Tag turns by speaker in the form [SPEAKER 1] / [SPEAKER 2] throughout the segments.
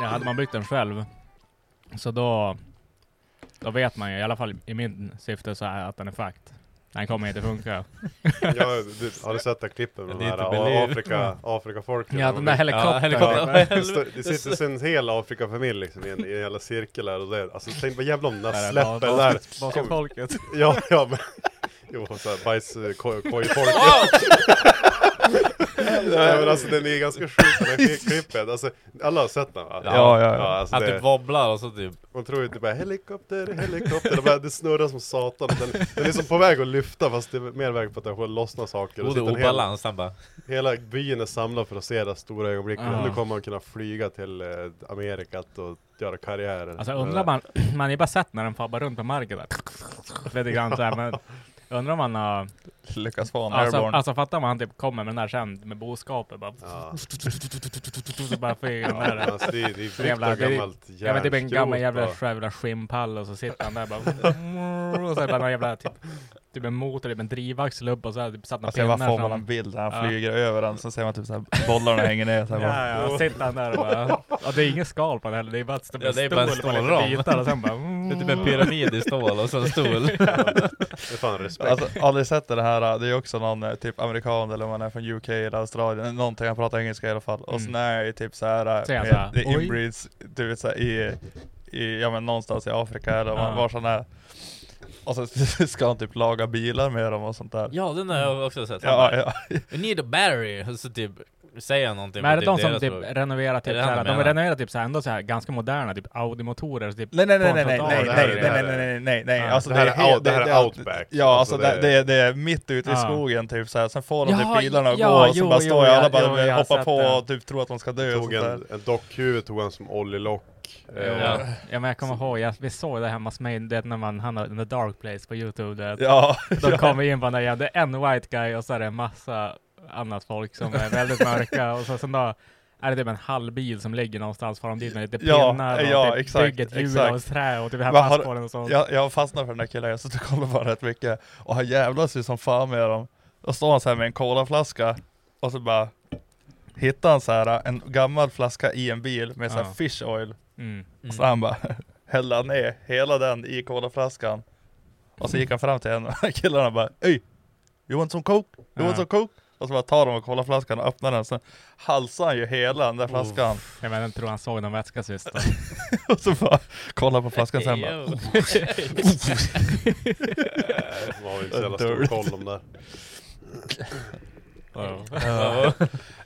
[SPEAKER 1] Ja, hade man byggt den själv, så då, då vet man ju, i alla fall i min syfte, så här att den är fakt. Den kommer inte funka.
[SPEAKER 2] Ja, du, har du sett det klippet med de
[SPEAKER 3] Det är
[SPEAKER 2] här
[SPEAKER 3] inte believe.
[SPEAKER 2] Afrika, Afrikafolken?
[SPEAKER 1] Ja,
[SPEAKER 2] De
[SPEAKER 1] den där helikoptern.
[SPEAKER 3] Ja,
[SPEAKER 2] Ja,
[SPEAKER 3] helikoptern.
[SPEAKER 2] men det står- det sitter en hel Afrikafamilj liksom i en, i en jävla cirkel här och det, alltså tänk vad jävla om den här släpper den där.
[SPEAKER 3] Bakom folket.
[SPEAKER 2] Ja, ja men. Jo, såhär bajs, eh, ko- kojfolket. Nej men alltså den är ganska sjuk den här kli- klippet, alltså alla har sett den va?
[SPEAKER 3] Ja, ja, ja.
[SPEAKER 2] alltså,
[SPEAKER 3] Han
[SPEAKER 2] det,
[SPEAKER 3] typ wobblar och så typ.
[SPEAKER 2] man tror ju typ bara helikopter, helikopter, det, bara, det snurrar som satan. Den, den är som på väg att lyfta fast det är mer väg på att den får lossna saker.
[SPEAKER 3] Oh, det
[SPEAKER 2] sitter
[SPEAKER 3] är
[SPEAKER 2] en hel-
[SPEAKER 3] obalans. Han bara.
[SPEAKER 2] Hela byn är samlad för att se det här stora ögonblicket.
[SPEAKER 1] Ja.
[SPEAKER 2] Nu kommer han kunna flyga till eh, Amerika och göra karriär.
[SPEAKER 1] Alltså undrar man, man har ju bara sett när den fabbar runt på marken där. Lite grann så här, men undrar om man har...
[SPEAKER 4] Lyckas få en
[SPEAKER 1] Alltså,
[SPEAKER 4] airborne.
[SPEAKER 1] alltså fattar man han typ kommer med den där sen med boskapet bara.
[SPEAKER 2] Ja.
[SPEAKER 1] Så bara flyger den
[SPEAKER 2] Ja,
[SPEAKER 1] där.
[SPEAKER 2] alltså det, är- det är byggt
[SPEAKER 1] Jävla-
[SPEAKER 2] av
[SPEAKER 1] det är-
[SPEAKER 2] gammalt
[SPEAKER 1] Ja men typ en
[SPEAKER 2] järnskrot
[SPEAKER 1] gammal jävla,
[SPEAKER 2] och-
[SPEAKER 1] jävla skimpall och så sitter han där bara... Och så är det bara någon jävla typ, typ en motor, typ en drivaxel upp och så här, typ satt några
[SPEAKER 4] Alltså jag bara får
[SPEAKER 1] som
[SPEAKER 4] man en bild där han
[SPEAKER 1] Ja.
[SPEAKER 4] flyger över den, så ser man typ såhär bollarna hänger ner såhär bara.
[SPEAKER 1] Ja, ja, sitter han där och bara... Ja, det är ingen skal på den heller, det är bara, typ
[SPEAKER 3] Ja, det är bara en
[SPEAKER 1] på lite
[SPEAKER 3] stålram.
[SPEAKER 1] bitar och sen bara...
[SPEAKER 3] Det är typ en pyramid i stål och så en stol.
[SPEAKER 2] Det är fan respekt.
[SPEAKER 4] Alltså aldrig sett det här, det är också någon eh, typ amerikan eller om man är från UK eller Australien, eh, någonting, han pratar engelska i alla fall. Och
[SPEAKER 1] Mm.
[SPEAKER 4] sen är det typ såhär,
[SPEAKER 1] Säger han
[SPEAKER 4] det
[SPEAKER 1] såhär, "Oj."
[SPEAKER 4] inbreeds, du vet såhär i, i, ja men någonstans i Afrika eller
[SPEAKER 1] Ja.
[SPEAKER 4] var vars han är. Och så ska han typ laga bilar med dem och sånt där.
[SPEAKER 3] Ja, den har jag också sett. Han
[SPEAKER 4] Ja,
[SPEAKER 3] bara,
[SPEAKER 4] ja.
[SPEAKER 3] We need a battery. Och så typ säger han någonting.
[SPEAKER 1] Men är
[SPEAKER 3] på
[SPEAKER 1] det de som
[SPEAKER 3] deras
[SPEAKER 1] typ
[SPEAKER 3] språk.
[SPEAKER 1] renoverar
[SPEAKER 3] Är
[SPEAKER 1] typ
[SPEAKER 3] det han
[SPEAKER 1] såhär,
[SPEAKER 3] menar?
[SPEAKER 1] de renoverar typ såhär, ändå såhär ganska moderna typ Audi-motorer, så typ
[SPEAKER 4] Nej nej nej nej nej
[SPEAKER 1] Från
[SPEAKER 4] nej
[SPEAKER 2] frontal.
[SPEAKER 4] nej
[SPEAKER 2] Ja, det här är-
[SPEAKER 4] nej nej nej nej nej
[SPEAKER 1] Ja.
[SPEAKER 4] alltså
[SPEAKER 2] det
[SPEAKER 4] det,
[SPEAKER 2] här
[SPEAKER 4] är
[SPEAKER 2] är,
[SPEAKER 4] helt,
[SPEAKER 2] out, det här är outback.
[SPEAKER 4] Ja alltså det, det, är, det är mitt ute i
[SPEAKER 1] Ja.
[SPEAKER 4] skogen typ såhär, sen får de
[SPEAKER 1] Jaha,
[SPEAKER 4] typ bilarna att
[SPEAKER 1] ja,
[SPEAKER 4] gå och så
[SPEAKER 1] jo,
[SPEAKER 4] bara
[SPEAKER 1] jo,
[SPEAKER 4] står ju alla
[SPEAKER 1] ja,
[SPEAKER 4] bara
[SPEAKER 1] jo, jag har
[SPEAKER 4] hoppar
[SPEAKER 1] sett
[SPEAKER 4] på
[SPEAKER 1] det.
[SPEAKER 4] och typ tror att de ska dö och
[SPEAKER 2] tog
[SPEAKER 4] sånt där.
[SPEAKER 2] en, en dockhuvud, tog han som oljelock. Eh,
[SPEAKER 1] Ja. ja men jag kommer ihåg, jag, vi såg det hemma hos mig, det när man hamnade in the dark place på youtube. Det,
[SPEAKER 4] Ja,
[SPEAKER 1] Då kom vi in på den där, ja, det är en white guy och så är det en massa annat folk som är väldigt mörka och så sen då är det typ en halvbil som ligger någonstans, far de dit med lite
[SPEAKER 4] Ja,
[SPEAKER 1] pinnar och
[SPEAKER 4] ja,
[SPEAKER 1] typ
[SPEAKER 4] exakt,
[SPEAKER 1] bygger ett hjul
[SPEAKER 4] exakt.
[SPEAKER 1] av trä och typ här
[SPEAKER 4] Vad
[SPEAKER 1] fast
[SPEAKER 4] har-
[SPEAKER 1] på den och sånt.
[SPEAKER 4] jag, jag fastnade för den där killen, jag satt och kollade på honom rätt mycket och han jävlas ju som fan med dem. Då står han såhär med en colaflaska och så bara hittar han såhär en gammal flaska i en bil med såhär
[SPEAKER 1] Ja.
[SPEAKER 4] fish oil.
[SPEAKER 1] Mm.
[SPEAKER 4] Och Så han bara hällde han ner hela den i colaflaskan. Och så gick han fram till en av killarna och bara Öj! You want some coke? You want
[SPEAKER 1] Ja.
[SPEAKER 4] some coke? Och så bara tar de colaflaskan och öppnar den, sen halsar han ju hela den där flaskan.
[SPEAKER 1] Jag menar, jag tror han såg någon vätska sist. då.
[SPEAKER 4] Och så bara kollar på flaskan sen bara
[SPEAKER 3] Ejo.
[SPEAKER 2] de har ju inte så jävla stor
[SPEAKER 4] Dirt.
[SPEAKER 2] koll om det.
[SPEAKER 4] Ja.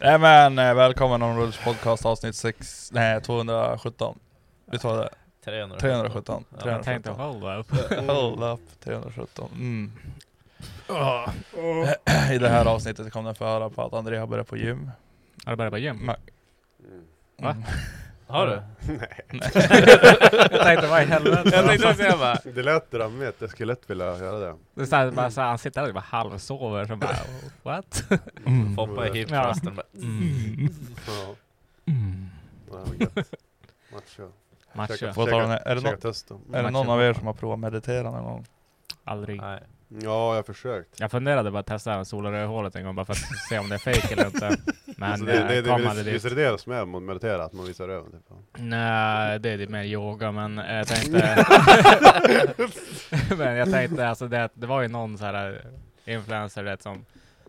[SPEAKER 4] Nej men eh, välkommen om Rullers podcast avsnitt 6, nej 217. Vi tar det,
[SPEAKER 3] 300.
[SPEAKER 4] 317.
[SPEAKER 3] Ja,
[SPEAKER 1] Jag tänkte
[SPEAKER 4] 317.
[SPEAKER 1] hold up.
[SPEAKER 4] Hold up, 317. Mm. I det här avsnittet kom den få höra på att André har börjat på gym.
[SPEAKER 1] Har du börjat på gym?
[SPEAKER 4] Ma-
[SPEAKER 1] Va?
[SPEAKER 4] Mm.
[SPEAKER 3] Har du?
[SPEAKER 1] Jag tänkte vad i helvete.
[SPEAKER 3] Jag tänkte också jag bara.
[SPEAKER 2] Det lät drammigt, jag skulle lätt vilja göra det.
[SPEAKER 1] Det är så här, bara så här, han sitter där och bara halvsover. Så bara, what? Mm.
[SPEAKER 4] Mm.
[SPEAKER 3] Foppa är hip
[SPEAKER 1] Ja.
[SPEAKER 3] fast den bara.
[SPEAKER 2] Ja,
[SPEAKER 4] Mm.
[SPEAKER 2] det här var gött. Macho.
[SPEAKER 1] Matcha.
[SPEAKER 4] Får jag ta den här? Är det
[SPEAKER 2] Käka
[SPEAKER 4] någon-
[SPEAKER 2] testo.
[SPEAKER 4] Är det någon av er som har provat meditera någon gång?
[SPEAKER 1] Aldrig.
[SPEAKER 3] Nej.
[SPEAKER 2] Ja, jag har försökt.
[SPEAKER 1] Jag funderade bara att testa solarödhålet en gång bara för att se om det är fake eller inte. Men eh,
[SPEAKER 2] Alltså, det, det, det,
[SPEAKER 1] kom
[SPEAKER 2] det,
[SPEAKER 1] aldrig dit.
[SPEAKER 2] visst är det det som är med att meditera, att man visar röven? Typ.
[SPEAKER 1] Nej, det är lite mer yoga, men eh, jag tänkte... men jag tänkte alltså det, att det var ju någon så här eh, influencer det, som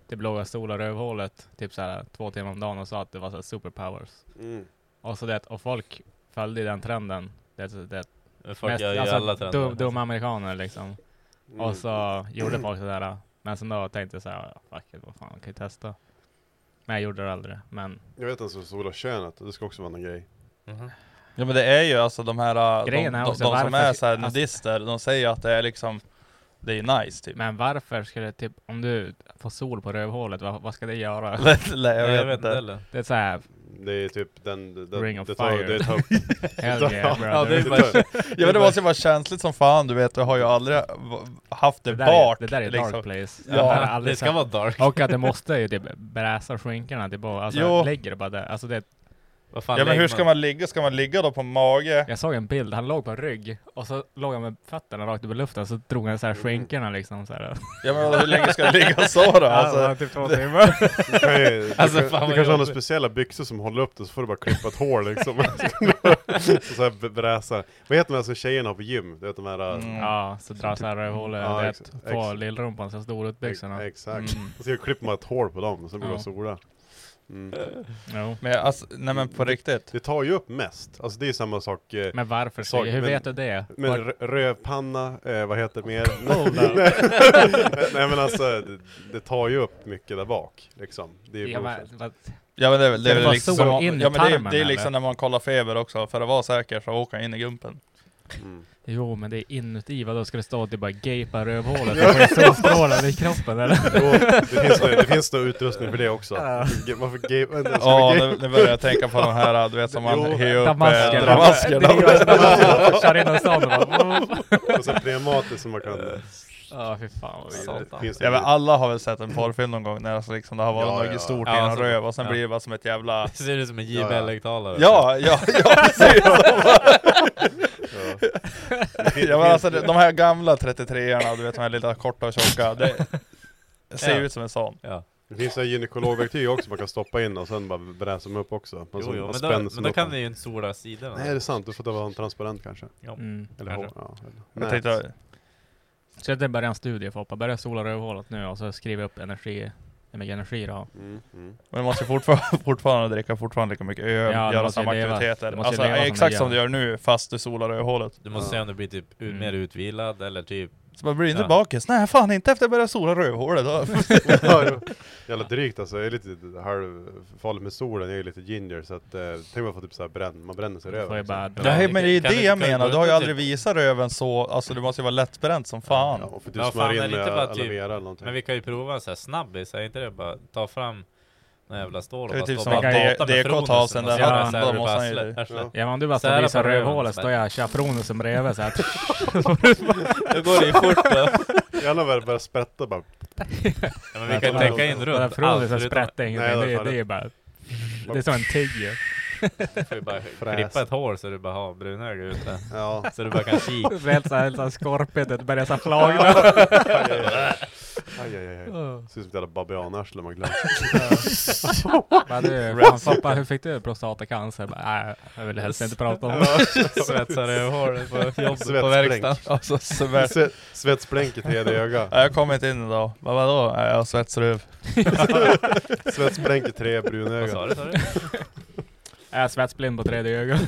[SPEAKER 1] typ låg och solade rövhålet typ så här två timmar om dagen och sa att det var så här superpowers.
[SPEAKER 2] Mm.
[SPEAKER 1] Och så det, och folk följde i den trenden. Det, det,
[SPEAKER 3] Men Folk gör ju alla trender.
[SPEAKER 1] alltså, dum, dumma amerikaner liksom.
[SPEAKER 2] Mm.
[SPEAKER 1] Och så gjorde folk sådär. Men sen då tänkte jag såhär, "Ja, fuck it, vad fan, jag kan ju testa. Men jag gjorde det aldrig. Men
[SPEAKER 2] Jag vet inte, så sola könet, det ska också vara någon grej.
[SPEAKER 3] Mhm.
[SPEAKER 4] Ja men det är ju alltså de här, de, de,
[SPEAKER 1] Grejen är
[SPEAKER 4] de,
[SPEAKER 1] också
[SPEAKER 4] som
[SPEAKER 1] varför-
[SPEAKER 4] är såhär
[SPEAKER 1] alltså-
[SPEAKER 4] nudister, de säger att det är liksom, det är nice typ.
[SPEAKER 1] Men varför ska det typ, om du får sol på rövhålet, vad, vad ska det göra?
[SPEAKER 4] Nej,
[SPEAKER 3] Nej,
[SPEAKER 4] jag vet inte.
[SPEAKER 3] heller.
[SPEAKER 1] Det är såhär,
[SPEAKER 2] Det är typ den... den
[SPEAKER 1] Ring of
[SPEAKER 2] det tar,
[SPEAKER 1] fire.
[SPEAKER 2] Det tar,
[SPEAKER 1] Hell yeah brother.
[SPEAKER 3] Ja, det är
[SPEAKER 2] det
[SPEAKER 3] bara-
[SPEAKER 2] tar,
[SPEAKER 4] Ja men det måste ju vara känsligt som fan du vet, jag har ju aldrig v- haft det,
[SPEAKER 1] där
[SPEAKER 4] bart.
[SPEAKER 1] är, det där är
[SPEAKER 4] liksom.
[SPEAKER 1] dark place.
[SPEAKER 4] Ja,
[SPEAKER 1] Jag har
[SPEAKER 3] Ja,
[SPEAKER 1] aldrig
[SPEAKER 3] det ska
[SPEAKER 1] sett-
[SPEAKER 3] vara dark.
[SPEAKER 1] Och att det måste ju typ bräsa skinkorna typ och alltså
[SPEAKER 4] Jo.
[SPEAKER 1] lägger det bara där. Alltså det,
[SPEAKER 3] Vad fan
[SPEAKER 4] Ja men
[SPEAKER 3] lägger
[SPEAKER 4] hur ska man ligga? Ska man ligga då på mage?
[SPEAKER 1] jag såg en bild, han låg på rygg och så låg han med fötterna rakt upp i luften så drog han så här skinkorna liksom så här.
[SPEAKER 4] Ja men hur länge ska jag ligga så då? Alltså,
[SPEAKER 1] typ två timmar.
[SPEAKER 2] du kan ju,
[SPEAKER 3] Alltså,
[SPEAKER 2] du, kan,
[SPEAKER 3] fan, vad
[SPEAKER 2] du kanske har några
[SPEAKER 3] jobbigt.
[SPEAKER 2] speciella byxor som håller upp det, så får du bara klippa ett hår liksom. så så här bräsa. Vad heter de här som tjejerna har på gym? Du vet de här... äh,
[SPEAKER 4] Mm.
[SPEAKER 1] Ja, så drar så här och
[SPEAKER 2] Ja,
[SPEAKER 1] håller rätt
[SPEAKER 2] ex-
[SPEAKER 1] på
[SPEAKER 2] ex-
[SPEAKER 1] lillrumpan så stor ut byxorna.
[SPEAKER 2] Ex- Exakt.
[SPEAKER 4] Mm.
[SPEAKER 2] Och så klipper man ett hår på dem, och så blir de
[SPEAKER 1] Ja.
[SPEAKER 2] sola. Mm.
[SPEAKER 1] Jo.
[SPEAKER 4] Men alltså, nej men på riktigt.
[SPEAKER 2] Det tar ju upp mest. Alltså det är ju samma sak. eh,
[SPEAKER 1] Men varför?
[SPEAKER 2] Sorry,
[SPEAKER 1] hur
[SPEAKER 2] men-
[SPEAKER 1] vet du det?
[SPEAKER 2] Men
[SPEAKER 1] Var-
[SPEAKER 2] r- rövpanna, eh, vad heter det mer?
[SPEAKER 1] Oh, no.
[SPEAKER 2] Nej men alltså, det, det tar ju upp mycket där bak. Liksom. Det är ju
[SPEAKER 1] Ja,
[SPEAKER 2] ja,
[SPEAKER 1] men, vad-
[SPEAKER 4] Ja men det är väl, det är
[SPEAKER 1] Ska det
[SPEAKER 4] väl
[SPEAKER 1] vara
[SPEAKER 4] liksom,
[SPEAKER 1] sol
[SPEAKER 4] som-
[SPEAKER 1] in i
[SPEAKER 4] ja, men det, är,
[SPEAKER 1] tarmen,
[SPEAKER 4] det är
[SPEAKER 1] eller?
[SPEAKER 4] liksom när man kollar feber också, för att vara säker så åker han in i gumpen.
[SPEAKER 2] mm.
[SPEAKER 1] jo, men det är inuti. Vadå, ska det stå att det bara gapar rövhålet? Det får ju solstrålar i kroppen eller?
[SPEAKER 2] Jo, det, finns, det finns nog utrustning för det också. Ge- Varför ge- vänta, ska
[SPEAKER 4] Ja
[SPEAKER 2] vi ge-
[SPEAKER 4] nu, nu börjar jag tänka på de här, du vet som man
[SPEAKER 2] Jo,
[SPEAKER 4] hejar upp eh,
[SPEAKER 1] Damasken.
[SPEAKER 4] Damasken.
[SPEAKER 1] Det är ju alltså Damasken. Kör in en sån och bara...
[SPEAKER 2] Och så pneumatiskt som man kan... eh,
[SPEAKER 1] Ja, fy fan vad vidrigt.
[SPEAKER 2] det finns
[SPEAKER 4] Ja men
[SPEAKER 2] det-
[SPEAKER 4] alla har väl sett en porrfilm någon gång när alltså, liksom, det har varit
[SPEAKER 2] Ja,
[SPEAKER 4] något
[SPEAKER 2] ja.
[SPEAKER 4] stort
[SPEAKER 3] Ja,
[SPEAKER 4] i en
[SPEAKER 3] alltså,
[SPEAKER 4] röv och sen
[SPEAKER 3] ja.
[SPEAKER 4] blir det bara som ett jävla...
[SPEAKER 3] Ser ut som en
[SPEAKER 2] Ja, ja.
[SPEAKER 3] JBL-högtalare.
[SPEAKER 4] Ja, ja, ja precis!
[SPEAKER 2] ja. Det fin-
[SPEAKER 4] Ja, men
[SPEAKER 2] det
[SPEAKER 4] alltså,
[SPEAKER 2] finns-
[SPEAKER 4] de här gamla 33orna, du vet de här lilla korta och tjocka, det ser
[SPEAKER 3] Ja.
[SPEAKER 4] ut som en sån.
[SPEAKER 3] Ja.
[SPEAKER 2] Det finns ju gynekologverktyg också man kan stoppa in och sen bara bräsa dem upp också. Man,
[SPEAKER 3] Jo,
[SPEAKER 2] som-
[SPEAKER 3] jo,
[SPEAKER 2] alltså, man
[SPEAKER 3] men,
[SPEAKER 2] spänner
[SPEAKER 3] då, men
[SPEAKER 2] som
[SPEAKER 3] då
[SPEAKER 2] upp
[SPEAKER 3] kan
[SPEAKER 2] dem.
[SPEAKER 3] ni ju inte sola sidorna.
[SPEAKER 2] Nej det är sant, du får ta vara en transparent kanske.
[SPEAKER 1] Mm,
[SPEAKER 2] Eller
[SPEAKER 1] kanske.
[SPEAKER 2] hår. Ja, eller.
[SPEAKER 4] Jag
[SPEAKER 2] nät.
[SPEAKER 4] tänkte,
[SPEAKER 1] Så det är bara en studie Foppa. Börja sola rövhålet nu och så skriv upp energi. Hur mycket energi du har.
[SPEAKER 2] Mm, mm.
[SPEAKER 4] men du måste ju fortfarande, fortfarande dricka fortfarande lika mycket öl,
[SPEAKER 1] Ja, du
[SPEAKER 4] göra
[SPEAKER 1] måste ju
[SPEAKER 4] samma
[SPEAKER 1] leva. Du
[SPEAKER 4] aktiviteter.
[SPEAKER 1] måste ju
[SPEAKER 4] Alltså
[SPEAKER 1] leva som
[SPEAKER 4] exakt
[SPEAKER 1] du
[SPEAKER 4] som
[SPEAKER 1] gör.
[SPEAKER 4] du gör nu, fast du solar rövhålet.
[SPEAKER 3] Du måste
[SPEAKER 2] Ja.
[SPEAKER 3] se om du blir typ ut,
[SPEAKER 1] Mm.
[SPEAKER 3] mer utvilad eller typ...
[SPEAKER 4] Så man blir inte
[SPEAKER 3] Ja.
[SPEAKER 4] bakis. Nej fan inte efter jag började sola rövhålet. Då.
[SPEAKER 2] Ja, jo. Jävla drygt alltså, jag är lite halvfarlig med solen, jag är lite ginger så att eh, tänk om man får typ såhär bränn, man bränner sig
[SPEAKER 1] Då får
[SPEAKER 2] över.
[SPEAKER 1] jag bara
[SPEAKER 2] liksom.
[SPEAKER 1] dra.
[SPEAKER 4] Nej men det är ju
[SPEAKER 3] Kan du-
[SPEAKER 4] det jag
[SPEAKER 3] kan du
[SPEAKER 4] menar,
[SPEAKER 3] gå
[SPEAKER 4] du har ju
[SPEAKER 3] ut och
[SPEAKER 4] aldrig visat röven så, alltså du måste ju vara lättbränd som fan.
[SPEAKER 2] Ja, och för du
[SPEAKER 3] Ja, fan,
[SPEAKER 2] smörjer
[SPEAKER 3] men
[SPEAKER 2] in med
[SPEAKER 3] inte bara
[SPEAKER 2] aloe
[SPEAKER 3] typ-
[SPEAKER 2] vera eller någonting.
[SPEAKER 3] Men vi kan ju prova en sån här snabbis, är inte det bara ta fram någon jävla stål och
[SPEAKER 4] Det är
[SPEAKER 3] bara
[SPEAKER 4] typ
[SPEAKER 3] stoppa
[SPEAKER 4] som att
[SPEAKER 3] en
[SPEAKER 4] D-
[SPEAKER 3] data med
[SPEAKER 4] DK tar
[SPEAKER 3] fronusen
[SPEAKER 4] sen
[SPEAKER 3] och
[SPEAKER 4] där
[SPEAKER 3] så gör
[SPEAKER 1] handen,
[SPEAKER 3] den så här
[SPEAKER 4] då
[SPEAKER 3] och du
[SPEAKER 4] måste
[SPEAKER 3] bara
[SPEAKER 4] han ju-
[SPEAKER 3] slä- här slä-
[SPEAKER 2] Ja.
[SPEAKER 1] Ja men om du bara
[SPEAKER 3] Sära
[SPEAKER 1] ska
[SPEAKER 3] på
[SPEAKER 1] visa
[SPEAKER 3] röven.
[SPEAKER 1] rövhålet, står jag chaperonen som reve såhär.
[SPEAKER 3] Då går det ju fort då.
[SPEAKER 2] Gärna börja, börja sprätta bara.
[SPEAKER 3] Ja, men vi kan ju tänka in runt
[SPEAKER 1] Fronen som
[SPEAKER 3] förutom-
[SPEAKER 1] sprätter ingenting.
[SPEAKER 2] Nej,
[SPEAKER 1] Det, det är bara... Det är som en tiger.
[SPEAKER 3] får ju bara
[SPEAKER 2] Fräs.
[SPEAKER 3] klippa ett hår så du bara har brunöga ute.
[SPEAKER 2] Ja.
[SPEAKER 3] Så du bara kan kika.
[SPEAKER 1] Det är helt såhär, helt såhär skorpigt, det börjar såhär flagna.
[SPEAKER 2] Aj, aj, aj. aj, aj, aj. Ser ut som ett jävla babianarsle man glömt.
[SPEAKER 1] Bara du, fan, pappa hur fick du prostatacancer? Bara, Nej, jag vill helst inte prata om det.
[SPEAKER 3] Svetsar över håret på jobbet på
[SPEAKER 2] Svetsblänk.
[SPEAKER 3] verkstaden.
[SPEAKER 4] Alltså, så väl.
[SPEAKER 2] Sve- Svetsblänk i tredje öga.
[SPEAKER 4] Ja, jag kommer inte in idag. Vad vadå? Nej, Jag har svetsröv.
[SPEAKER 2] Svetsblänk i tre
[SPEAKER 3] Vad sa
[SPEAKER 2] brunöga.
[SPEAKER 3] du? sa du?
[SPEAKER 1] Jag är svetsblind på tredje ögat.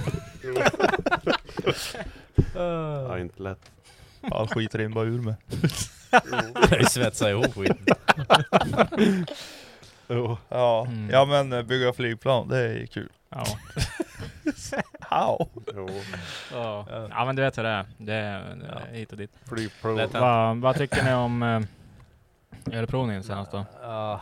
[SPEAKER 2] Ja, inte lätt.
[SPEAKER 4] All skit rinner bara ur mig.
[SPEAKER 3] Du svetsar ihop skiten.
[SPEAKER 2] Jo.
[SPEAKER 4] Ja,
[SPEAKER 1] Mm.
[SPEAKER 4] ja men eh, bygga flygplan, det är ju kul.
[SPEAKER 1] Ja.
[SPEAKER 4] How?
[SPEAKER 2] jo.
[SPEAKER 1] Ja. ja men du vet hur det är. Det är det är
[SPEAKER 3] Ja.
[SPEAKER 1] hit och dit.
[SPEAKER 2] Flygprov.
[SPEAKER 3] Lätt. Ja.
[SPEAKER 1] Vad- vad tycker ni om eh, ölprovningen senast då?
[SPEAKER 3] Ja.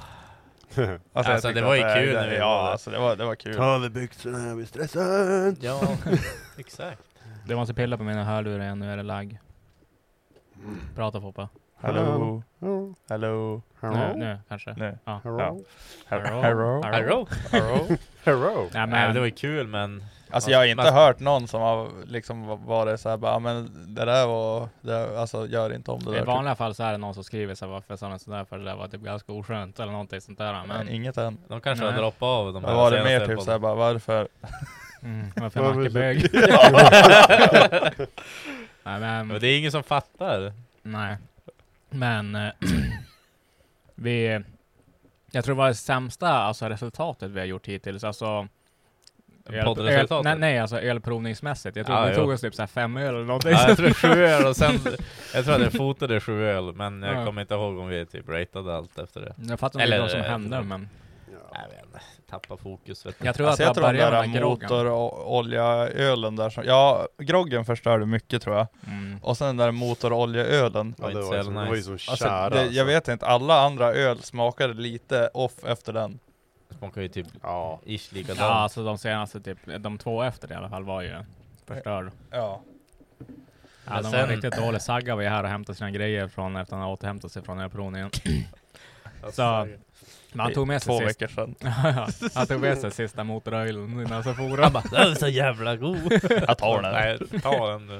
[SPEAKER 4] jag
[SPEAKER 3] Alltså, det
[SPEAKER 4] tyckte
[SPEAKER 3] var
[SPEAKER 4] att
[SPEAKER 3] ju kul när vi
[SPEAKER 4] ja,
[SPEAKER 3] var där.
[SPEAKER 4] Alltså, det, var, det var kul.
[SPEAKER 2] Ta av er byxorna, jag blir stressad.
[SPEAKER 3] Ja, exakt.
[SPEAKER 1] Du måste pilla på mina hörlurar igen, nu är det lagg. Prata Foppa.
[SPEAKER 4] Hello,
[SPEAKER 2] Hello.
[SPEAKER 4] hello,
[SPEAKER 1] Nu,
[SPEAKER 2] Hello.
[SPEAKER 1] nu kanske.
[SPEAKER 4] nu.
[SPEAKER 1] Ja.
[SPEAKER 2] Hello.
[SPEAKER 4] Hello. hello.
[SPEAKER 3] Arrow?
[SPEAKER 4] hello.
[SPEAKER 2] Hello.
[SPEAKER 1] Nej,
[SPEAKER 3] Nej, det var
[SPEAKER 1] men,
[SPEAKER 3] ju kul men...
[SPEAKER 4] Alltså jag har inte hört någon som har liksom varit såhär bara, "Ah, men det där var, det, där- alltså gör inte om det
[SPEAKER 1] I
[SPEAKER 4] där.
[SPEAKER 1] vanliga fall så är det någon som skriver så här, varför sa ni sådär för det där var typ ganska oskönt eller någonting sånt där.
[SPEAKER 4] Typ. men...
[SPEAKER 1] Men,
[SPEAKER 4] Inget än.
[SPEAKER 3] De kanske
[SPEAKER 1] Nej.
[SPEAKER 3] har droppat av de
[SPEAKER 4] Vad var det
[SPEAKER 3] senaste
[SPEAKER 4] mer typ
[SPEAKER 3] podden.
[SPEAKER 4] såhär bara, varför?
[SPEAKER 1] mm, varför är Macke bög? Nej men,
[SPEAKER 3] Men det är ingen som fattar.
[SPEAKER 1] nej. Men eh, vi, jag tror det var det sämsta alltså, resultatet vi har gjort hittills. Alltså, öl-
[SPEAKER 3] Poddresultatet?
[SPEAKER 1] öl- Nej, nej, alltså ölprovningsmässigt. Jag tror
[SPEAKER 3] Ah,
[SPEAKER 1] vi
[SPEAKER 3] jo.
[SPEAKER 1] tog oss typ såhär fem öl eller någonting.
[SPEAKER 3] Ja, jag tror sju öl och sen... Jag tror att jag fotade sju öl, men jag
[SPEAKER 1] Ja.
[SPEAKER 3] kommer inte ihåg om vi typ ratade allt efter det.
[SPEAKER 1] Jag fattar inte
[SPEAKER 3] Eller,
[SPEAKER 1] vad som
[SPEAKER 3] eh,
[SPEAKER 1] hände men
[SPEAKER 3] Nej, jag vet inte. Tappa fokus vet du.
[SPEAKER 1] jag tror
[SPEAKER 4] alltså jag
[SPEAKER 1] att det
[SPEAKER 4] tror
[SPEAKER 1] var
[SPEAKER 4] den där
[SPEAKER 1] början med groggen.
[SPEAKER 4] motoroljaölen där som, ja groggen förstörde mycket tror jag.
[SPEAKER 1] Mm.
[SPEAKER 4] Och Alltså, sen den där motoroljaölen.
[SPEAKER 2] Ja,
[SPEAKER 3] var
[SPEAKER 2] det,
[SPEAKER 3] inte
[SPEAKER 2] var ju som, det var ju
[SPEAKER 3] så jävla nice.
[SPEAKER 2] som
[SPEAKER 4] Alltså,
[SPEAKER 2] kära.
[SPEAKER 4] det, jag vet inte, alla andra öl smakade lite off efter den.
[SPEAKER 3] Smakar ju typ
[SPEAKER 2] Ja.
[SPEAKER 3] ish
[SPEAKER 1] Ja,
[SPEAKER 3] likadant.
[SPEAKER 1] alltså de senaste, typ, de två efter det i alla fall var ju förstörd.
[SPEAKER 4] Ja.
[SPEAKER 1] Ja,
[SPEAKER 3] Men
[SPEAKER 1] de
[SPEAKER 3] sen-
[SPEAKER 1] var riktigt dåliga. Sagga var ju här och hämtade sina grejer från efter han återhämtat sig från överprovningen. Så, men han tog med sig
[SPEAKER 4] Två
[SPEAKER 1] sist.
[SPEAKER 4] veckor sedan.
[SPEAKER 1] Ja, han tog med sig sista motorölen innan så for han.
[SPEAKER 3] Den är så jävla god!
[SPEAKER 4] Jag tar den.
[SPEAKER 3] Nej, ta den du.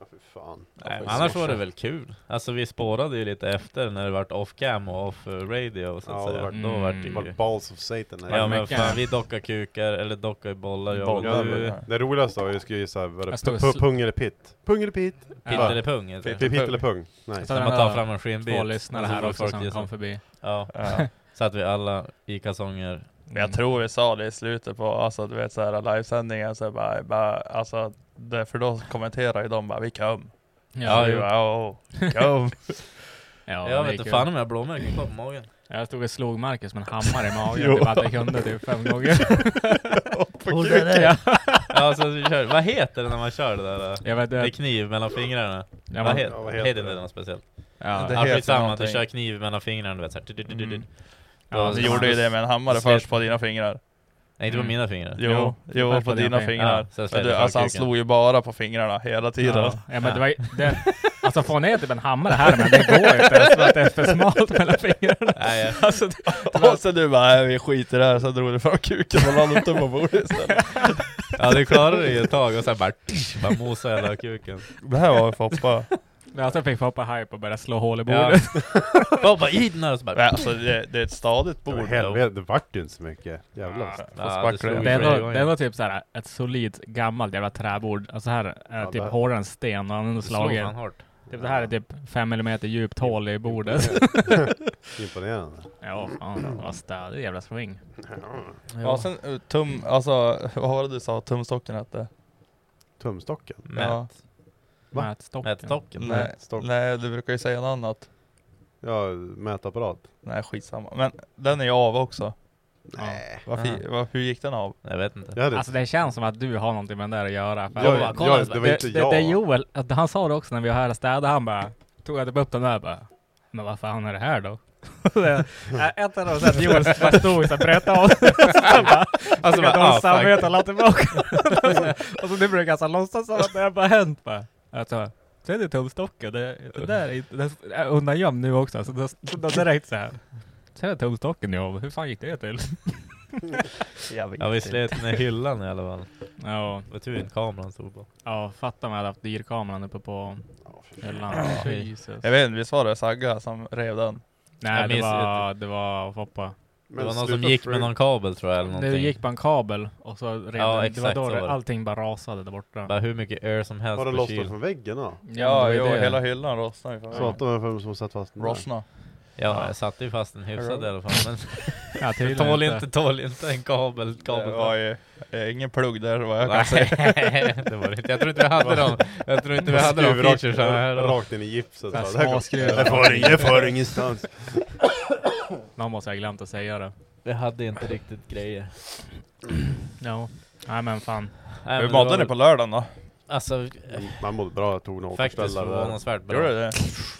[SPEAKER 2] Ja, fy fan. Ja, får
[SPEAKER 3] Nej, men
[SPEAKER 2] vi
[SPEAKER 3] annars
[SPEAKER 2] se.
[SPEAKER 3] var det väl kul. Alltså vi spårade ju lite efter när det vart off-cam och off-radio så att
[SPEAKER 2] Ja, det
[SPEAKER 3] säga.
[SPEAKER 2] vart-
[SPEAKER 3] Då vart det
[SPEAKER 1] Mm.
[SPEAKER 2] Det
[SPEAKER 3] ju...
[SPEAKER 2] var balls of Satan. här.
[SPEAKER 3] Ja men
[SPEAKER 1] mycket.
[SPEAKER 3] fan, vi dockar kukar, eller dockar i bollar, jag och
[SPEAKER 4] Bollar,
[SPEAKER 3] du.
[SPEAKER 4] men-
[SPEAKER 2] Det roligaste var ju, jag skulle gissa, var det
[SPEAKER 1] Jag stod och
[SPEAKER 2] pu-
[SPEAKER 1] sl-
[SPEAKER 2] pung eller pitt? Pung eller pitt?
[SPEAKER 3] Pitt
[SPEAKER 1] Ja.
[SPEAKER 3] eller pung heter det.
[SPEAKER 4] Pitt.
[SPEAKER 2] Pitt eller pung? Nej.
[SPEAKER 1] Jag
[SPEAKER 3] Så
[SPEAKER 1] tar
[SPEAKER 3] man
[SPEAKER 1] den
[SPEAKER 3] tar
[SPEAKER 1] där
[SPEAKER 3] fram en skenbit.
[SPEAKER 1] Två lyssnare
[SPEAKER 3] och så
[SPEAKER 1] här
[SPEAKER 3] får
[SPEAKER 1] också
[SPEAKER 3] folk
[SPEAKER 1] som
[SPEAKER 3] gissa.
[SPEAKER 1] kom förbi.
[SPEAKER 3] Ja,
[SPEAKER 4] Ja.
[SPEAKER 3] så att vi alla i kalsonger.
[SPEAKER 4] Men jag tror vi sa det i slutet på, alltså du vet såhär livesändningen, så bara, bara, alltså, det, för då kommenterar ju de bara vi kom.
[SPEAKER 3] Ja,
[SPEAKER 1] Ja,
[SPEAKER 4] vi
[SPEAKER 3] jo.
[SPEAKER 4] bara, "Åh, kom.
[SPEAKER 1] ja,
[SPEAKER 3] jag
[SPEAKER 1] det
[SPEAKER 3] vet
[SPEAKER 1] gick
[SPEAKER 3] inte
[SPEAKER 1] ju.
[SPEAKER 3] fan om jag har blåmärken kvar på magen.
[SPEAKER 1] Jag stod och slog Marcus med en hammare i magen
[SPEAKER 4] Jo.
[SPEAKER 1] typ att jag kunde typ fem gånger.
[SPEAKER 3] Håll det där! Ja, så vi kör. Vad heter det när man kör det där?
[SPEAKER 1] Jag vet
[SPEAKER 3] Det är
[SPEAKER 1] inte.
[SPEAKER 3] kniv mellan fingrarna.
[SPEAKER 1] Ja,
[SPEAKER 3] vad
[SPEAKER 1] men-
[SPEAKER 3] heter,
[SPEAKER 2] ja, vad
[SPEAKER 3] heter,
[SPEAKER 2] heter
[SPEAKER 3] det
[SPEAKER 2] det?
[SPEAKER 3] något speciellt?
[SPEAKER 1] Ja.
[SPEAKER 4] Det
[SPEAKER 3] Ja,
[SPEAKER 4] heter
[SPEAKER 3] skitsamma, att du
[SPEAKER 4] någonting.
[SPEAKER 3] kör kniv mellan fingrarna du vet såhär.
[SPEAKER 1] Mm.
[SPEAKER 3] Ja,
[SPEAKER 1] Ja,
[SPEAKER 4] Du
[SPEAKER 3] så
[SPEAKER 1] det
[SPEAKER 4] gjorde ju
[SPEAKER 1] gjorde
[SPEAKER 4] det med en hammare
[SPEAKER 3] Slet-
[SPEAKER 4] först på dina fingrar.
[SPEAKER 3] Nej inte på
[SPEAKER 1] Mm.
[SPEAKER 3] mina fingrar.
[SPEAKER 4] Jo, jo, på dina fingrar.
[SPEAKER 3] Ja, sen
[SPEAKER 4] Men
[SPEAKER 3] slet
[SPEAKER 4] du,
[SPEAKER 3] jag
[SPEAKER 4] alltså han
[SPEAKER 3] kuken.
[SPEAKER 4] slog ju bara på fingrarna hela tiden.
[SPEAKER 1] Ja, ja, men det var ju, det, alltså få ner typ en hammare här men det går inte ens för att det är för smalt mellan fingrarna.
[SPEAKER 3] Nej, ja.
[SPEAKER 4] Alltså, och sen du bara, nej, vi skiter i det här, sen drog du fram kuken och la upp den på bordet istället.
[SPEAKER 3] ja du klarade det ju ett tag och sen bara, bara mosade hela kuken.
[SPEAKER 4] Det här var ju Foppa.
[SPEAKER 1] Men alltså fick Foppa hype och började slå hål i bordet.
[SPEAKER 3] Ja. Bara, bara i den här och så bara...
[SPEAKER 4] Nej, Alltså det, det är ett stadigt
[SPEAKER 2] Det var
[SPEAKER 4] bord.
[SPEAKER 2] Helvete, det vart ju inte så mycket. Jävlar.
[SPEAKER 4] Fast
[SPEAKER 3] Ja, det
[SPEAKER 4] backar
[SPEAKER 3] slog
[SPEAKER 4] det.
[SPEAKER 1] Det är,
[SPEAKER 3] flera
[SPEAKER 1] ändå,
[SPEAKER 3] gånger.
[SPEAKER 1] det är ändå typ såhär ett solidt gammalt jävla träbord. Alltså här är
[SPEAKER 2] Ja,
[SPEAKER 1] typ
[SPEAKER 2] där.
[SPEAKER 1] hårdare än sten och han har ändå
[SPEAKER 3] Det slog
[SPEAKER 1] slagit.
[SPEAKER 3] fan hårt.
[SPEAKER 1] Typ det här är typ 5 mm djupt hål i bordet.
[SPEAKER 2] Imponerande.
[SPEAKER 1] ja, fan. Vad stadig jävla swing.
[SPEAKER 4] Ja sen eh, tum, alltså vad var det du sa tumstocken hette?
[SPEAKER 2] Tumstocken?
[SPEAKER 4] Ja.
[SPEAKER 3] Mät,
[SPEAKER 2] Va?
[SPEAKER 1] Mätstocken.
[SPEAKER 3] mätstocken.
[SPEAKER 4] Nej,
[SPEAKER 2] Stock.
[SPEAKER 4] nej du brukar ju säga något annat.
[SPEAKER 2] Ja, mätapparat.
[SPEAKER 4] Nej skitsamma. Men den är ju av också.
[SPEAKER 1] Nej.
[SPEAKER 4] Varför, var, hur gick den av?
[SPEAKER 3] Jag vet inte.
[SPEAKER 2] Jag hade...
[SPEAKER 1] Alltså det känns som att du har någonting med det där att göra. För
[SPEAKER 2] jag,
[SPEAKER 1] att-
[SPEAKER 2] jag,
[SPEAKER 3] kolla,
[SPEAKER 2] det var inte
[SPEAKER 1] det,
[SPEAKER 2] jag.
[SPEAKER 1] Det, det är Joel, att han sa det också när vi var här och städade, han bara Tog jag typ upp den där bara Men vad fan är det här då? Det- äh, Ett av dem så att Joel bara stod och bröt av sig. Och så bara
[SPEAKER 3] bara, ah,
[SPEAKER 1] dåligt samvete och la tillbaka Och så- Och så nu brukar han så här låtsas som att det här bara hänt bara Alltså det är tumstocken, det, det där är inte- det är undangömd nu också, så då, då direkt såhär. Ser jag tumstocken i av? Hur fan gick det till?
[SPEAKER 4] Jag vet
[SPEAKER 3] Ja vi slet ner hyllan i alla fall.
[SPEAKER 1] Ja,
[SPEAKER 3] Det var tur inte kameran stod på.
[SPEAKER 1] ja fatta om jag hade haft dyrkameran uppe på
[SPEAKER 2] Ja, fy fan.
[SPEAKER 1] hyllan.
[SPEAKER 4] Ja.
[SPEAKER 1] Jesus.
[SPEAKER 4] Jag vet inte, visst var det Sagga som rev den?
[SPEAKER 1] Nej,
[SPEAKER 3] Jag
[SPEAKER 1] det
[SPEAKER 3] minns
[SPEAKER 1] var, det var Foppa.
[SPEAKER 3] Det var
[SPEAKER 2] Men
[SPEAKER 3] någon som
[SPEAKER 2] sluta
[SPEAKER 3] gick
[SPEAKER 2] freak.
[SPEAKER 3] med någon kabel tror jag eller någonting.
[SPEAKER 1] Det gick på en kabel och så redan,
[SPEAKER 3] Ja,
[SPEAKER 1] det var
[SPEAKER 3] exakt
[SPEAKER 1] då
[SPEAKER 3] så
[SPEAKER 1] det,
[SPEAKER 3] var det.
[SPEAKER 1] allting bara rasade där borta.
[SPEAKER 3] Bara hur mycket air som helst
[SPEAKER 2] Har
[SPEAKER 3] på
[SPEAKER 2] den lossnat
[SPEAKER 3] kyl.
[SPEAKER 2] från väggen då?
[SPEAKER 4] Ja,
[SPEAKER 1] det
[SPEAKER 4] jo,
[SPEAKER 1] var ju det.
[SPEAKER 4] hela hyllan rostnade ju. fan.
[SPEAKER 2] Så att de är för som satt fast den där.
[SPEAKER 4] Rostna.
[SPEAKER 3] Ja, jag satte ju fast den hyfsad i alla fall. Men
[SPEAKER 1] Ja, tydligen
[SPEAKER 3] tål inte, tål inte en kabel.
[SPEAKER 4] Det
[SPEAKER 3] kabel
[SPEAKER 4] var ju eh, ingen plugg där vad jag kan
[SPEAKER 3] Nej,
[SPEAKER 4] säga.
[SPEAKER 3] det var det inte. Jag tror inte vi hade dem. Jag tror inte vi hade de
[SPEAKER 2] Skruv rakt-
[SPEAKER 3] featuresarna här då.
[SPEAKER 2] Rakt in i gipset.
[SPEAKER 1] Där
[SPEAKER 2] bara,
[SPEAKER 1] små
[SPEAKER 2] där går-
[SPEAKER 1] skruvar.
[SPEAKER 2] Jag får ing- jag får ingenstans.
[SPEAKER 1] Någon måste ha glömt att säga det.
[SPEAKER 3] Vi hade inte riktigt grejer.
[SPEAKER 1] Ja. Nej men fan.
[SPEAKER 3] Nej,
[SPEAKER 4] Hur
[SPEAKER 3] men
[SPEAKER 4] mådde
[SPEAKER 3] det var-
[SPEAKER 4] ni på lördagen då?
[SPEAKER 3] Alltså,
[SPEAKER 2] Man mådde bra, jag tog några
[SPEAKER 3] faktiskt
[SPEAKER 2] återställare där.
[SPEAKER 3] förvånansvärt bra.
[SPEAKER 4] Gjorde du det?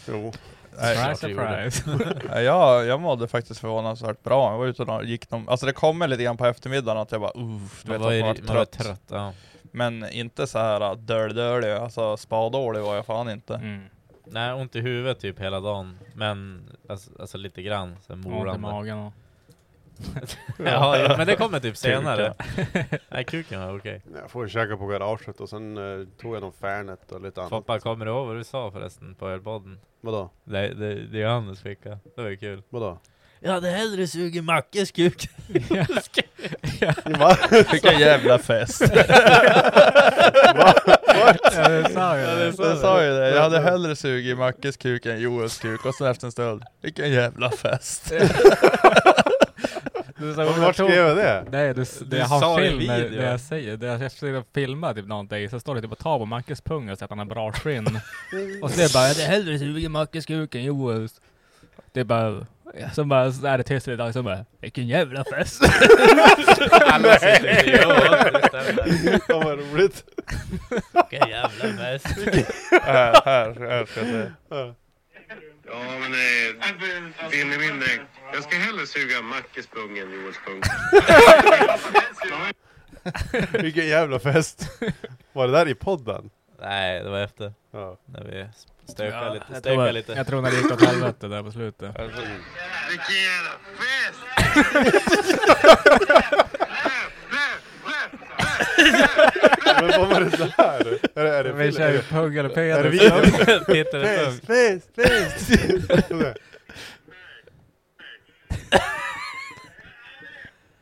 [SPEAKER 2] Jo.
[SPEAKER 4] Nej,
[SPEAKER 1] Surprise,
[SPEAKER 3] klart det gjorde.
[SPEAKER 1] surprise.
[SPEAKER 4] Ja, jag, jag mådde faktiskt förvånansvärt bra. Jag var ute och gick någon, alltså det kom lite grann på eftermiddagen att jag bara uff, du
[SPEAKER 3] Man
[SPEAKER 4] vet
[SPEAKER 3] var,
[SPEAKER 4] att
[SPEAKER 3] ju,
[SPEAKER 4] man var
[SPEAKER 3] man var
[SPEAKER 4] trött.
[SPEAKER 3] trött. Ja.
[SPEAKER 4] Men inte så här uh, döl-dölig, alltså spadålig var jag fan inte.
[SPEAKER 1] Mm.
[SPEAKER 3] Nej, ont i huvudet typ hela dagen. Men alltså, alltså lite grann. Sen
[SPEAKER 1] Ont i
[SPEAKER 3] morande.
[SPEAKER 1] magen och...
[SPEAKER 3] ja, ja, men det kommer typ senare. Nej, kuken var okej.
[SPEAKER 2] Jag får käka på garaget och sen eh, tog jag någon Fernet och lite annat.
[SPEAKER 3] Foppa, kommer du ihåg vad du sa förresten på ölpodden?
[SPEAKER 2] Vadå?
[SPEAKER 3] Det, det, det är Johannes ficka. Det var ju kul.
[SPEAKER 2] Vadå?
[SPEAKER 3] Jag hade hellre sugit Mackes kuk.
[SPEAKER 2] Va?
[SPEAKER 4] Vilken
[SPEAKER 1] Alltså.
[SPEAKER 4] jävla fest!
[SPEAKER 1] Ja, det sa jag.
[SPEAKER 3] det
[SPEAKER 4] Jag sa ju det, jag hade hellre sugit Mackes kuk än Joels kuk och sen efter en stund, vilken jävla fest!
[SPEAKER 1] Du sa
[SPEAKER 2] Vart skrev jag det?
[SPEAKER 1] Nej, du, s-
[SPEAKER 3] Du
[SPEAKER 1] jag har
[SPEAKER 3] sa i
[SPEAKER 1] film när,
[SPEAKER 3] video.
[SPEAKER 1] när jag säger det. Jag försöker filma typ någonting, så står det typ och tar på Mackes pung och säger att han har bra skinn. och så är det bara, det är hellre suger Mackes kuk än Joels. Det är bara, så bara, så är det tyst ett tag, så bara, vilken jävla fest.
[SPEAKER 3] Alla sitter i Johan.
[SPEAKER 2] Fan vad roligt.
[SPEAKER 3] Vilken jävla mest.
[SPEAKER 4] här, här, här ska jag säga.
[SPEAKER 2] Ja.
[SPEAKER 5] Ja, men eh, Vilhelmin, eh, jag ska hellre suga Mackes pung än Joels pung.
[SPEAKER 2] Vilken jävla fest! Var det där i podden?
[SPEAKER 3] Nej, det var efter.
[SPEAKER 2] Ja.
[SPEAKER 3] När vi stökade
[SPEAKER 1] Ja,
[SPEAKER 3] lite.
[SPEAKER 1] jag
[SPEAKER 3] Stökade
[SPEAKER 1] tror-
[SPEAKER 3] lite.
[SPEAKER 1] Jag tror när det gick åt helvete där på slutet.
[SPEAKER 5] Vilken jävla fest!
[SPEAKER 2] Men vad var det där? Är det, är det,
[SPEAKER 1] Vi
[SPEAKER 2] Phil-
[SPEAKER 1] kör ju pung eller
[SPEAKER 2] är det
[SPEAKER 1] peder.
[SPEAKER 2] vi?
[SPEAKER 3] Peter är tung.
[SPEAKER 2] Fest, fest, fest!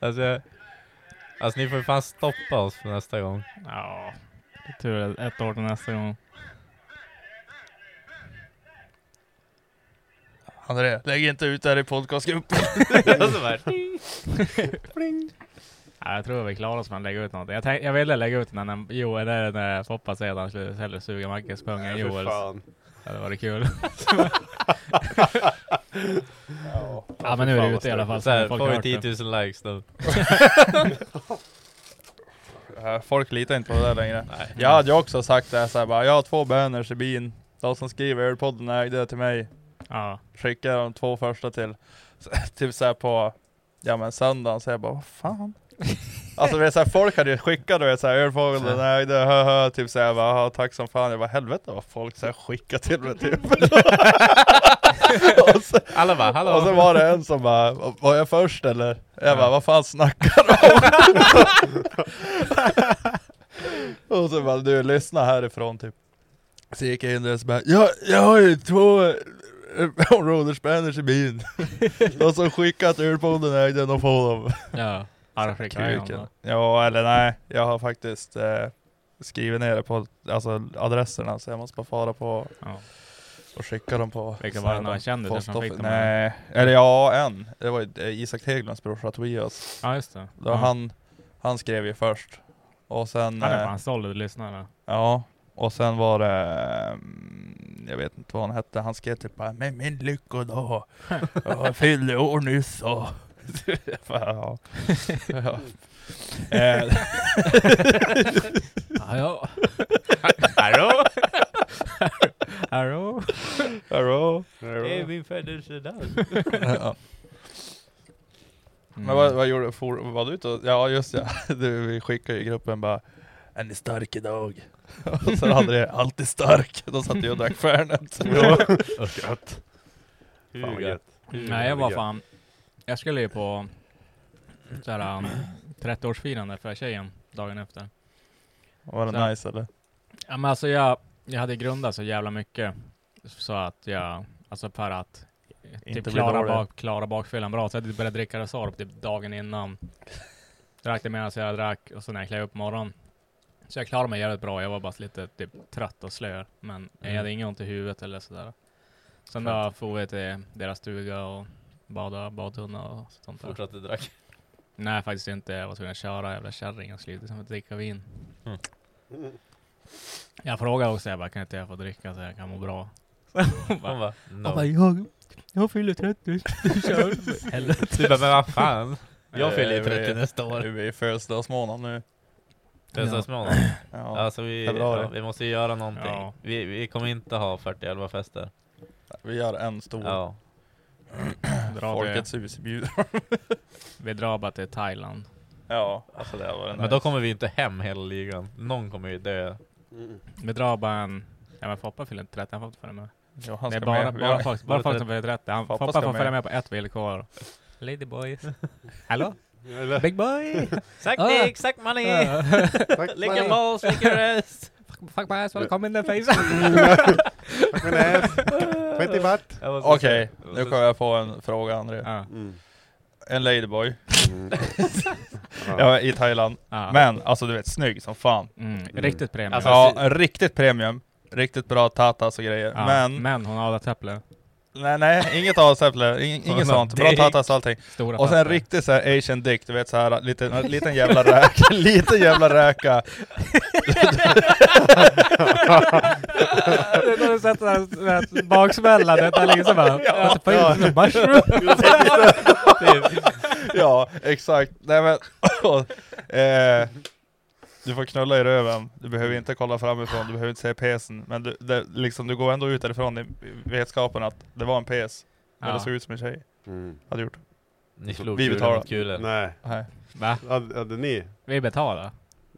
[SPEAKER 3] Alltså, jag- alltså ni får ju fan stoppa oss för nästa gång.
[SPEAKER 1] Ja, det är tur att ett år till nästa gång.
[SPEAKER 4] André, lägg inte ut det här i podcastgruppen.
[SPEAKER 3] alltså, bara,
[SPEAKER 1] Ja, jag tror vi klarar oss med att lägga ut något. Jag, tänk, jag ville lägga ut den när Jo, eller när Foppa säger att han skulle hellre suga Mackes pung än
[SPEAKER 2] Nej, fy
[SPEAKER 1] Joels.
[SPEAKER 2] fan.
[SPEAKER 1] Ja, det varit kul. Ja, men nu är det ute i alla fall.
[SPEAKER 3] så
[SPEAKER 1] Så
[SPEAKER 3] här,
[SPEAKER 1] folk
[SPEAKER 3] får
[SPEAKER 1] har
[SPEAKER 3] vi
[SPEAKER 1] hört det.
[SPEAKER 3] 10 000 likes då?
[SPEAKER 4] Ja, Äh, Folk litar inte på det där längre. Jag hade ju också sagt det här så här, bara, jag har två böners i bin. De som skriver ölpodden ägde det till mig.
[SPEAKER 1] Ja,
[SPEAKER 4] Skickade de två första till, typ så här på, ja men söndagen, så jag bara, vad fan? Alltså det är så här, folk hade ju skickat du vet såhär, ölpodden ägde, hö, hö, typ såhär, jag bara, "Haha, tack som fan. Jag bara, helvete vad folk så här, skickar till mig typ. och, så,
[SPEAKER 3] Alla bara hallå!
[SPEAKER 4] och så var det en som bara, "Va- var jag först eller? Jag bara, vad fan snackar du om? och så bara, du lyssna härifrån typ. Så gick jag in där och så bara, jag, jag har ju två eh, roller spanners i bilen. De som skickat ur på den ägde, de får dem.
[SPEAKER 1] ja. Ja, då skickar jag honom.
[SPEAKER 4] Ja, eller nej. Jag har faktiskt eh, skrivit ner det på alltså, adresserna, så jag måste bara fara på
[SPEAKER 1] Ja.
[SPEAKER 4] och skicka dem på...
[SPEAKER 1] Vilka var det några kändisar som
[SPEAKER 4] postoff-
[SPEAKER 1] fick dem?
[SPEAKER 4] Nej, eller ja, en. Det var ju eh, Isak Hägglunds brorsa Tobias.
[SPEAKER 1] Ja, just det.
[SPEAKER 4] Då
[SPEAKER 1] ja.
[SPEAKER 4] han, han skrev ju först. Och sen...
[SPEAKER 1] Han är
[SPEAKER 4] eh,
[SPEAKER 1] fan solid lyssnare.
[SPEAKER 4] Ja, och sen var det... mm, Jag vet inte vad han hette, han skrev typ bara ”Med min lyckodag, jag fyllde år nyss” och... Jag bara, ja. ja. Eh,
[SPEAKER 1] Hallå?
[SPEAKER 3] Hallå!
[SPEAKER 1] Hallå?
[SPEAKER 4] Hallå?
[SPEAKER 3] Det är min födelsedag!
[SPEAKER 1] Mm.
[SPEAKER 4] Ja. Men vad, vad gjorde for, var du ute och, Ja just ja, du, vi skickade ju i gruppen bara ”Är ni stark idag?” Och sen hade det ”Alltid stark”, då satt jag och drack Fernet.
[SPEAKER 2] Gött. Fan vad
[SPEAKER 3] Huga.
[SPEAKER 2] gött.
[SPEAKER 1] Nej, jag var fan... Jag skulle ju på såhär um, 30-årsfirande för tjejen dagen efter.
[SPEAKER 4] Var det
[SPEAKER 1] Så.
[SPEAKER 4] nice eller?
[SPEAKER 1] Ja, men alltså jag, jag hade grundat så jävla mycket så att jag, alltså för att
[SPEAKER 4] Inte
[SPEAKER 1] typ
[SPEAKER 4] bli
[SPEAKER 1] klara,
[SPEAKER 4] dålig.
[SPEAKER 1] bak, klara bakfyllan bra. Så jag började dricka Resorb typ dagen innan. Drack det medan jag drack och sen när jag klev upp på morgonen. Så jag klarade mig jävligt bra. Jag var bara lite typ trött och slö. Men jag
[SPEAKER 3] Mm.
[SPEAKER 1] hade inget ont i huvudet eller sådär. Sen då for vi till deras stuga och badade badtunna och sånt där.
[SPEAKER 3] Fortsatte drack.
[SPEAKER 1] Nej faktiskt inte. Jag var tvungen att köra jävla kärringen slutade som att dricka vin.
[SPEAKER 3] Mm.
[SPEAKER 1] Jag frågade också, jag bara, kan inte jag få dricka så jag kan må bra?
[SPEAKER 3] Hon bara no.
[SPEAKER 1] jag, jag fyller 30. Kör. Helvete.
[SPEAKER 3] Du bara men vad fan? Jag fyller ju
[SPEAKER 4] Eh, vi-
[SPEAKER 3] 30 nästa år.
[SPEAKER 4] Vi är i födelsedagsmånad nu.
[SPEAKER 3] Födelsedagsmånaden.
[SPEAKER 4] Ja.
[SPEAKER 3] Alltså vi,
[SPEAKER 4] februari.
[SPEAKER 3] ja, vi måste ju göra någonting.
[SPEAKER 1] Ja.
[SPEAKER 3] Vi, vi kommer inte ha 40 fester.
[SPEAKER 4] Vi gör en stor.
[SPEAKER 1] Oh.
[SPEAKER 3] Ja.
[SPEAKER 1] Dra till,
[SPEAKER 4] Folkets hus bjuder.
[SPEAKER 1] vi drar bara till Thailand.
[SPEAKER 4] Ja, alltså det var
[SPEAKER 3] Men då kommer vi inte hem hela ligan. Någon kommer ju dö.
[SPEAKER 2] Mm.
[SPEAKER 1] Vi drar bara en... Ja men Foppa fyller inte 30, han får inte följa med.
[SPEAKER 4] Ja, han
[SPEAKER 1] Nej
[SPEAKER 4] ska
[SPEAKER 1] bara,
[SPEAKER 4] med.
[SPEAKER 1] bara,
[SPEAKER 4] Ja.
[SPEAKER 1] folk, bara folk som fyller 30. Han, Foppa, får
[SPEAKER 4] ska
[SPEAKER 1] följa
[SPEAKER 4] med.
[SPEAKER 1] med på ett villkor. Ladyboys. Hallå?
[SPEAKER 2] Eller?
[SPEAKER 1] Big boy!
[SPEAKER 3] Sack
[SPEAKER 1] Ah.
[SPEAKER 3] dick, sack money!
[SPEAKER 2] Tack,
[SPEAKER 3] Lick
[SPEAKER 2] man.
[SPEAKER 3] your balls, lick your ass!
[SPEAKER 1] fuck, fuck my ass, come in the face!
[SPEAKER 2] Tack min ass. Skit i vart.
[SPEAKER 3] Jag måste
[SPEAKER 4] Okej,
[SPEAKER 3] säga-
[SPEAKER 4] nu kommer jag på en fråga André.
[SPEAKER 1] ja,
[SPEAKER 2] Mm.
[SPEAKER 4] En ladyboy,
[SPEAKER 2] Mm.
[SPEAKER 4] ja, i Thailand.
[SPEAKER 1] ja.
[SPEAKER 4] Men alltså du vet, snygg som fan.
[SPEAKER 1] Mm, riktigt premium.
[SPEAKER 3] Alltså,
[SPEAKER 4] Ja, en riktigt premium. Riktigt bra tatas och grejer.
[SPEAKER 1] Ja,
[SPEAKER 4] men,
[SPEAKER 1] men hon har täpple.
[SPEAKER 4] nej nej, inget avsäpple, ing,
[SPEAKER 3] Sådana
[SPEAKER 4] inget sånt. Bra
[SPEAKER 3] dick.
[SPEAKER 4] tatas och allting.
[SPEAKER 1] Stora
[SPEAKER 4] Och sen
[SPEAKER 1] fötter.
[SPEAKER 4] riktigt så här asian dick, du vet så här, liten, liten jävla räka, liten jävla räka.
[SPEAKER 1] Det är när du sätter den baksmällan, det är liksom bara... Ja, ja.
[SPEAKER 4] Ja, exakt. Nej men, och, eh, Du får knulla i röven, du behöver inte kolla framifrån, du behöver inte se pesen. Men du, det, liksom, du går ändå ut därifrån i vetskapen att det var en pes, men det såg ut som en tjej.
[SPEAKER 2] Mm.
[SPEAKER 4] Hade gjort.
[SPEAKER 3] Ni slog
[SPEAKER 4] Vi betalar.
[SPEAKER 3] kulor mot kulor.
[SPEAKER 2] Nej,
[SPEAKER 4] Nej.
[SPEAKER 1] Va?
[SPEAKER 2] hade, hade ni?
[SPEAKER 1] Vi betalar.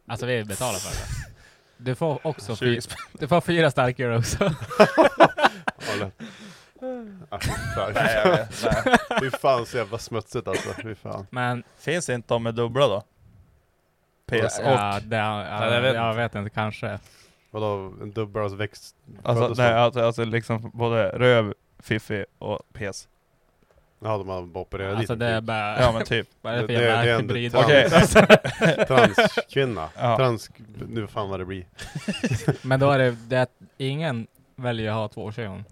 [SPEAKER 1] Alltså vi betalar för det. Du får också fyra,
[SPEAKER 4] 20
[SPEAKER 1] du får fyra starkare också.
[SPEAKER 2] Ja, lätt. Ah, fy fan.
[SPEAKER 4] Nej, jag vet. Nej.
[SPEAKER 2] Fy fan så jävla smutsigt alltså, fy fan.
[SPEAKER 1] Men
[SPEAKER 4] Finns inte de med dubbla då? Pes och...
[SPEAKER 1] ja, det, ja,
[SPEAKER 3] Nej, jag vet
[SPEAKER 1] jag vet inte, kanske.
[SPEAKER 2] Vadå, en dubbelras växt? föddes
[SPEAKER 4] Alltså, nej,
[SPEAKER 2] de?
[SPEAKER 4] alltså, alltså liksom både röv, fiffi och pes.
[SPEAKER 2] Ja, de har bara opererat
[SPEAKER 1] Alltså
[SPEAKER 2] dit
[SPEAKER 1] det är
[SPEAKER 2] en
[SPEAKER 1] bara...
[SPEAKER 4] Ja men typ.
[SPEAKER 1] Vad är det för
[SPEAKER 2] Det- det- det är
[SPEAKER 1] jävla
[SPEAKER 2] ändå
[SPEAKER 1] hybrid?
[SPEAKER 2] trams.
[SPEAKER 4] Okej.
[SPEAKER 2] Transkvinna.
[SPEAKER 4] Ja.
[SPEAKER 2] Trans... Nu fan vad det blir.
[SPEAKER 1] Men då är det, det att ingen väljer att ha två kön.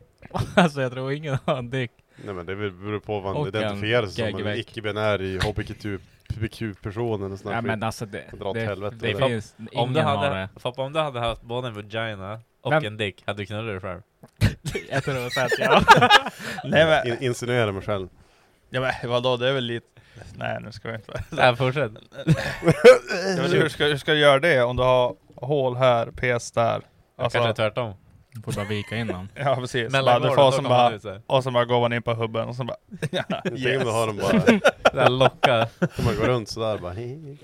[SPEAKER 1] Alltså jag tror ingen har en dick.
[SPEAKER 2] Nej men det beror på vad
[SPEAKER 1] Och
[SPEAKER 2] man
[SPEAKER 1] en
[SPEAKER 2] identifierar sig som. En
[SPEAKER 1] gagback.
[SPEAKER 2] icke-binär i hbtq-person eller sån
[SPEAKER 1] Ja,
[SPEAKER 2] här skit.
[SPEAKER 1] men alltså det,
[SPEAKER 2] Dra åt
[SPEAKER 1] det,
[SPEAKER 2] helvete.
[SPEAKER 1] det,
[SPEAKER 2] Om-
[SPEAKER 1] finns, ingen
[SPEAKER 3] Om du,
[SPEAKER 1] har
[SPEAKER 3] hade,
[SPEAKER 1] det.
[SPEAKER 3] Foppa, om du hade haft både en vagina och
[SPEAKER 1] Men-
[SPEAKER 3] en dick, hade du knullat dig själv?
[SPEAKER 1] Jag tror så att jag...
[SPEAKER 4] Nej men,
[SPEAKER 2] In, insinuerar mig själv.
[SPEAKER 4] ja, men vadå, det är väl lite... Nej nu ska vi inte...
[SPEAKER 3] Nej, fortsätt.
[SPEAKER 4] Ja, men hur, ska, hur ska du göra det om du har hål här, pes där? Alltså,
[SPEAKER 3] Kanske tvärtom.
[SPEAKER 1] Får bara vika in dem.
[SPEAKER 4] ja precis. Bara,
[SPEAKER 3] Mellan
[SPEAKER 4] du
[SPEAKER 3] gården,
[SPEAKER 4] får
[SPEAKER 3] då
[SPEAKER 4] som
[SPEAKER 3] kommer
[SPEAKER 4] bara,
[SPEAKER 3] han ut såhär.
[SPEAKER 4] och så bara går man in på hubben och så bara... Ja,
[SPEAKER 2] Jag tänker om du
[SPEAKER 4] yes.
[SPEAKER 2] har dem bara,
[SPEAKER 3] Där lockar.
[SPEAKER 2] man går runt sådär bara hi, hi.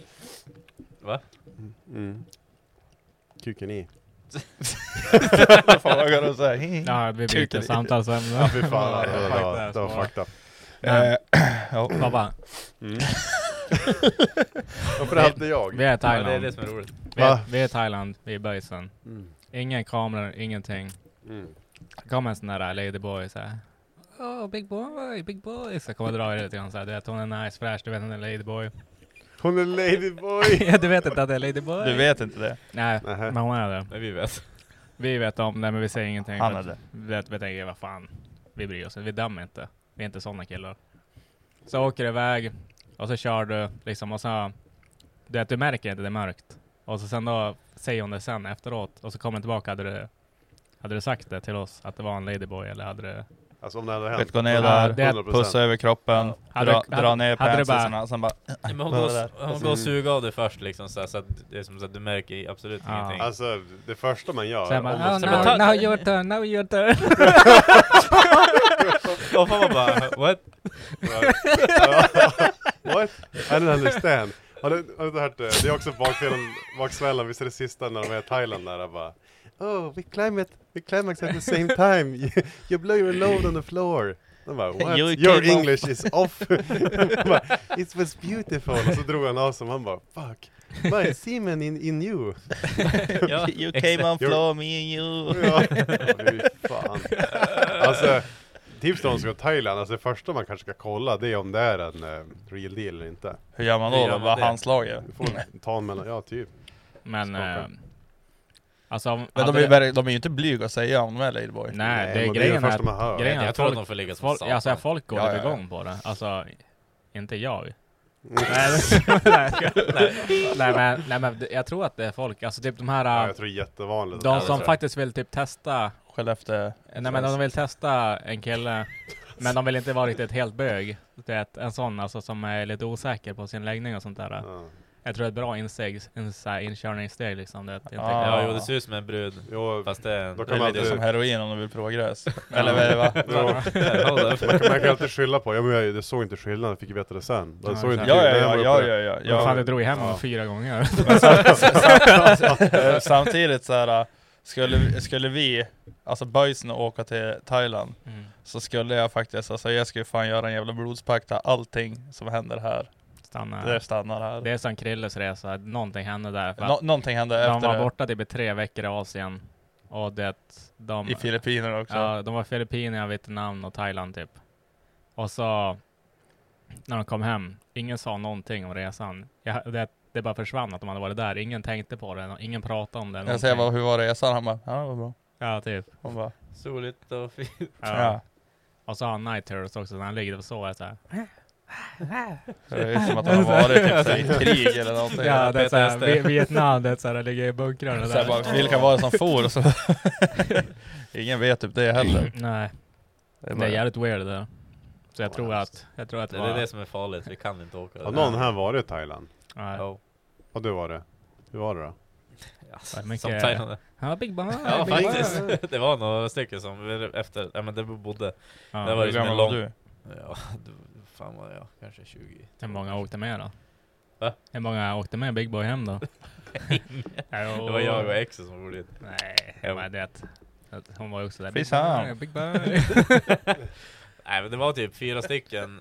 [SPEAKER 3] Va?
[SPEAKER 2] Mm. Kuken i.
[SPEAKER 4] Fan, jag går och så här, hi.
[SPEAKER 1] Ja, vi byter
[SPEAKER 4] Kuken i.
[SPEAKER 1] samtalsämne.
[SPEAKER 2] Ja fy fan, alltså, det, var, det var fucked up.
[SPEAKER 4] Eh, ja.
[SPEAKER 1] Pappa,
[SPEAKER 2] Mm. Varför hade
[SPEAKER 1] vi
[SPEAKER 2] jag?
[SPEAKER 1] är i
[SPEAKER 3] Ja, det är det
[SPEAKER 1] Thailand.
[SPEAKER 3] som är roligt.
[SPEAKER 1] Vi är,
[SPEAKER 2] Va?
[SPEAKER 1] vi är i Thailand, vi är i böjsen.
[SPEAKER 2] Mm.
[SPEAKER 1] Ingen kameror, ingenting.
[SPEAKER 2] Mm.
[SPEAKER 1] Det kom en sån eh, där ladyboy såhär. Oh, big boy, big boy. Så jag kommer dra i det lite grann såhär. Du vet hon är nice, fräsch, du vet hon är ladyboy.
[SPEAKER 2] Hon är ladyboy!
[SPEAKER 1] Ja, du vet inte att det är ladyboy?
[SPEAKER 4] Du vet inte det?
[SPEAKER 1] Nej,
[SPEAKER 2] Nähä.
[SPEAKER 1] men hon är det.
[SPEAKER 3] Men vi vet.
[SPEAKER 1] Vi vet om det, men vi säger ingenting.
[SPEAKER 4] Han
[SPEAKER 1] för
[SPEAKER 4] är
[SPEAKER 1] att
[SPEAKER 4] det.
[SPEAKER 1] Vi, vet- vi tänker, vad fan, vi bryr oss inte. Vi dömer inte. Vi är inte sådana killar. Så åker du iväg och så kör du liksom och så, du vet, du märker inte det är mörkt. Och så sen då säger hon det sen efteråt och så kommer hon tillbaka. Hade du, hade du sagt det till oss att det var en ladyboy eller hade du?
[SPEAKER 2] Alltså om det hade
[SPEAKER 4] Vet,
[SPEAKER 2] hänt.
[SPEAKER 4] gå ner
[SPEAKER 1] Ja, det-
[SPEAKER 4] där,
[SPEAKER 2] 100%.
[SPEAKER 4] pussa över kroppen,
[SPEAKER 1] Hade
[SPEAKER 4] dra,
[SPEAKER 1] du-
[SPEAKER 4] dra ner
[SPEAKER 1] hade du bara-
[SPEAKER 4] pantsisarna, sen bara...
[SPEAKER 3] Men hon
[SPEAKER 4] Ja,
[SPEAKER 3] går,
[SPEAKER 4] det där.
[SPEAKER 3] s- hon går och suger av dig först liksom så, här, så att det är som så att du märker absolut
[SPEAKER 1] Ja.
[SPEAKER 3] ingenting.
[SPEAKER 2] Alltså det första man gör,
[SPEAKER 1] Så jag
[SPEAKER 2] om man
[SPEAKER 1] bara, oh,
[SPEAKER 3] så
[SPEAKER 1] no,
[SPEAKER 3] betal-
[SPEAKER 1] now your turn, now your turn.
[SPEAKER 3] Och får man bara what?
[SPEAKER 2] What? I don't understand. Har du, har du inte hört eh, det? Det är också bakfällan, baksmällan, visst är det sista när de är i Thailand där och bara Oh, we climb it, we climax at the same time, you, you blow your load on the floor. De bara, what?
[SPEAKER 4] You
[SPEAKER 2] Your
[SPEAKER 4] came
[SPEAKER 2] English is off. De bara, It was beautiful. Och så drog han av sig och han bara, fuck. My semen in, in you.
[SPEAKER 3] Ja,
[SPEAKER 4] You
[SPEAKER 3] exakt.
[SPEAKER 4] came on
[SPEAKER 2] floor,
[SPEAKER 4] floor, me and you.
[SPEAKER 2] Ja, fy fan. Alltså, tips till de som går till Thailand, alltså det första man kanske ska kolla det är om det är en eh, real deal eller inte.
[SPEAKER 4] Hur gör man
[SPEAKER 3] Hur
[SPEAKER 4] då?
[SPEAKER 3] gör
[SPEAKER 4] då?
[SPEAKER 3] man
[SPEAKER 4] Bara
[SPEAKER 3] det?
[SPEAKER 4] handslaget?
[SPEAKER 2] Du får
[SPEAKER 4] Mm.
[SPEAKER 2] ta en mellan, ja typ.
[SPEAKER 1] Men, eh, alltså, om-
[SPEAKER 4] Men de,
[SPEAKER 1] hade-
[SPEAKER 4] är, väl- de är ju inte blyga att säga om de är ladyboy.
[SPEAKER 1] Nej, det är
[SPEAKER 2] men det är
[SPEAKER 1] grejen
[SPEAKER 2] det första
[SPEAKER 1] att
[SPEAKER 2] man hör.
[SPEAKER 1] grejen-
[SPEAKER 3] Jag
[SPEAKER 1] att
[SPEAKER 3] tror att
[SPEAKER 1] folk-
[SPEAKER 3] de får ligga som
[SPEAKER 1] folk, alltså,
[SPEAKER 3] satan.
[SPEAKER 1] folk går
[SPEAKER 4] Ja, ja, ja.
[SPEAKER 1] igång på det. Alltså, inte jag.
[SPEAKER 2] Mm.
[SPEAKER 1] Nej, men- nej, jag skojar. nej, men, nej men jag tror att det är folk, alltså typ de
[SPEAKER 2] Ja,
[SPEAKER 1] här,
[SPEAKER 2] jag tror det är jättevanligt.
[SPEAKER 1] de
[SPEAKER 3] det tror
[SPEAKER 1] som
[SPEAKER 3] jag.
[SPEAKER 1] faktiskt vill typ testa,
[SPEAKER 4] Skellefteå.
[SPEAKER 1] nej men de vill testa en kille, men de vill inte vara riktigt helt bög. Du vet, en sån alltså som är lite osäker på sin läggning och sånt där.
[SPEAKER 2] Ja.
[SPEAKER 1] Jag tror det är ett bra insteg, en så här inkörningssteg liksom. Du vet, inte
[SPEAKER 4] Ja.
[SPEAKER 3] Ja, jo det ser ut som en brud.
[SPEAKER 2] Jo,
[SPEAKER 3] Fast det är en...
[SPEAKER 2] Då kan
[SPEAKER 4] Det är
[SPEAKER 2] man
[SPEAKER 4] lite
[SPEAKER 2] alltid-
[SPEAKER 4] som heroin om de vill prova gräs. Eller vad är det va?
[SPEAKER 2] jo.
[SPEAKER 3] Hold up.
[SPEAKER 2] Man, kan, man kan alltid skylla på, ja men jag, jag såg inte skillnaden, jag fick ju veta det sen. Jag
[SPEAKER 1] Ja,
[SPEAKER 2] såg inte
[SPEAKER 4] Ja, ja, ja,
[SPEAKER 2] skillnaden.
[SPEAKER 4] ja, ja, ja,
[SPEAKER 1] Ja. Fan,
[SPEAKER 4] ja.
[SPEAKER 1] du drog ju hem honom
[SPEAKER 2] Ja.
[SPEAKER 1] fyra gånger.
[SPEAKER 4] Eh, Samtidigt så här, skulle, vi- skulle vi, alltså boysen åka till Thailand,
[SPEAKER 1] Mm.
[SPEAKER 4] så skulle jag faktiskt, alltså jag skulle fan göra en jävla blodspakt där allting som händer här,
[SPEAKER 1] Stanna.
[SPEAKER 4] det stannar här.
[SPEAKER 1] Det är som Krilles resa, någonting hände där. För att
[SPEAKER 4] Nå- någonting hände
[SPEAKER 1] de
[SPEAKER 4] efter
[SPEAKER 1] var
[SPEAKER 4] det,
[SPEAKER 1] borta typ i tre veckor i Asien. Och det, de...
[SPEAKER 4] i Filippinerna också.
[SPEAKER 1] Ja, de var Filippinerna, Vietnam och Thailand typ. Och så när de kom hem, ingen sa någonting om resan. Jag, det, det bara försvann att de hade varit där. Ingen tänkte på det, ingen pratade om det.
[SPEAKER 4] Jag säger
[SPEAKER 1] någonting.
[SPEAKER 4] bara, hur var resan? Han bara, ja det var bra.
[SPEAKER 1] Ja, typ.
[SPEAKER 4] Hon bara,
[SPEAKER 3] Soligt och fint.
[SPEAKER 1] Ja.
[SPEAKER 4] ja.
[SPEAKER 1] Och så har han night terrors också, när han ligger och sover såhär.
[SPEAKER 4] Det är som att han har varit typ, så här, i krig eller någonting.
[SPEAKER 1] Ja, det är såhär,
[SPEAKER 3] PTSD.
[SPEAKER 1] Vi- Vietnam, det är såhär, ligger i bunkrarna
[SPEAKER 4] Så här,
[SPEAKER 1] där.
[SPEAKER 4] bara, vilka var det som for? Och Så, ingen vet typ det heller.
[SPEAKER 1] Nej,
[SPEAKER 4] Det är
[SPEAKER 1] det är
[SPEAKER 4] bara-
[SPEAKER 1] jävligt weird det där. Så jag
[SPEAKER 2] Vad
[SPEAKER 1] tror
[SPEAKER 2] hemskt.
[SPEAKER 1] att, jag tror att
[SPEAKER 3] Det är det som är farligt, vi kan inte åka.
[SPEAKER 2] Har någon här varit i Thailand?
[SPEAKER 1] Nej.
[SPEAKER 3] Ja.
[SPEAKER 2] Har du varit? Hur var det då?
[SPEAKER 1] Vad
[SPEAKER 3] Ja,
[SPEAKER 1] mycket-
[SPEAKER 3] som Thailand.
[SPEAKER 1] Ja, Big Bang.
[SPEAKER 3] Ja
[SPEAKER 1] Big Bang.
[SPEAKER 3] faktiskt. Det var några stycken som efter, ja men det bodde.
[SPEAKER 1] Ja,
[SPEAKER 3] Det var
[SPEAKER 4] Hur
[SPEAKER 3] liksom en
[SPEAKER 4] gammal var
[SPEAKER 3] lång...
[SPEAKER 4] du?
[SPEAKER 3] Ja, du- fan var jag? Kanske 20?
[SPEAKER 1] Hur många åkte med då?
[SPEAKER 3] Va?
[SPEAKER 1] Hur många åkte med Big Boy hem då?
[SPEAKER 3] Det var jag och exet som bodde i ett-
[SPEAKER 1] Nej,
[SPEAKER 3] Jo.
[SPEAKER 1] men det att hon var ju också där.
[SPEAKER 4] Finns
[SPEAKER 1] Big Boy,
[SPEAKER 4] han?
[SPEAKER 1] Big Boy.
[SPEAKER 3] Nej men det var typ fyra stycken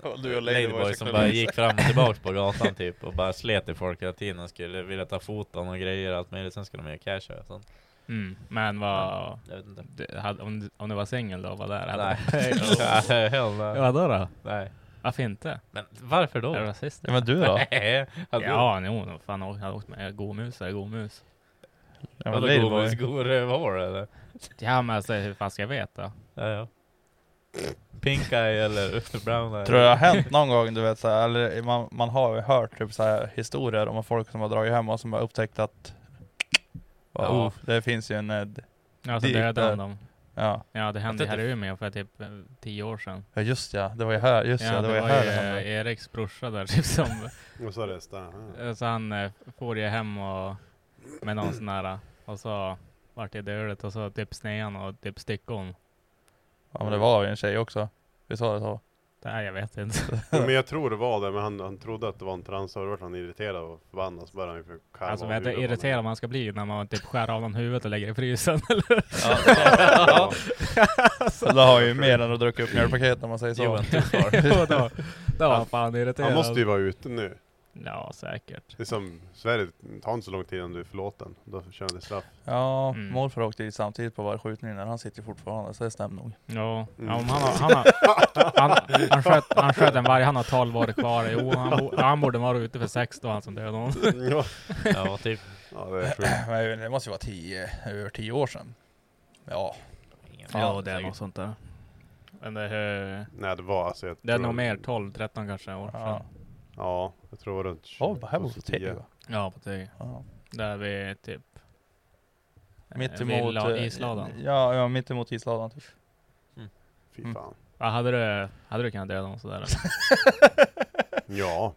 [SPEAKER 4] Och du och Ladyboy
[SPEAKER 3] Ladyboys som
[SPEAKER 4] cyklade
[SPEAKER 3] bara
[SPEAKER 4] runt.
[SPEAKER 3] gick fram och tillbaka på gatan typ och bara slet i folk hela tiden. De skulle vilja ta foton och grejer och allt möjligt. Sen skulle de göra cash och sånt.
[SPEAKER 1] Mm, men vad...
[SPEAKER 3] Jag vet inte.
[SPEAKER 1] Du, hade, om, du- om du var singel då, var där? hade-
[SPEAKER 3] Nej. Hell no.
[SPEAKER 1] Ja, Vadå då?
[SPEAKER 3] Nej.
[SPEAKER 1] Varför inte?
[SPEAKER 3] Men varför
[SPEAKER 1] Är du
[SPEAKER 3] då?
[SPEAKER 1] rasist?
[SPEAKER 4] Ja men du då?
[SPEAKER 3] Nej. Hade du-
[SPEAKER 1] Ja, jo, nog fan jag hade åkt med gåmus eller gåmus.
[SPEAKER 4] Ja, men
[SPEAKER 3] Vadå
[SPEAKER 4] Ladyboy.
[SPEAKER 3] godis, god rövhår eller?
[SPEAKER 1] Ja men alltså hur fan ska jag veta?
[SPEAKER 3] Ja, ja. Pink eye eller brown eye?
[SPEAKER 4] Tror du det har hänt någon gång, du vet så här, eller man, man har ju hört typ så här, historier om folk som har dragit hem och som har upptäckt att bara,
[SPEAKER 3] Ja.
[SPEAKER 4] oh, det finns ju en... eh, d-
[SPEAKER 1] Ja så
[SPEAKER 4] Det-
[SPEAKER 1] dödade
[SPEAKER 4] där.
[SPEAKER 1] han dem.
[SPEAKER 4] Ja,
[SPEAKER 1] Ja det hände
[SPEAKER 3] Jag
[SPEAKER 1] här
[SPEAKER 3] tror
[SPEAKER 1] i Umeå för typ eh, tio år sedan.
[SPEAKER 4] ja just ja, det var ju här, just ja, det, var ju här det
[SPEAKER 1] eh,
[SPEAKER 4] hände.
[SPEAKER 1] Eriks brorsa där typ som,
[SPEAKER 2] Och så resta. Ja.
[SPEAKER 1] eh, så han eh, for ju hem och med någon sån här eh, och så vart det dödligt och så typ snean och typ styckon.
[SPEAKER 4] Ja men det var ju en tjej också, vi sa det så?
[SPEAKER 1] Det här jag vet inte.
[SPEAKER 2] Jo, Men jag tror det var det, men han, han trodde att det var en trans, och då vart han irriterad och förbannad, så började han ju försöka karva
[SPEAKER 1] Alltså
[SPEAKER 2] av
[SPEAKER 1] vet du
[SPEAKER 2] huvudet på
[SPEAKER 1] hur
[SPEAKER 2] honom.
[SPEAKER 1] irriterad man ska bli när man typ skär av någon huvudet och lägger i frysen eller?
[SPEAKER 4] Ja, ja.
[SPEAKER 2] Ja.
[SPEAKER 4] Då har ju mer än att druckit upp mjölkpaket om man säger
[SPEAKER 3] You
[SPEAKER 4] så.
[SPEAKER 3] went too far.
[SPEAKER 1] Jo, då, då var han fan irriterad.
[SPEAKER 2] Han måste ju vara ute nu.
[SPEAKER 1] Ja säkert.
[SPEAKER 2] Det är som Sverige, ta inte så lång tid innan du är förlåten. Då kör han det straff.
[SPEAKER 4] Ja,
[SPEAKER 1] Mm.
[SPEAKER 4] morfar åkte dit samtidigt på varje skjutning, men han sitter ju fortfarande så det stämmer nog.
[SPEAKER 1] Ja, ja men
[SPEAKER 2] Mm.
[SPEAKER 1] han, har, han, har, han, han, sköt, han sköt en varg, han har 12 år kvar. Jo, han, bo, han borde vara ute för sex då, alltså. han som dödade honom.
[SPEAKER 2] Ja,
[SPEAKER 3] Ja, typ.
[SPEAKER 2] ja det är sjukt.
[SPEAKER 4] Men jag vet inte, det måste ju vara tio, över tio år sedan. Ja.
[SPEAKER 3] Ingen
[SPEAKER 4] Ja,
[SPEAKER 3] aning.
[SPEAKER 1] sånt där. Men det är,
[SPEAKER 2] Nej det var alltså... Jag
[SPEAKER 1] det är
[SPEAKER 2] tror-
[SPEAKER 1] nog mer 12, 13 kanske år
[SPEAKER 4] Ja,
[SPEAKER 1] sedan.
[SPEAKER 2] Ja, jag tror det var runt
[SPEAKER 4] oh, här bor
[SPEAKER 2] 2010.
[SPEAKER 4] tio va?
[SPEAKER 1] Ja, på det.
[SPEAKER 4] Ja.
[SPEAKER 1] Där vi typ...
[SPEAKER 4] Mitt
[SPEAKER 1] eh,
[SPEAKER 4] emot...
[SPEAKER 1] villa-
[SPEAKER 4] eh,
[SPEAKER 1] Isladan.
[SPEAKER 4] Ja, ja mitt emot isladan typ.
[SPEAKER 2] Fy
[SPEAKER 4] Mm.
[SPEAKER 2] fan.
[SPEAKER 1] Ja, hade, du, hade du kunnat döda någon sådär? eller?
[SPEAKER 2] Ja,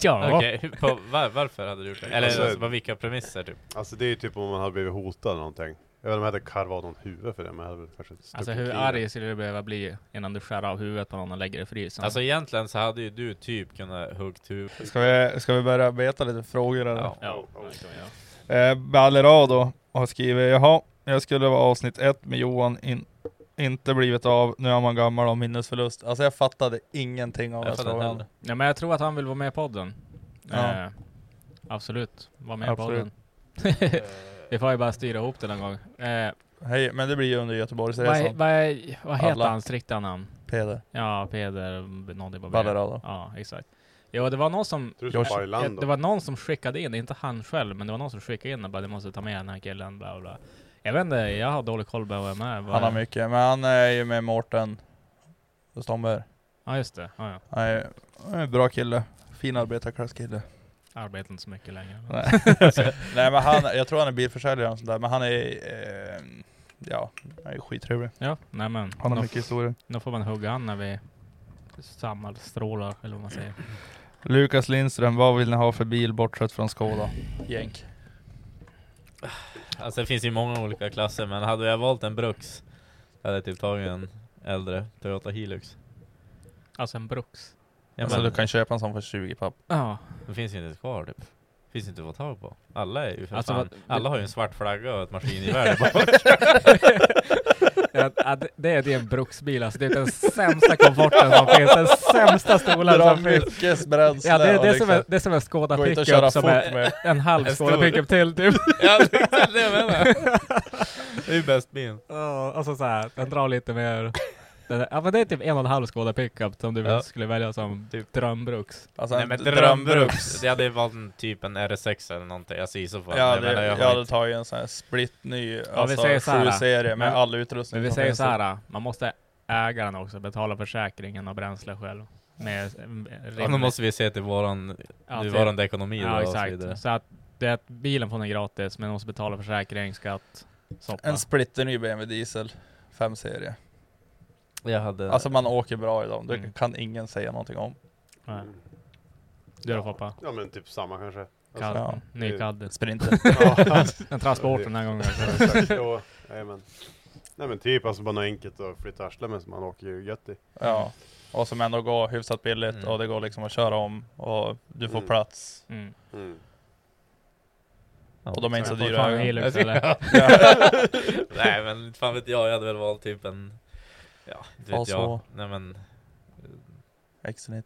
[SPEAKER 1] ja!
[SPEAKER 3] Okej, hur- på var, varför hade du gjort det? Eller
[SPEAKER 2] Alltså-
[SPEAKER 3] alltså, på vilka premisser typ?
[SPEAKER 2] alltså det är ju typ om man hade blivit hotad eller någonting. Jag vet inte om jag hade karvat av någon huvud för det, men jag hade väl kanske stuckit
[SPEAKER 1] Alltså hur
[SPEAKER 2] kniven.
[SPEAKER 1] arg skulle du behöva bli innan du skär av huvudet på någon och lägger det i frysen?
[SPEAKER 3] Alltså egentligen så hade ju du typ kunnat huggt huvudet.
[SPEAKER 4] Ska vi, ska vi börja beta lite frågor eller?
[SPEAKER 3] Ja.
[SPEAKER 1] ja, det kan vi göra.
[SPEAKER 4] Eh, Ballerado har skrivit Jaha, jag skulle vara avsnitt ett med Johan in, inte blivit av, nu är man gammal och minnesförlust. Alltså jag fattade ingenting av
[SPEAKER 3] Jag
[SPEAKER 4] den
[SPEAKER 3] fattar inte
[SPEAKER 4] frågan.
[SPEAKER 3] heller.
[SPEAKER 1] Ja, men jag tror att han vill vara med i podden.
[SPEAKER 4] Ja.
[SPEAKER 1] Eh, absolut, var med
[SPEAKER 4] Absolut.
[SPEAKER 1] i podden. Vi får ju bara styra ihop det någon gång. Eh,
[SPEAKER 4] Hej, men det blir ju under Göteborgsresan.
[SPEAKER 1] vad, he- vad, he- vad heter
[SPEAKER 4] Alla.
[SPEAKER 1] hans riktiga namn?
[SPEAKER 4] Peder,
[SPEAKER 1] Ja, Peder B- någonting på B.
[SPEAKER 4] Ballerado.
[SPEAKER 1] Ja, exakt. Jo, det var någon som...
[SPEAKER 2] Tror du
[SPEAKER 4] Jag-
[SPEAKER 2] som
[SPEAKER 1] eh,
[SPEAKER 2] Bajland
[SPEAKER 1] Det var någon som skickade in, inte han själv, men det var någon som skickade in och bara du måste ta med den här killen, bla bla. Jag vet inte, jag har dålig koll på vem är.
[SPEAKER 4] Han har mycket, men han är ju med Mårten Stomberg.
[SPEAKER 1] Ja just det, ja, ja.
[SPEAKER 4] Han är han är en bra kille. Fin arbetarklasskille.
[SPEAKER 1] Arbetar inte så mycket längre.
[SPEAKER 4] Nej. Nej men han, jag tror han är bilförsäljare och sånt där, men han är, eh, ja, han är skittrevlig.
[SPEAKER 1] Ja, nej men.
[SPEAKER 4] Han har
[SPEAKER 1] då-
[SPEAKER 4] mycket historier.
[SPEAKER 1] Då får man hugga an när vi sammanstrålar, eller vad man säger.
[SPEAKER 4] Lukas Lindström, vad vill ni ha för bil bortsett från Skoda? Jänk.
[SPEAKER 3] Alltså det finns ju många olika klasser, men hade jag valt en Bruks, hade jag typ tagit en äldre Toyota Hilux.
[SPEAKER 1] Alltså en Bruks.
[SPEAKER 3] Ja,
[SPEAKER 4] alltså
[SPEAKER 3] men,
[SPEAKER 4] du kan köpa en sån för 20 papp.
[SPEAKER 1] Ja.
[SPEAKER 3] De finns ju inte ens kvar typ. Finns inte att få tag på. Alla är ju för
[SPEAKER 1] Alltså,
[SPEAKER 3] fan,
[SPEAKER 1] vad-
[SPEAKER 3] alla har ju en svart flagga och ett maskingevär där bak.
[SPEAKER 1] Ja, ja, det- det är det är en bruksbil alltså. Det är den sämsta komforten som finns. Den sämsta stolen
[SPEAKER 4] Dra
[SPEAKER 1] som finns.
[SPEAKER 4] mycket bränsle
[SPEAKER 1] Ja, det, det, är
[SPEAKER 4] och liksom-
[SPEAKER 1] som en, det är som en Skoda
[SPEAKER 4] Går inte att köra
[SPEAKER 1] pickup som
[SPEAKER 4] fort
[SPEAKER 1] är
[SPEAKER 4] med.
[SPEAKER 1] en halv
[SPEAKER 3] En
[SPEAKER 1] Skoda
[SPEAKER 3] stor.
[SPEAKER 1] pickup till typ.
[SPEAKER 3] ja, det är det jag menar. Det är ju bäst bilen.
[SPEAKER 1] Ja, alltså så här, den drar lite mer. Den, är- ja men det är typ en och en halv Skoda pickup som du
[SPEAKER 3] Ja.
[SPEAKER 1] skulle välja som typ drömbruks.
[SPEAKER 4] Alltså
[SPEAKER 3] Nej
[SPEAKER 4] en
[SPEAKER 3] men
[SPEAKER 4] drömbruks.
[SPEAKER 3] drömbruks. Jag hade valt en, typ en RS6 eller någonting, alltså i så fall.
[SPEAKER 4] Ja,
[SPEAKER 3] jag
[SPEAKER 4] det,
[SPEAKER 3] menar, jag
[SPEAKER 4] jag
[SPEAKER 3] har
[SPEAKER 4] hade
[SPEAKER 3] inte-
[SPEAKER 4] tagit en sån här splitny, alltså
[SPEAKER 1] säger så här,
[SPEAKER 4] 7-serie med
[SPEAKER 1] men-
[SPEAKER 4] all utrustning
[SPEAKER 1] Men vi
[SPEAKER 4] som
[SPEAKER 1] säger
[SPEAKER 4] finns.
[SPEAKER 1] så här, man måste äga den också, betala försäkringen och bränsle själv. Med, med
[SPEAKER 3] Ja, nu måste vi se till våran
[SPEAKER 1] Ja, typ.
[SPEAKER 3] nuvarande ekonomi då,
[SPEAKER 1] Ja
[SPEAKER 3] och så vidare.
[SPEAKER 1] exakt. Så att det är att bilen får den gratis men måste betala försäkring, skatt, soppa.
[SPEAKER 4] En splitterny BMW diesel 5-serie.
[SPEAKER 3] Jag hade...
[SPEAKER 4] Alltså man åker bra i dem, det
[SPEAKER 1] Mm. eh,
[SPEAKER 4] kan ingen säga någonting om.
[SPEAKER 1] Nej. Du då Foppa?
[SPEAKER 2] Ja men Mm. typ samma kanske.
[SPEAKER 1] Kadd.
[SPEAKER 4] Ja.
[SPEAKER 1] Nykadd.
[SPEAKER 4] Sprinten.
[SPEAKER 2] Ja,
[SPEAKER 1] En transport den här gången.
[SPEAKER 2] exakt. Jo, jajamän. Nej men typ, alltså bara något enkelt att flytta arslet med som man åker ju gött i.
[SPEAKER 4] Ja. Och som ändå går hyfsat billigt
[SPEAKER 3] Mm.
[SPEAKER 4] och det går liksom att köra om och du får
[SPEAKER 2] Mm.
[SPEAKER 4] plats.
[SPEAKER 1] Mm.
[SPEAKER 2] Mm.
[SPEAKER 4] Och de är inte så
[SPEAKER 1] Får fan
[SPEAKER 4] dyra.
[SPEAKER 1] Hilux eller?
[SPEAKER 3] Nej men inte fan vet jag, jag hade väl valt typ en... Ja, inte vet
[SPEAKER 4] Fas H.
[SPEAKER 3] jag. Nej men,
[SPEAKER 4] X90.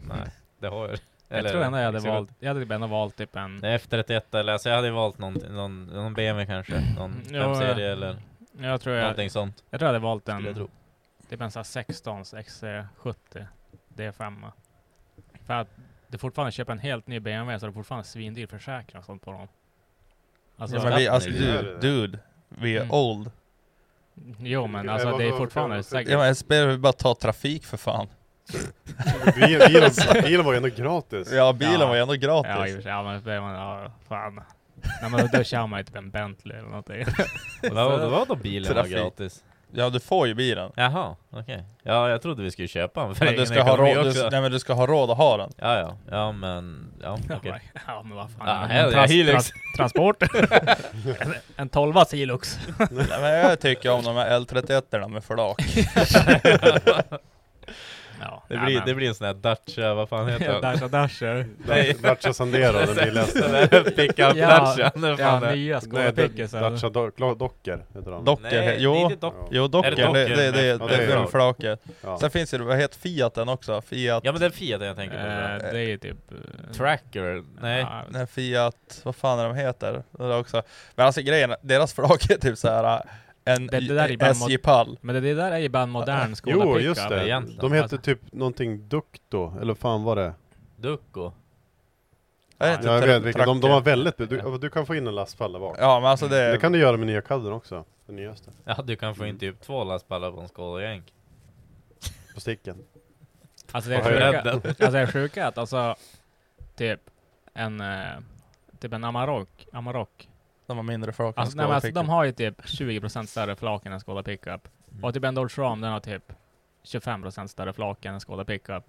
[SPEAKER 3] nej. Det har jag.
[SPEAKER 1] Jag
[SPEAKER 3] Eller-
[SPEAKER 1] tror ändå jag hade
[SPEAKER 3] så gott.
[SPEAKER 1] valt, jag hade ändå valt typ en...
[SPEAKER 3] Nej, F31 eller alltså jag hade ju valt någon, någon, någon BMW kanske, någon
[SPEAKER 1] Jo, Mm. ja. Mm.
[SPEAKER 3] 5-serie eller
[SPEAKER 1] Jag tror jag,
[SPEAKER 3] någonting sånt.
[SPEAKER 1] jag tror jag hade valt
[SPEAKER 3] skulle jag
[SPEAKER 1] en,
[SPEAKER 3] tro.
[SPEAKER 1] typ en sån här eh, 16 XC70 D5. För att det fortfarande köper en helt ny BMW så det är fortfarande svindyr försäkring och sånt på dem. Alltså,
[SPEAKER 4] Ja, men vi, alltså
[SPEAKER 3] Nej,
[SPEAKER 2] det är
[SPEAKER 4] dude,
[SPEAKER 2] det.
[SPEAKER 4] dude. Vi är
[SPEAKER 1] Mm.
[SPEAKER 4] old.
[SPEAKER 1] jo men
[SPEAKER 2] Ja,
[SPEAKER 1] alltså
[SPEAKER 2] vad-
[SPEAKER 1] det är
[SPEAKER 2] vad-
[SPEAKER 1] fortfarande
[SPEAKER 2] vad-
[SPEAKER 4] Ja
[SPEAKER 1] säkert.
[SPEAKER 4] men spelar vi bara ta trafik för fan.
[SPEAKER 2] Bilen, bilen, bilen var ju ändå gratis.
[SPEAKER 4] Ja bilen
[SPEAKER 1] Ja.
[SPEAKER 4] var ju ändå
[SPEAKER 1] Ja i och
[SPEAKER 4] gratis.
[SPEAKER 1] för sig, ja men det man, ja fan. Nej men då kör man ju typ en Bentley eller någonting.
[SPEAKER 3] Vad var, det var då bilen var
[SPEAKER 4] Trafik.
[SPEAKER 3] gratis?
[SPEAKER 4] Ja du får ju bilen.
[SPEAKER 3] Jaha, okej. Ja, jag trodde vi skulle köpa en för
[SPEAKER 4] Men du
[SPEAKER 3] egen
[SPEAKER 4] ska, ha
[SPEAKER 3] ekonomi
[SPEAKER 4] råd, du,
[SPEAKER 3] också.
[SPEAKER 4] nej, men du ska ha råd att ha den.
[SPEAKER 3] Ja, ja, ja men, ja okej.
[SPEAKER 1] Ja men vad fan.
[SPEAKER 3] Ja,
[SPEAKER 1] en
[SPEAKER 3] hellre Hilux.
[SPEAKER 1] transport. en, en 12 Hilux.
[SPEAKER 4] Nej, men jag tycker om de här L31 med flak.
[SPEAKER 1] Ja,
[SPEAKER 3] Det,
[SPEAKER 1] nej,
[SPEAKER 3] blir,
[SPEAKER 1] men-
[SPEAKER 3] det blir en sån här Dacia, vad fan heter den?
[SPEAKER 1] Dasha Dasher.
[SPEAKER 3] Nej.
[SPEAKER 2] Dacia Sandero, den
[SPEAKER 3] Den
[SPEAKER 2] billigaste.
[SPEAKER 3] där pickup
[SPEAKER 1] Ja,
[SPEAKER 3] Dacia, den
[SPEAKER 1] Ja,
[SPEAKER 3] fan är-
[SPEAKER 1] nya
[SPEAKER 2] Nej,
[SPEAKER 1] skådepickisar.
[SPEAKER 2] Dacia Do- Docker heter de.
[SPEAKER 4] Docker,
[SPEAKER 3] Nej,
[SPEAKER 4] jo.
[SPEAKER 3] det är inte dock.
[SPEAKER 2] Ja.
[SPEAKER 4] Jo docker,
[SPEAKER 3] Är det
[SPEAKER 4] det,
[SPEAKER 3] docker?
[SPEAKER 4] det, det, det,
[SPEAKER 3] Ja,
[SPEAKER 2] det är
[SPEAKER 4] är den
[SPEAKER 2] bra.
[SPEAKER 4] flaket.
[SPEAKER 2] Ja.
[SPEAKER 4] Sen finns det, vad heter Fiaten också? Fiat,
[SPEAKER 3] Ja men den Fiat jag tänker på. tror jag.
[SPEAKER 1] Det är ju typ... eh,
[SPEAKER 3] Tracker? Nej.
[SPEAKER 1] ja,
[SPEAKER 4] nej, Fiat, vad fan är de heter? Det är också. Men alltså grejen, är, deras flak är typ såhär, en
[SPEAKER 1] Det- det där är bara en mod-
[SPEAKER 4] SJ-pall.
[SPEAKER 1] Men det- det där är ju bara en modern skådepicka.
[SPEAKER 2] Jo, just det.
[SPEAKER 3] egentligen.
[SPEAKER 2] De hette
[SPEAKER 1] Alltså.
[SPEAKER 2] typ någonting Ducto, eller fan var det?
[SPEAKER 3] Ducco?
[SPEAKER 4] Vad
[SPEAKER 1] Ja,
[SPEAKER 4] heter
[SPEAKER 2] Ja, jag
[SPEAKER 4] tra-
[SPEAKER 2] vet vilka. De, de var
[SPEAKER 4] tracker?
[SPEAKER 2] väldigt... Du, du kan få in en lastpall där bak.
[SPEAKER 4] Ja men alltså det,
[SPEAKER 2] Det kan du göra med nya kadden också. Den nyaste.
[SPEAKER 3] Ja du kan få in typ två lastpallar på en skådejänk.
[SPEAKER 2] På sticken.
[SPEAKER 1] Alltså det är
[SPEAKER 2] Vad är
[SPEAKER 1] sjuka, alltså det är sjuka att alltså typ en, eh, typ en Amarok, Amarok.
[SPEAKER 4] de har mindre flak
[SPEAKER 1] Alltså, nej, men alltså de har ju typ 20% större flak än en Skoda pickup.
[SPEAKER 3] Mm.
[SPEAKER 1] Och typ en Dodge Ram den har typ 25% större flak än en Skoda pickup.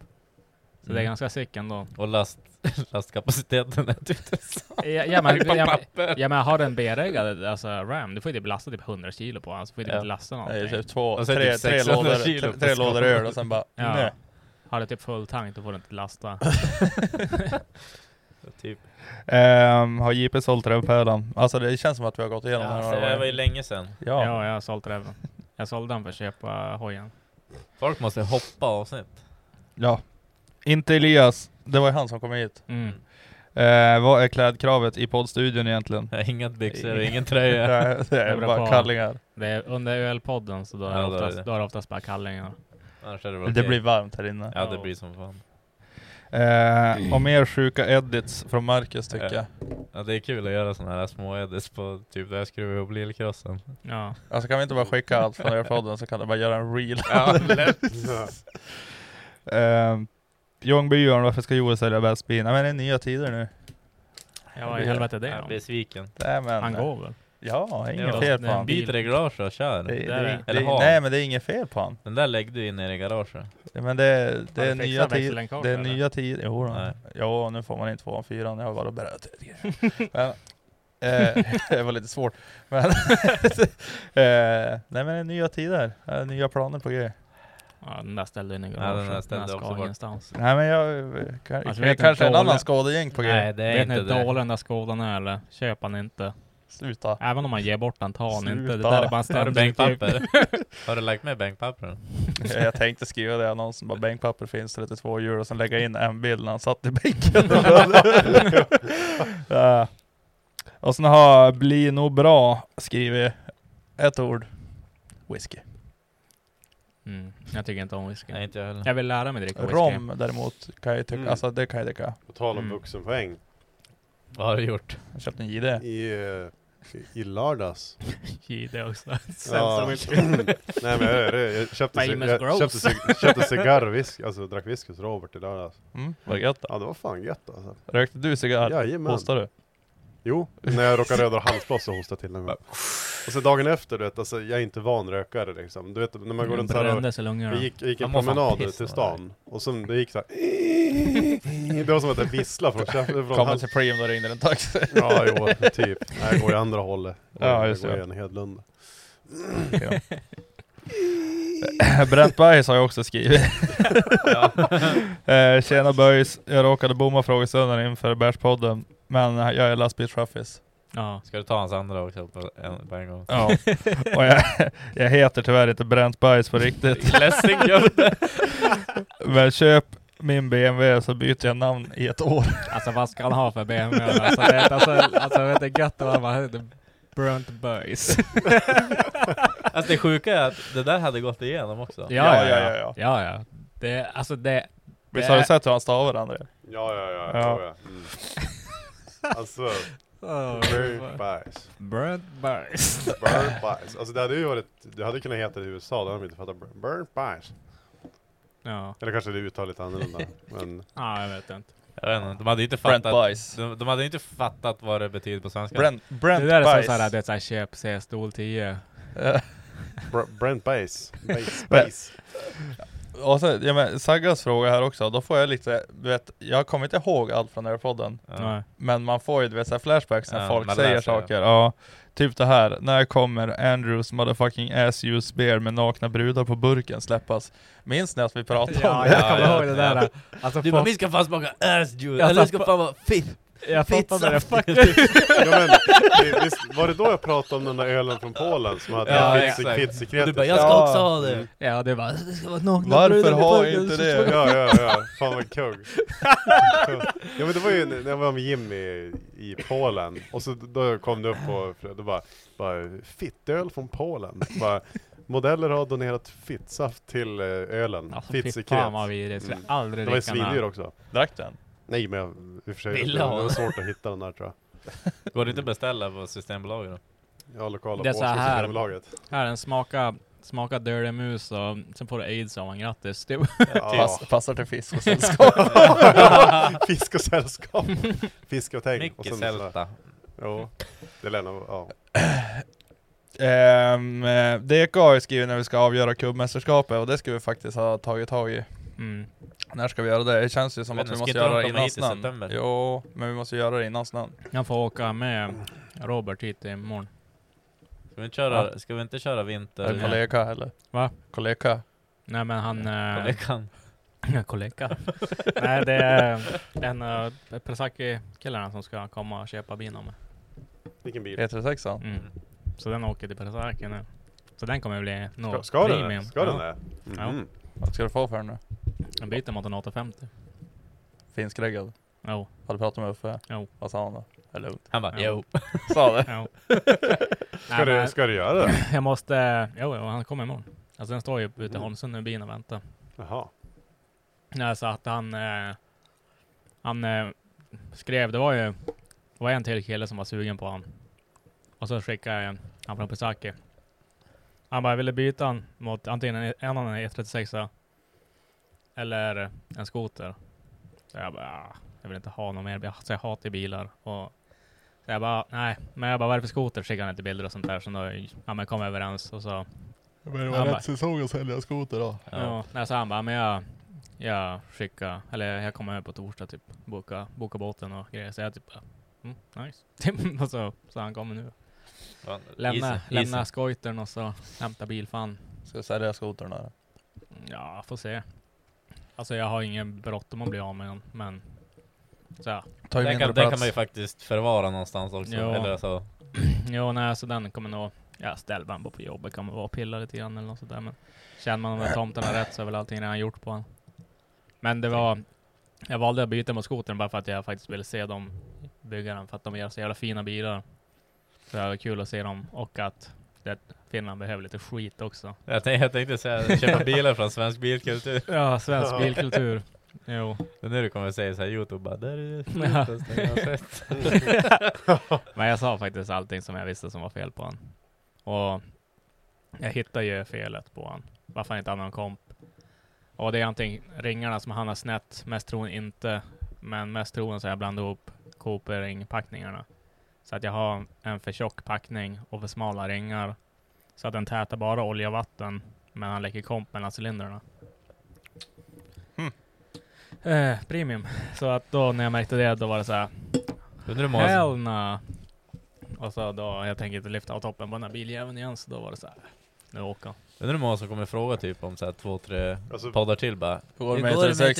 [SPEAKER 1] Så det är
[SPEAKER 3] Mm.
[SPEAKER 1] ganska sick ändå.
[SPEAKER 3] Och last, lastkapaciteten är typ densamma.
[SPEAKER 1] Ja, ja, men,
[SPEAKER 3] Bara
[SPEAKER 1] ja,
[SPEAKER 3] papper.
[SPEAKER 1] men, ja men har du en B-reggad alltså Ram, du får ju typ lasta typ 100 kilo på den, så får du typ
[SPEAKER 3] Ja.
[SPEAKER 1] inte lasta
[SPEAKER 4] Det är
[SPEAKER 1] någonting.
[SPEAKER 4] typ två,
[SPEAKER 3] Och så är det
[SPEAKER 4] tre,
[SPEAKER 3] typ
[SPEAKER 4] tre,
[SPEAKER 3] 600
[SPEAKER 4] lådor,
[SPEAKER 3] kilo
[SPEAKER 4] tre,
[SPEAKER 3] på
[SPEAKER 4] tre
[SPEAKER 3] skålen.
[SPEAKER 4] lådor öl och sen bara,
[SPEAKER 1] Ja.
[SPEAKER 4] nej.
[SPEAKER 1] Har du typ full tank då får du inte lasta.
[SPEAKER 3] typ.
[SPEAKER 4] Ehm, har JP sålt rövpölan? Alltså det känns som att vi har gått
[SPEAKER 3] Ja,
[SPEAKER 4] igenom
[SPEAKER 3] alltså,
[SPEAKER 4] den
[SPEAKER 3] det
[SPEAKER 4] här
[SPEAKER 3] var ju länge sedan.
[SPEAKER 4] Ja.
[SPEAKER 1] Ja, jag har sålt den. Jag sålde den för att köpa hojen.
[SPEAKER 3] Folk måste hoppa avsnitt.
[SPEAKER 4] ja. Inte Elias, det var ju han som kom hit.
[SPEAKER 1] Mm.
[SPEAKER 4] Eh, vad är klädkravet i poddstudion egentligen?
[SPEAKER 3] Inga byxor,
[SPEAKER 4] Nej.
[SPEAKER 3] ingen tröja.
[SPEAKER 4] Det, det är
[SPEAKER 1] Det beror
[SPEAKER 4] bara
[SPEAKER 1] på.
[SPEAKER 4] kallingar.
[SPEAKER 1] Det är under öl-podden så då är,
[SPEAKER 3] Ja,
[SPEAKER 1] det
[SPEAKER 3] då är
[SPEAKER 1] oftast,
[SPEAKER 3] det.
[SPEAKER 1] då är det oftast bara kallingar.
[SPEAKER 3] Annars är det väl
[SPEAKER 4] Det
[SPEAKER 3] okej.
[SPEAKER 4] blir varmt här inne.
[SPEAKER 3] Ja det blir som fan.
[SPEAKER 4] Eh, och mer sjuka edits från Marcus tycker
[SPEAKER 3] Ja.
[SPEAKER 4] jag.
[SPEAKER 3] Ja det är kul att göra såna här små edits på typ där jag skruvar ihop lillkrossen.
[SPEAKER 1] Ja.
[SPEAKER 4] Alltså kan vi inte bara skicka allt från Airpodden så kan du bara göra en reel.
[SPEAKER 3] Ja, lätt.
[SPEAKER 4] eh, Ljungbyarn, varför ska Joel sälja bäst bil? Nej men det är nya tider nu.
[SPEAKER 1] Ja, vad i helvete är det
[SPEAKER 3] Jag är
[SPEAKER 1] då?
[SPEAKER 3] besviken.
[SPEAKER 4] Nej, men,
[SPEAKER 1] Han går väl?
[SPEAKER 4] Ja, inget fel
[SPEAKER 3] Ja,
[SPEAKER 1] det
[SPEAKER 4] på
[SPEAKER 1] är en
[SPEAKER 4] han.
[SPEAKER 1] bil.
[SPEAKER 3] Byt reglage och
[SPEAKER 4] Det,
[SPEAKER 3] kör.
[SPEAKER 1] Där
[SPEAKER 4] det,
[SPEAKER 1] är
[SPEAKER 4] det,
[SPEAKER 1] det.
[SPEAKER 4] det,
[SPEAKER 3] Eller har
[SPEAKER 4] nej
[SPEAKER 3] han.
[SPEAKER 4] men det är inget fel på han.
[SPEAKER 3] Den där lägger du in nere i garaget.
[SPEAKER 4] Men det, det
[SPEAKER 1] du
[SPEAKER 4] är
[SPEAKER 1] fixat
[SPEAKER 4] nya tider.
[SPEAKER 1] växellänkage,
[SPEAKER 4] Det är
[SPEAKER 1] eller?
[SPEAKER 4] nya tider. Jo, då.
[SPEAKER 3] Nej.
[SPEAKER 4] jo, nu får man inte få en fyran. Jag har bara bröt. Men, eh, det var lite svårt. Men, eh, nej men det är nya tider. Det är nya planer på grejer.
[SPEAKER 1] Ja, den där ställde in i
[SPEAKER 3] Ja,
[SPEAKER 1] garaget.
[SPEAKER 3] den där ställde jag
[SPEAKER 1] ska
[SPEAKER 3] också bort.
[SPEAKER 1] ingenstans.
[SPEAKER 4] Nej men jag... eh, Kan,
[SPEAKER 1] Alltså,
[SPEAKER 4] det
[SPEAKER 1] vet
[SPEAKER 4] kanske
[SPEAKER 1] inte
[SPEAKER 4] en annan
[SPEAKER 1] dåliga-
[SPEAKER 4] skådegäng på grejer.
[SPEAKER 3] Nej det är
[SPEAKER 1] Vet ni
[SPEAKER 3] inte
[SPEAKER 1] hur
[SPEAKER 3] det.
[SPEAKER 1] dålig den där skådan är eller? Köp han inte.
[SPEAKER 4] Sluta.
[SPEAKER 1] Även om man ger bort den, ta han inte. Det
[SPEAKER 4] Sluta.
[SPEAKER 1] där är Typ. bara en
[SPEAKER 3] Har du
[SPEAKER 1] ständig
[SPEAKER 3] bänkpapper? Har du lagt med bänkpappren?
[SPEAKER 4] jag, jag tänkte skriva det i annonsen. Bara bänkpapper finns 32 euro. Och sen lägga in en bild när han satt i bänken. Ja. och sen har Bli nog bra skrivit ett ord. Whisky.
[SPEAKER 1] Mm. Jag tycker inte om whisky.
[SPEAKER 3] Nej inte jag heller.
[SPEAKER 1] Jag vill lära mig dricka whisky.
[SPEAKER 4] Rom däremot kan jag tycka,
[SPEAKER 2] Mm.
[SPEAKER 4] alltså det kan jag tycka.
[SPEAKER 2] På tal om
[SPEAKER 1] Mm.
[SPEAKER 2] vuxenpoäng.
[SPEAKER 3] Vad har du gjort?
[SPEAKER 4] Jag köpte en JD.
[SPEAKER 2] I, eh, i- I lördags.
[SPEAKER 1] I det också.
[SPEAKER 2] Ja. Nej men jag, jag, jag köpte, cig-
[SPEAKER 1] Famous
[SPEAKER 2] jag
[SPEAKER 1] gross.
[SPEAKER 2] köpte, cig- köpte cigarr, whisk, alltså drack whisky hos Robert i lördags.
[SPEAKER 4] Mm, vad gött då.
[SPEAKER 2] Ja det var fan gött alltså.
[SPEAKER 4] Rökte du cigarr?
[SPEAKER 2] Jajamän.
[SPEAKER 4] Hostade du?
[SPEAKER 2] Jo, när jag råkade röda halsblås så hostade jag till den. Och så dagen efter, du vet, alltså, jag är inte van rökare liksom. Du vet, när man
[SPEAKER 3] Mm,
[SPEAKER 2] går runt så här och
[SPEAKER 1] Brände så långa
[SPEAKER 2] vi gick, gick en
[SPEAKER 3] Man mår fan
[SPEAKER 2] promenad
[SPEAKER 3] piss
[SPEAKER 2] ut till
[SPEAKER 3] när
[SPEAKER 2] stan, och så det gick så här. Det var som att jag visslade från käften. Från
[SPEAKER 4] Kommer
[SPEAKER 2] hals-
[SPEAKER 4] till Preem, då ringde en taxi.
[SPEAKER 2] Ja, jo, typ. Nej, jag går i andra hållet.
[SPEAKER 4] Ja, just
[SPEAKER 2] det.
[SPEAKER 4] det.
[SPEAKER 2] Jag går i en Hedlunda.
[SPEAKER 4] Bränt bajs Eh, har jag också skrivit. eh, tjena böjs, jag råkade bomma frågestunden inför Bärspodden, men jag är lastbilschaffis.
[SPEAKER 1] Ja.
[SPEAKER 3] Ska du ta hans andra också på en, på en gång?
[SPEAKER 4] Ja. Och jag, jag heter tyvärr inte Bränt bajs på riktigt,
[SPEAKER 3] Ledsen gubbe!
[SPEAKER 4] men köp min BMW så byter jag namn i ett år.
[SPEAKER 1] Alltså vad ska han ha för BMW? Alltså, det, är- alltså, alltså vet du, gött att man heter Brunt Boys.
[SPEAKER 3] Alltså det sjuka är att det där hade gått igenom också.
[SPEAKER 4] Ja, ja, ja, ja.
[SPEAKER 1] ja, ja. Det, alltså det...
[SPEAKER 4] Visst har du sett hur han stavar André?
[SPEAKER 2] Ja, ja, ja.
[SPEAKER 4] Ja.
[SPEAKER 2] ja. ja. Mm. Alltså, burn bajs.
[SPEAKER 1] Brunt Boys.
[SPEAKER 2] Burn bajs. Alltså det hade ju varit, det hade kunnat heta det i USA, då hade de inte fattat burn, burn bajs.
[SPEAKER 1] Ja.
[SPEAKER 2] Eller kanske det uttalet lite annorlunda. Men
[SPEAKER 1] ja, jag vet inte.
[SPEAKER 3] Jag vet inte, de hade ju inte
[SPEAKER 4] Brent
[SPEAKER 3] fattat,
[SPEAKER 4] bajs.
[SPEAKER 3] de, de hade ju inte fattat vad det betyder på svenska.
[SPEAKER 4] Brent, Brent
[SPEAKER 1] det där är
[SPEAKER 4] bajs.
[SPEAKER 1] som såhär, det är såhär köp C-stol 10.
[SPEAKER 4] Eh,
[SPEAKER 2] br- Brent bajs. Bajs,
[SPEAKER 4] Men-
[SPEAKER 2] bajs.
[SPEAKER 4] Och sen, ja, men Saggas fråga här också, då får jag lite, du vet, jag kommer inte ihåg allt från den här podden.
[SPEAKER 3] Ja.
[SPEAKER 4] Men man får ju du vet, så här flashbacks när
[SPEAKER 3] Ja,
[SPEAKER 4] folk
[SPEAKER 3] man
[SPEAKER 4] säger
[SPEAKER 3] läser det.
[SPEAKER 4] saker. Ja, typ det här, när kommer Andrews motherfucking ass you spear med nakna brudar på burken släppas? Minns ni att vi pratade om
[SPEAKER 1] Ja,
[SPEAKER 4] det?
[SPEAKER 1] jag kommer
[SPEAKER 3] ja,
[SPEAKER 1] ihåg det
[SPEAKER 3] ja.
[SPEAKER 1] där. Alltså,
[SPEAKER 3] Du
[SPEAKER 1] folk-
[SPEAKER 3] bara, vi ska fan smaka ass juice,
[SPEAKER 1] Jag
[SPEAKER 3] eller
[SPEAKER 1] sa
[SPEAKER 3] vi ska
[SPEAKER 1] fa-
[SPEAKER 3] fan vara fit!
[SPEAKER 1] jag fattar det. Fuck
[SPEAKER 2] Ja, men, vi- visst, var det då jag pratade om den där ölen från Polen som hade ja,
[SPEAKER 3] Ja, exakt.
[SPEAKER 2] fittsekretet?
[SPEAKER 3] Du bara, jag
[SPEAKER 2] ja,
[SPEAKER 3] ska
[SPEAKER 4] Ja.
[SPEAKER 3] också ha det!
[SPEAKER 1] Ja, det var... Det ska vara nakna
[SPEAKER 4] Varför
[SPEAKER 1] brudar i
[SPEAKER 4] har
[SPEAKER 1] burken,
[SPEAKER 4] inte
[SPEAKER 1] så-
[SPEAKER 4] det?
[SPEAKER 2] ja, ja. Fan vad kung. Ja men det var ju när jag var med Jimmy i- i Polen, och så då kom det upp på, då bara, bara fittöl från Polen. Bara, modeller har donerat fittsaft till eh, ölen.
[SPEAKER 1] Alltså, fy
[SPEAKER 2] Fittsekret.
[SPEAKER 1] fan vad vidrigt. Skulle
[SPEAKER 2] Mm.
[SPEAKER 1] aldrig
[SPEAKER 2] Det var ju
[SPEAKER 1] dricka den här.
[SPEAKER 2] svindyr också.
[SPEAKER 4] Drack den?
[SPEAKER 2] Nej men jag, i och för sig,
[SPEAKER 3] Ville
[SPEAKER 2] det
[SPEAKER 3] ha
[SPEAKER 2] var
[SPEAKER 3] den.
[SPEAKER 2] svårt att hitta den där tror jag.
[SPEAKER 3] Går det inte att beställa på Systembolaget då?
[SPEAKER 2] Ja, lokala
[SPEAKER 1] Det är så
[SPEAKER 2] Polska
[SPEAKER 1] här. typ.
[SPEAKER 2] Systembolaget.
[SPEAKER 1] Här, den smaka, smaka Dirty Mus och sen får du aids av den, grattis. Typ.
[SPEAKER 2] Ja.
[SPEAKER 4] Pass, passar till fisk och sällskap.
[SPEAKER 2] Fisk och sällskap. Fisk och tänk. och
[SPEAKER 3] Mycket
[SPEAKER 2] sen så här-
[SPEAKER 3] sälta.
[SPEAKER 2] Jo, det lär nog, ja.
[SPEAKER 4] Ehm, eh, DK har ju skrivit när vi ska avgöra kubbmästerskapet och det ska vi faktiskt ha tagit tag i.
[SPEAKER 1] Mm.
[SPEAKER 4] När ska vi göra det? Det känns ju som
[SPEAKER 3] Men
[SPEAKER 4] att vi
[SPEAKER 3] ska
[SPEAKER 4] måste
[SPEAKER 3] inte de
[SPEAKER 4] göra det
[SPEAKER 3] komma
[SPEAKER 4] innan
[SPEAKER 3] hit i
[SPEAKER 4] snön.
[SPEAKER 3] september?
[SPEAKER 4] Jo, men vi måste göra det innan snön.
[SPEAKER 1] Jag får åka med Robert hit imorgon.
[SPEAKER 3] Ska vi inte köra, ska vi inte köra vinter?
[SPEAKER 4] Eller kollega heller.
[SPEAKER 1] Va?
[SPEAKER 4] Kollega.
[SPEAKER 1] Nej men han... eh,
[SPEAKER 3] Kollegan.
[SPEAKER 1] Kollega. Nej det är en av Presaki-killarna som ska komma och köpa bilen av mig.
[SPEAKER 2] Vilken
[SPEAKER 3] Typ.
[SPEAKER 2] bil?
[SPEAKER 4] E E36an.
[SPEAKER 1] Mm. Så den åker till Presaki nu. Så den kommer bli no
[SPEAKER 2] Ska, ska den
[SPEAKER 1] premium.
[SPEAKER 2] det? Ska den
[SPEAKER 1] ja.
[SPEAKER 2] det? Mhm.
[SPEAKER 4] Vad ska du få för den nu?
[SPEAKER 1] Den byter mot en 850.
[SPEAKER 4] Finskreggad.
[SPEAKER 1] Jo.
[SPEAKER 4] Har du pratat med Uffe?
[SPEAKER 1] Jo.
[SPEAKER 4] Vad sa han då? Det är lugnt.
[SPEAKER 3] Han bara,
[SPEAKER 1] Ja.
[SPEAKER 3] jo.
[SPEAKER 4] Sa det?
[SPEAKER 1] jo.
[SPEAKER 2] Ska,
[SPEAKER 1] Nej, men
[SPEAKER 2] du, ska du göra det?
[SPEAKER 1] jag måste... Jo, jo, han kommer imorgon. Alltså den står ju ute i Holmsund nu bilen och väntar.
[SPEAKER 2] Jaha.
[SPEAKER 1] Nej, så att han... Eh, han eh, skrev, det var ju... Det var en till kille som var sugen på han. Och så skickade jag en, han från Pisaki. Han bara, jag ville byta han mot antingen en, en annan E36 eller en skoter. Så jag bara, "Ah, jag vill inte ha någon mer. Alltså jag hatar bilar. Och så jag bara, nej. Men jag bara, vad är det för skoter? Skickade han lite bilder och sånt där. Så då, ja men kom överens. Och så
[SPEAKER 4] Men det
[SPEAKER 1] var rätt
[SPEAKER 4] säsong att sälja skoter då.
[SPEAKER 1] Ja. nej, så han bara, men jag, jag skickar, eller jag kommer över på torsdag typ, boka, boka båten och grejer. Så jag typ, bara, mm, nice. Typ, och så, så han kommer nu.
[SPEAKER 3] Ja.
[SPEAKER 1] Lämna,
[SPEAKER 3] Isen,
[SPEAKER 1] lämna
[SPEAKER 3] isen.
[SPEAKER 1] skojtern och så hämta bilfan.
[SPEAKER 4] Ska du sälja skotern då?
[SPEAKER 1] Ja, får se. Alltså jag har ingen bråttom att bli av med den, men så ja.
[SPEAKER 4] Ta ju
[SPEAKER 3] Den
[SPEAKER 4] mindre
[SPEAKER 3] kan, den kan
[SPEAKER 4] plats.
[SPEAKER 3] man ju faktiskt förvara någonstans också.
[SPEAKER 1] Ja.
[SPEAKER 3] Eller så.
[SPEAKER 1] Jo, nej, så den kommer nog, ja ställ den bara på jobbet kan man vara och pilla lite grann eller något sådär. Men känner man de där tomtarna rätt så är väl allting redan gjort på den. Men det var, jag valde att byta mot skotern bara för att jag faktiskt ville se dem bygga den, för att de gör så jävla fina bilar. Så det var kul att se dem och att det, Finland behöver lite skit också.
[SPEAKER 3] Jag, tänkte, jag tänkte säga, köpa bilar från svensk bilkultur.
[SPEAKER 1] Ja, svensk
[SPEAKER 2] Ja.
[SPEAKER 1] bilkultur. Jo.
[SPEAKER 3] Men nu du kommer säga såhär youtube bara, där är det
[SPEAKER 1] Ja.
[SPEAKER 3] skitaste jag har sett.
[SPEAKER 1] Men jag sa faktiskt allting som jag visste som var fel på han. Och jag hittade ju felet på han. Varför han inte hade någon komp. Och det är antingen ringarna som han har snett, mest troligen inte. Men mest troligen så har jag blandat ihop Cooper-ringpackningarna. Så att jag har en för tjock packning och för smala ringar. Så att den tätar bara olja och vatten, men han läcker komp mellan cylindrarna.
[SPEAKER 4] Hmm.
[SPEAKER 1] Eh, premium. Så att då när jag märkte det, då var det så här.
[SPEAKER 3] Undrar hur många,
[SPEAKER 1] Hell nah. Och så då, jag tänker inte lyfta av toppen på den här biljäveln igen, så då var det så här. Nu åker han.
[SPEAKER 3] undrar hur många som kommer fråga typ om såhär två, tre
[SPEAKER 2] Alltså,
[SPEAKER 3] poddar till bara
[SPEAKER 4] Hur går det
[SPEAKER 3] "Hur
[SPEAKER 4] med
[SPEAKER 3] går det med E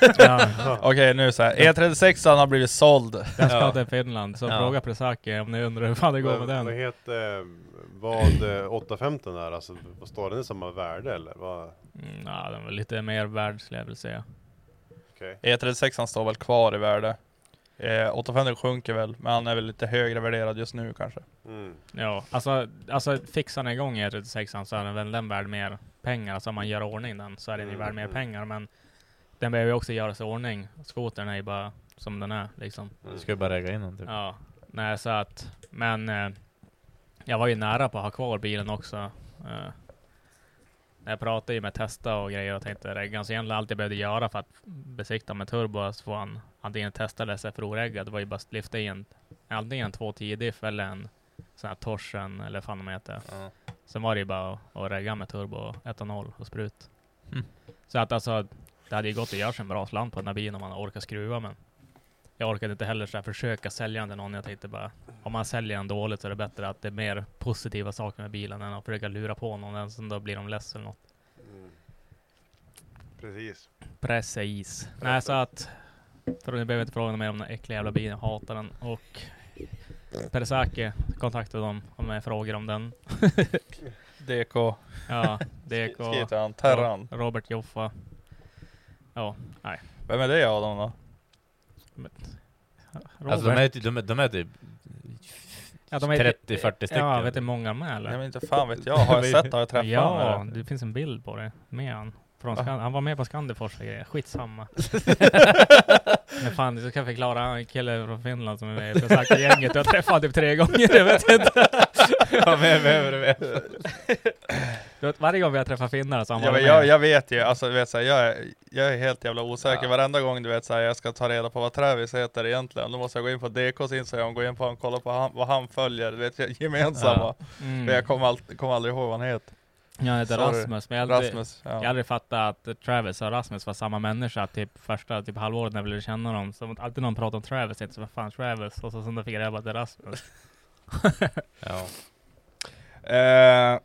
[SPEAKER 4] 36
[SPEAKER 1] ja,
[SPEAKER 4] Okej nu såhär, E36 har blivit såld.
[SPEAKER 1] jag ska
[SPEAKER 3] Ja.
[SPEAKER 1] till Finland, så
[SPEAKER 3] Ja.
[SPEAKER 1] fråga Presaki om ni undrar hur fan det går med
[SPEAKER 2] vad, vad
[SPEAKER 1] den.
[SPEAKER 2] heter eh, vad eh, 815 är? Alltså, vad står den i samma värde eller? Vad?
[SPEAKER 1] Mm, ja, den var lite mer värd skulle jag vilja säga.
[SPEAKER 2] Okej.
[SPEAKER 4] E36 E står väl kvar i värde. Eh, 850 sjunker väl, men han är väl lite högre värderad just nu kanske.
[SPEAKER 2] Mm.
[SPEAKER 1] Ja, alltså, alltså fixar ni igång E36 så är den väl den värd mer pengar. Alltså om man gör ordning den så är den ju
[SPEAKER 2] Mm,
[SPEAKER 1] värd mer
[SPEAKER 2] mm.
[SPEAKER 1] pengar. Men den behöver ju också göras i ordning. Skotern är ju bara som den är liksom.
[SPEAKER 3] Du ska ju bara räkna in dem typ.
[SPEAKER 1] Ja, nej så att, men eh, jag var ju nära på att ha kvar bilen också. Eh, jag pratade ju med Testa och grejer och tänkte reggan, så egentligen allt jag behövde göra för att besikta med turbo så får han antingen testa eller SFRO-reggad. Det var ju bara att lyfta in antingen en 210 diff eller en sån här Torsen eller vad fan de heter.
[SPEAKER 3] Ja.
[SPEAKER 1] Sen var det ju bara att, att regga med turbo och etanol och sprut.
[SPEAKER 3] Mm.
[SPEAKER 1] Så att alltså, det hade ju gått att göra sig en bra slant på den här bilen om man orkar skruva men jag orkade inte heller så här försöka sälja den till någon. Jag tänkte bara, om man säljer den dåligt så är det bättre att det är mer positiva saker med bilen än att försöka lura på någon, än så då blir de less eller något.
[SPEAKER 2] Mm. Precis.
[SPEAKER 1] Precis. Nej, så att, för ni behöver inte fråga mig om den äckliga jävla bilen, jag hatar den. Och Persaki kontaktade dem med frågor om den.
[SPEAKER 4] DK,
[SPEAKER 1] Ja, DK.
[SPEAKER 4] Skri- skriver till han, Terran.
[SPEAKER 1] Ja, Robert Joffa. Ja, nej.
[SPEAKER 4] Vem är det Adam då?
[SPEAKER 1] Robert.
[SPEAKER 3] Alltså de är, typ- de, är, de är typ
[SPEAKER 1] ja,
[SPEAKER 3] 30-40 stycken.
[SPEAKER 1] Ja, vet du hur många de är eller?
[SPEAKER 4] Nej men inte fan vet jag, har jag sett, har jag träffat
[SPEAKER 1] ja,
[SPEAKER 4] honom?
[SPEAKER 1] det finns en bild på det med han. Från Scan- Han var med på Skandifors och grejer. Skitsamma. Men fan, du kan förklara. Han är en kille från Finland som är med i Besaka-gänget. Jag träffade honom typ tre gånger. Jag vet inte.
[SPEAKER 3] ja, men, men, men, men.
[SPEAKER 1] Du vet, varje gång vi har träffat finnar så har han
[SPEAKER 4] Ja, men
[SPEAKER 1] varit
[SPEAKER 4] jag,
[SPEAKER 1] med.
[SPEAKER 4] jag vet ju, alltså, du vet, så här, jag, är, jag är helt jävla osäker
[SPEAKER 3] Ja.
[SPEAKER 4] varenda gång du vet så här, jag ska ta reda på vad Travis heter egentligen. Då måste jag gå in på DKs Instagram, gå in på honom, kolla på han, vad han följer, du vet jag- gemensamma. Men jag
[SPEAKER 1] mm.
[SPEAKER 4] kommer, all, kommer aldrig ihåg vad han heter.
[SPEAKER 1] Jag heter
[SPEAKER 4] Sorry.
[SPEAKER 1] Rasmus, men jag har aldrig,
[SPEAKER 4] Rasmus. Ja.
[SPEAKER 1] jag har aldrig fattat att Travis och Rasmus var samma människa typ första typ halvåret när jag lärde känna dem. Så alltid någon pratade om Travis, jag inte så vad fan Travis? Och så sen då fick jag reda på att det är Rasmus.
[SPEAKER 3] Ja.
[SPEAKER 4] Eh,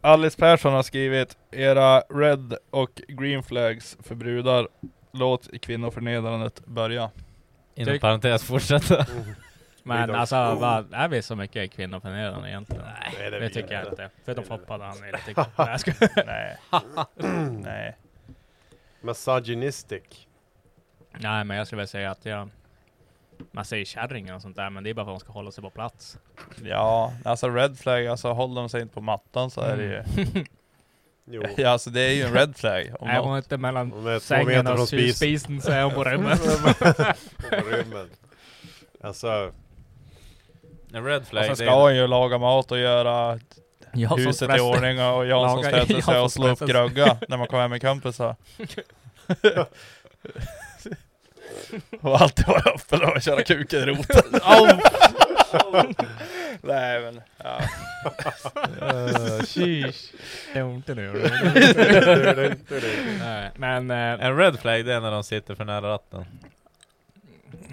[SPEAKER 4] Alice Persson har skrivit Era red och green flags för brudar Låt kvinnoförnedrandet börja
[SPEAKER 3] Inom
[SPEAKER 1] Tyck-
[SPEAKER 3] parentes fortsätta.
[SPEAKER 1] Men
[SPEAKER 2] Freedom.
[SPEAKER 1] alltså, vad, är vi så mycket kvinnoförnedrande egentligen?
[SPEAKER 2] Nej,
[SPEAKER 1] Det,
[SPEAKER 2] vill
[SPEAKER 1] tycker jag inte. Förutom
[SPEAKER 2] Det vill
[SPEAKER 1] Foppa då han inte tycker Nej, jag skojar.
[SPEAKER 4] Nej Nej
[SPEAKER 2] Misogynistic.
[SPEAKER 1] Nej, men jag skulle väl säga att jag... Man säger kärringar och sånt där, men det är bara för att de ska hålla sig på plats.
[SPEAKER 4] Ja, alltså red flag, alltså håller de sig inte på mattan så är det ju
[SPEAKER 2] Jo.
[SPEAKER 4] Ja alltså det är ju en red flag om
[SPEAKER 1] Är
[SPEAKER 4] något.
[SPEAKER 1] Mm. hon inte mellan
[SPEAKER 2] Hon är två
[SPEAKER 1] sängen
[SPEAKER 2] meter
[SPEAKER 1] och
[SPEAKER 2] från spis-
[SPEAKER 1] spisen så är hon på rummet.
[SPEAKER 2] på rymmen. Alltså,
[SPEAKER 3] En red
[SPEAKER 4] Och
[SPEAKER 3] flag,
[SPEAKER 4] sen
[SPEAKER 3] det
[SPEAKER 4] ska
[SPEAKER 3] är,
[SPEAKER 4] hon ju laga mat och göra
[SPEAKER 1] Jag som
[SPEAKER 4] huset i
[SPEAKER 1] stress-
[SPEAKER 4] ordning och Jansson
[SPEAKER 1] Laga-
[SPEAKER 4] stressar sig
[SPEAKER 1] Jansson
[SPEAKER 4] och slå upp
[SPEAKER 1] stressar sig.
[SPEAKER 4] grögga när man kommer hem med kompisar Och alltid vara öppen och köra kuken i roten Au! Nej men ja.
[SPEAKER 1] Eh, Sheesh. Det är ont i nu. Nej, Men, eh,
[SPEAKER 3] en red flag det är när de sitter för nära ratten.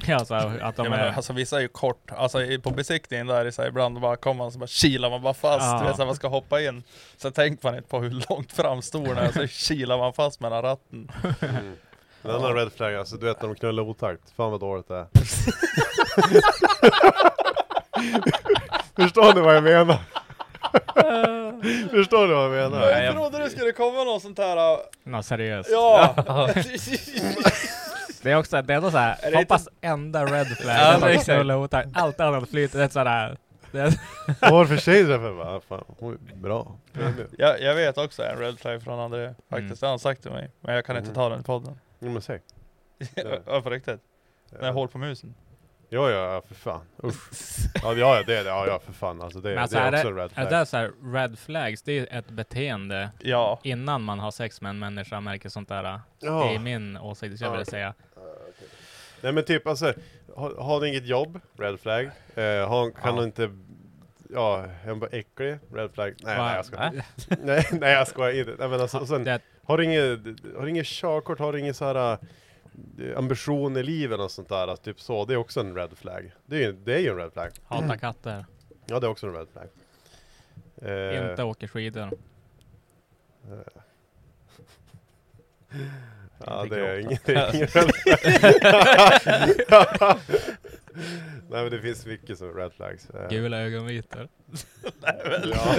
[SPEAKER 1] alltså att de
[SPEAKER 4] jag menar,
[SPEAKER 1] är...
[SPEAKER 4] alltså vissa är ju kort, alltså i- på besiktningen där är så här, ibland bara kommer man så bara kilar man bara fast,
[SPEAKER 1] Ja.
[SPEAKER 4] du vet så här, man ska hoppa in Så tänker man inte på hur långt fram stolen är, så kilar man fast mellan ratten
[SPEAKER 2] mm. En annan red flag, alltså du vet när de knullar otakt. Fan vad dåligt det är. Förstår ni vad jag menar? Förstår ni vad jag menar?
[SPEAKER 3] Nej, jag-
[SPEAKER 4] trodde det skulle komma någon sånt här, äh,
[SPEAKER 1] Nå, seriöst.
[SPEAKER 4] ja!
[SPEAKER 1] Det är också, det är ändå såhär,
[SPEAKER 4] det
[SPEAKER 1] Foppas enda red flag. det är
[SPEAKER 3] Ja,
[SPEAKER 1] att
[SPEAKER 3] exakt.
[SPEAKER 1] knulla och ta- Allt annat flyter, det är sådär. Det är,
[SPEAKER 2] Och varför tjejer därför? Bara, fan, hon är bra.
[SPEAKER 4] jag, jag vet också en red flag från
[SPEAKER 1] Mm.
[SPEAKER 4] André, faktiskt, det har han sagt till mig Men jag kan inte
[SPEAKER 2] Mm.
[SPEAKER 4] ta den i podden
[SPEAKER 2] Nummer sex.
[SPEAKER 4] Ja på riktigt? När hål på musen?
[SPEAKER 2] Ja, ja, ja, för fan. Usch. Ja, det- ja, ja, det är det. Ja, ja, för fan. Alltså det,
[SPEAKER 1] Men alltså,
[SPEAKER 2] det är
[SPEAKER 1] är
[SPEAKER 2] också
[SPEAKER 1] det-
[SPEAKER 2] en red
[SPEAKER 1] är
[SPEAKER 2] flag.
[SPEAKER 1] det där såhär, red flags, det är ju ett beteende
[SPEAKER 4] Ja,
[SPEAKER 1] innan man har sex med en människa, märker sånt där. Det
[SPEAKER 2] Ja.
[SPEAKER 1] är min åsikt, så jag
[SPEAKER 2] Ja.
[SPEAKER 1] vill säga.
[SPEAKER 2] Nej men typ alltså, har, har ni inget jobb? Red flag. Eh, har, kan
[SPEAKER 1] Ja.
[SPEAKER 2] du inte, ja, är hon bara äcklig? Red flag. Nej,
[SPEAKER 1] Va?
[SPEAKER 2] nej jag skojar.
[SPEAKER 3] Nej.
[SPEAKER 2] nej, nej jag skojar inte. Nej, men alltså, och sen,
[SPEAKER 1] Det-
[SPEAKER 2] har du inget, har du inget körkort? Har du ingen så här eh, ambition i livet och sånt där? Alltså, typ så, det är också en red flag. Det är, ju- det är ju en red flag.
[SPEAKER 1] Hatar katter.
[SPEAKER 2] Ja, det är också en red flag. Eh,
[SPEAKER 1] Inte åker skidor.
[SPEAKER 2] Ja,
[SPEAKER 3] Inte
[SPEAKER 2] det är
[SPEAKER 3] gråta.
[SPEAKER 2] ingen, det är ingen red flag. Nej men det finns mycket som är red flags. Eh,
[SPEAKER 1] Gula ögonvitor.
[SPEAKER 2] Ja.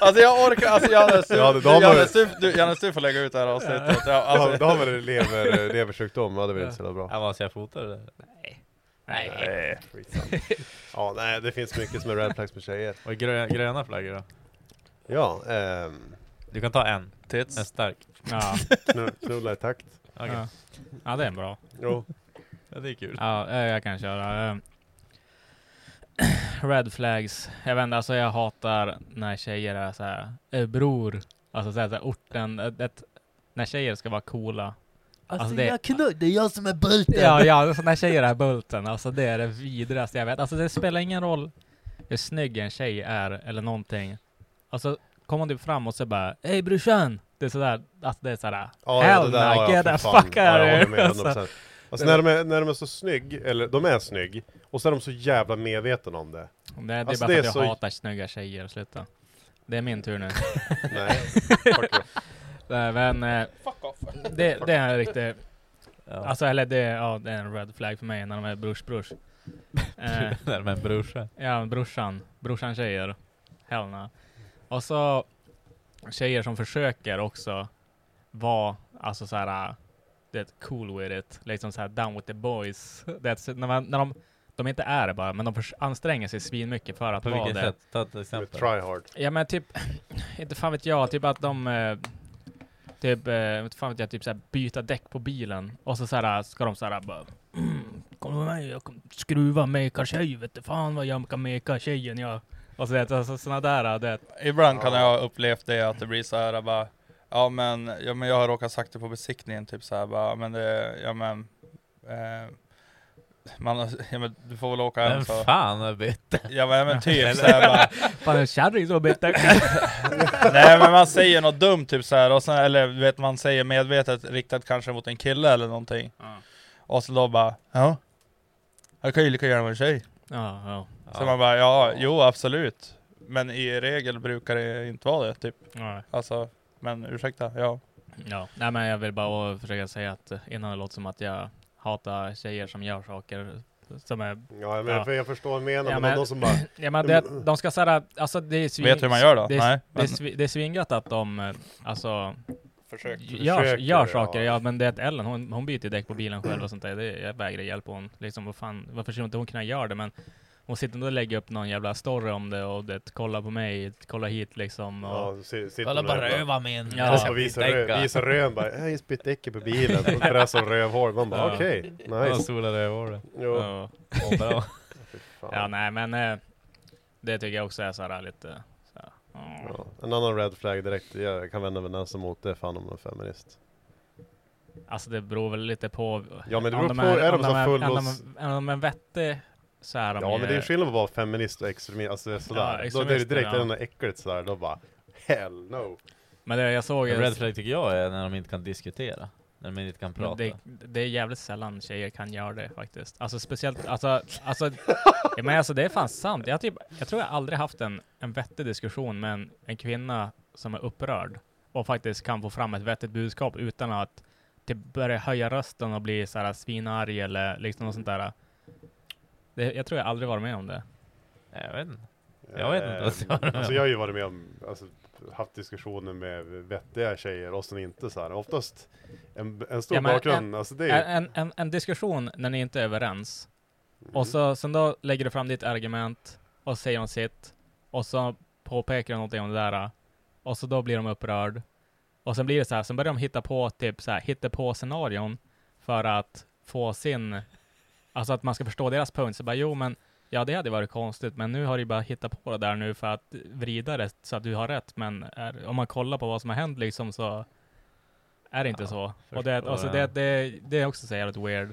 [SPEAKER 4] Alltså jag orkar, alltså Janne Stuff,
[SPEAKER 2] Ja,
[SPEAKER 4] ja,
[SPEAKER 2] det- de har-
[SPEAKER 4] Janne Stuff, du, Janne Stuff får lägga ut det här avsnittet. Ja,
[SPEAKER 2] Alltså,
[SPEAKER 4] alltså,
[SPEAKER 2] då har man en lever, leversjukdom, ja, det blir inte så jävla bra.
[SPEAKER 3] Ja, vad ska jag fota det?
[SPEAKER 1] Nej.
[SPEAKER 2] Skitsamma. Ja, nej, det finns mycket som är red flags med tjejer.
[SPEAKER 3] Och gröna, gröna flaggor då?
[SPEAKER 2] Ja, ehm,
[SPEAKER 3] Du kan ta en, en
[SPEAKER 4] tits.
[SPEAKER 3] stark.
[SPEAKER 1] Ja.
[SPEAKER 2] knu- knulla i takt.
[SPEAKER 3] Okej,
[SPEAKER 1] ja. ja, det är bra.
[SPEAKER 2] Jo.
[SPEAKER 3] ja, det är kul.
[SPEAKER 1] Ja, eh, jag kan köra. eh. Red flags. Jag vet inte, alltså jag hatar när tjejer är så här, eh, bror. Alltså så här, så här orten, ett, ett, när tjejer ska vara coola. Alltså, det, jag
[SPEAKER 4] Det är jag som är bruten!
[SPEAKER 1] Ja, ja, alltså när tjejer är bulten, alltså det är det vidraste jag vet. Alltså det spelar ingen roll hur snygg en tjej är eller någonting. Alltså kommer du fram och så bara Hej brorsan! Det är sådär, alltså det är sådär
[SPEAKER 2] Ja, ja,
[SPEAKER 1] Hell
[SPEAKER 2] det där har
[SPEAKER 1] no,
[SPEAKER 2] jag
[SPEAKER 1] get
[SPEAKER 2] för
[SPEAKER 1] the
[SPEAKER 2] fan.
[SPEAKER 1] fuck
[SPEAKER 2] Ja, jag
[SPEAKER 1] out
[SPEAKER 2] håller
[SPEAKER 1] of
[SPEAKER 2] med,
[SPEAKER 1] here! Alltså,
[SPEAKER 2] 100%. Alltså när de, är, när de är så snygg, eller de är snygg, och så är de så jävla medvetna om det.
[SPEAKER 1] det, det är
[SPEAKER 2] Alltså,
[SPEAKER 1] bara för
[SPEAKER 2] det är
[SPEAKER 1] att jag
[SPEAKER 2] så-
[SPEAKER 1] hatar snygga tjejer, sluta. Det är min tur nu.
[SPEAKER 2] Nej, fuck you.
[SPEAKER 1] Nej, Men eh,
[SPEAKER 4] Fuck off!
[SPEAKER 1] det, det är en riktig,
[SPEAKER 3] Ja.
[SPEAKER 1] alltså eller det, ja, det är en red flag för mig när de är brors brors. Eh,
[SPEAKER 3] Där med en brorsa.
[SPEAKER 1] Ja, brorsan. Brorsan tjejer. Hell no. Och så tjejer som försöker också vara, alltså så här, det är cool with it, liksom så här down with the boys. Det är, så- när, man, när de, de inte är det bara, men de förs- anstränger sig svinmycket för att
[SPEAKER 3] På
[SPEAKER 1] vara
[SPEAKER 3] vilket
[SPEAKER 1] det.
[SPEAKER 3] sätt? Ta ett exempel.
[SPEAKER 2] Try hard.
[SPEAKER 1] Ja men typ, inte fan vet jag, typ att de eh, Typ, eh, inte fan vet jag, typ såhär byta däck på bilen och så såhär ska de såhär bara mm, Kom med mig, jag kommer skruva meka tjej vet du fan vad jag kan meka tjejen jag Och så vet alltså, såna där, det,
[SPEAKER 4] Ibland kan
[SPEAKER 2] Ja.
[SPEAKER 4] jag ha upplevt det att det blir så här bara Ja men, ja, men jag har råkat sagt det på besiktningen typ så här bara, men det, ja men eh, man, har- ja, men du får väl åka hem
[SPEAKER 3] Vem
[SPEAKER 4] så.
[SPEAKER 3] fan har bytt?
[SPEAKER 4] Ja men, ja, men typ så här bara,
[SPEAKER 1] fan en kärring som byter däck.
[SPEAKER 4] Nej men man säger något dumt typ så här, och sen, eller du vet man säger medvetet riktat kanske mot en kille eller någonting
[SPEAKER 1] Ja,
[SPEAKER 4] Och så då bara ja Jag kan ju lika gärna vara en tjej
[SPEAKER 1] ja,
[SPEAKER 4] Så man bara ja, jo absolut Men i regel brukar det inte vara det typ
[SPEAKER 1] ja,
[SPEAKER 4] Alltså, men ursäkta, ja
[SPEAKER 1] ja. Nej men jag vill bara försöka säga att eh, innan det låter som att jag hatar tjejer som gör saker som är,
[SPEAKER 2] Ja, men
[SPEAKER 1] Ja.
[SPEAKER 2] för jag förstår vad du menar,
[SPEAKER 1] Ja,
[SPEAKER 2] men,
[SPEAKER 1] men-
[SPEAKER 2] de som bara...
[SPEAKER 1] ja men det,
[SPEAKER 2] Mm.
[SPEAKER 1] de ska såhär, alltså det är svin-
[SPEAKER 4] Vet du hur man gör då?
[SPEAKER 1] Det är,
[SPEAKER 4] Nej,
[SPEAKER 1] det är,
[SPEAKER 4] men,
[SPEAKER 1] svi- det är svingött att de eh, alltså,
[SPEAKER 4] försök
[SPEAKER 1] gör,
[SPEAKER 2] försöker,
[SPEAKER 1] gör saker.
[SPEAKER 2] ja.
[SPEAKER 1] Ja. men det är att Ellen, hon, hon byter ju däck på bilen själv och sånt där. Det, jag vägrar hjälpa hon. Liksom, vad fan, varför skulle inte hon kunna göra det? Men hon sitter ändå och lägger upp någon jävla story om det och det, kolla på mig, kolla hit liksom. Och,
[SPEAKER 2] Ja, si- sitter
[SPEAKER 3] Kolla
[SPEAKER 2] med
[SPEAKER 3] bara
[SPEAKER 2] den där-
[SPEAKER 3] röva min.
[SPEAKER 1] Ja.
[SPEAKER 2] Och visar, rö, visar rön bara, jag har ju spytt däcket på bilen, och det är som rövhål. Man bara
[SPEAKER 1] Ja.
[SPEAKER 2] okej,
[SPEAKER 3] Ja,
[SPEAKER 2] nice.
[SPEAKER 3] sola rövhålet.
[SPEAKER 2] Jo.
[SPEAKER 1] och,
[SPEAKER 3] Åh, bra.
[SPEAKER 2] Fan.
[SPEAKER 1] ja, nej men eh, det tycker jag också är så här lite... Så här, mm.
[SPEAKER 2] Ja. En annan red flag direkt, jag kan vända mig näsan mot det, fan om de är feminist.
[SPEAKER 1] Alltså det beror väl lite på...
[SPEAKER 2] Ja men det
[SPEAKER 1] om
[SPEAKER 2] beror på, är de
[SPEAKER 1] om
[SPEAKER 2] så här
[SPEAKER 1] om
[SPEAKER 2] full
[SPEAKER 1] de- om de är vettig så är de
[SPEAKER 2] Ja
[SPEAKER 1] ju,
[SPEAKER 2] men det är skillnad på att vara feminist och extremist, alltså det är
[SPEAKER 1] Ja,
[SPEAKER 2] sådär. då, det är det
[SPEAKER 1] extremister,
[SPEAKER 2] direkt
[SPEAKER 1] ja.
[SPEAKER 2] när det är äckligt sådär, då bara Hell no!
[SPEAKER 1] men det, jag såg...
[SPEAKER 3] En red flag tycker jag är när de inte kan diskutera. När de inte kan
[SPEAKER 1] Men
[SPEAKER 3] prata.
[SPEAKER 1] det, det är jävligt sällan tjejer kan göra det faktiskt. Alltså speciellt, alltså, alltså, ja, men alltså det är fan sant. Jag, har typ, jag tror jag aldrig haft en, en vettig diskussion med en, en kvinna som är upprörd och faktiskt kan få fram ett vettigt budskap utan att typ börja höja rösten och bli så här svinarg eller liksom något sånt där. Det, jag tror jag aldrig varit med om det.
[SPEAKER 3] Nej, Jag vet inte. Jag vet inte
[SPEAKER 2] Eh,
[SPEAKER 3] vad jag ska göra.
[SPEAKER 2] Alltså jag har ju varit med om, alltså, haft diskussioner med vettiga tjejer och sen inte såhär. Oftast en, en stor
[SPEAKER 1] Ja, men
[SPEAKER 2] bakgrund, alltså det är ju...
[SPEAKER 1] En, en, en diskussion när ni inte är överens
[SPEAKER 2] Mm.
[SPEAKER 1] Och så, sen då lägger du fram ditt argument och säger hon sitt. Och så påpekar hon någonting om det där. Och så då blir de upprörd. Och sen blir det så här, sen börjar de hitta på typ så här, hitta på scenarion för att få sin, alltså att man ska förstå deras punkt. Så bara jo men, ja det hade varit konstigt, men nu har du bara hittat på det där nu för att vrida det så att du har rätt. Men är, om man kollar på vad som har hänt liksom så är det inte
[SPEAKER 3] Ja,
[SPEAKER 1] så. Och
[SPEAKER 3] förstår
[SPEAKER 1] det, alltså
[SPEAKER 3] jag.
[SPEAKER 1] det, det, det är också så jävligt weird.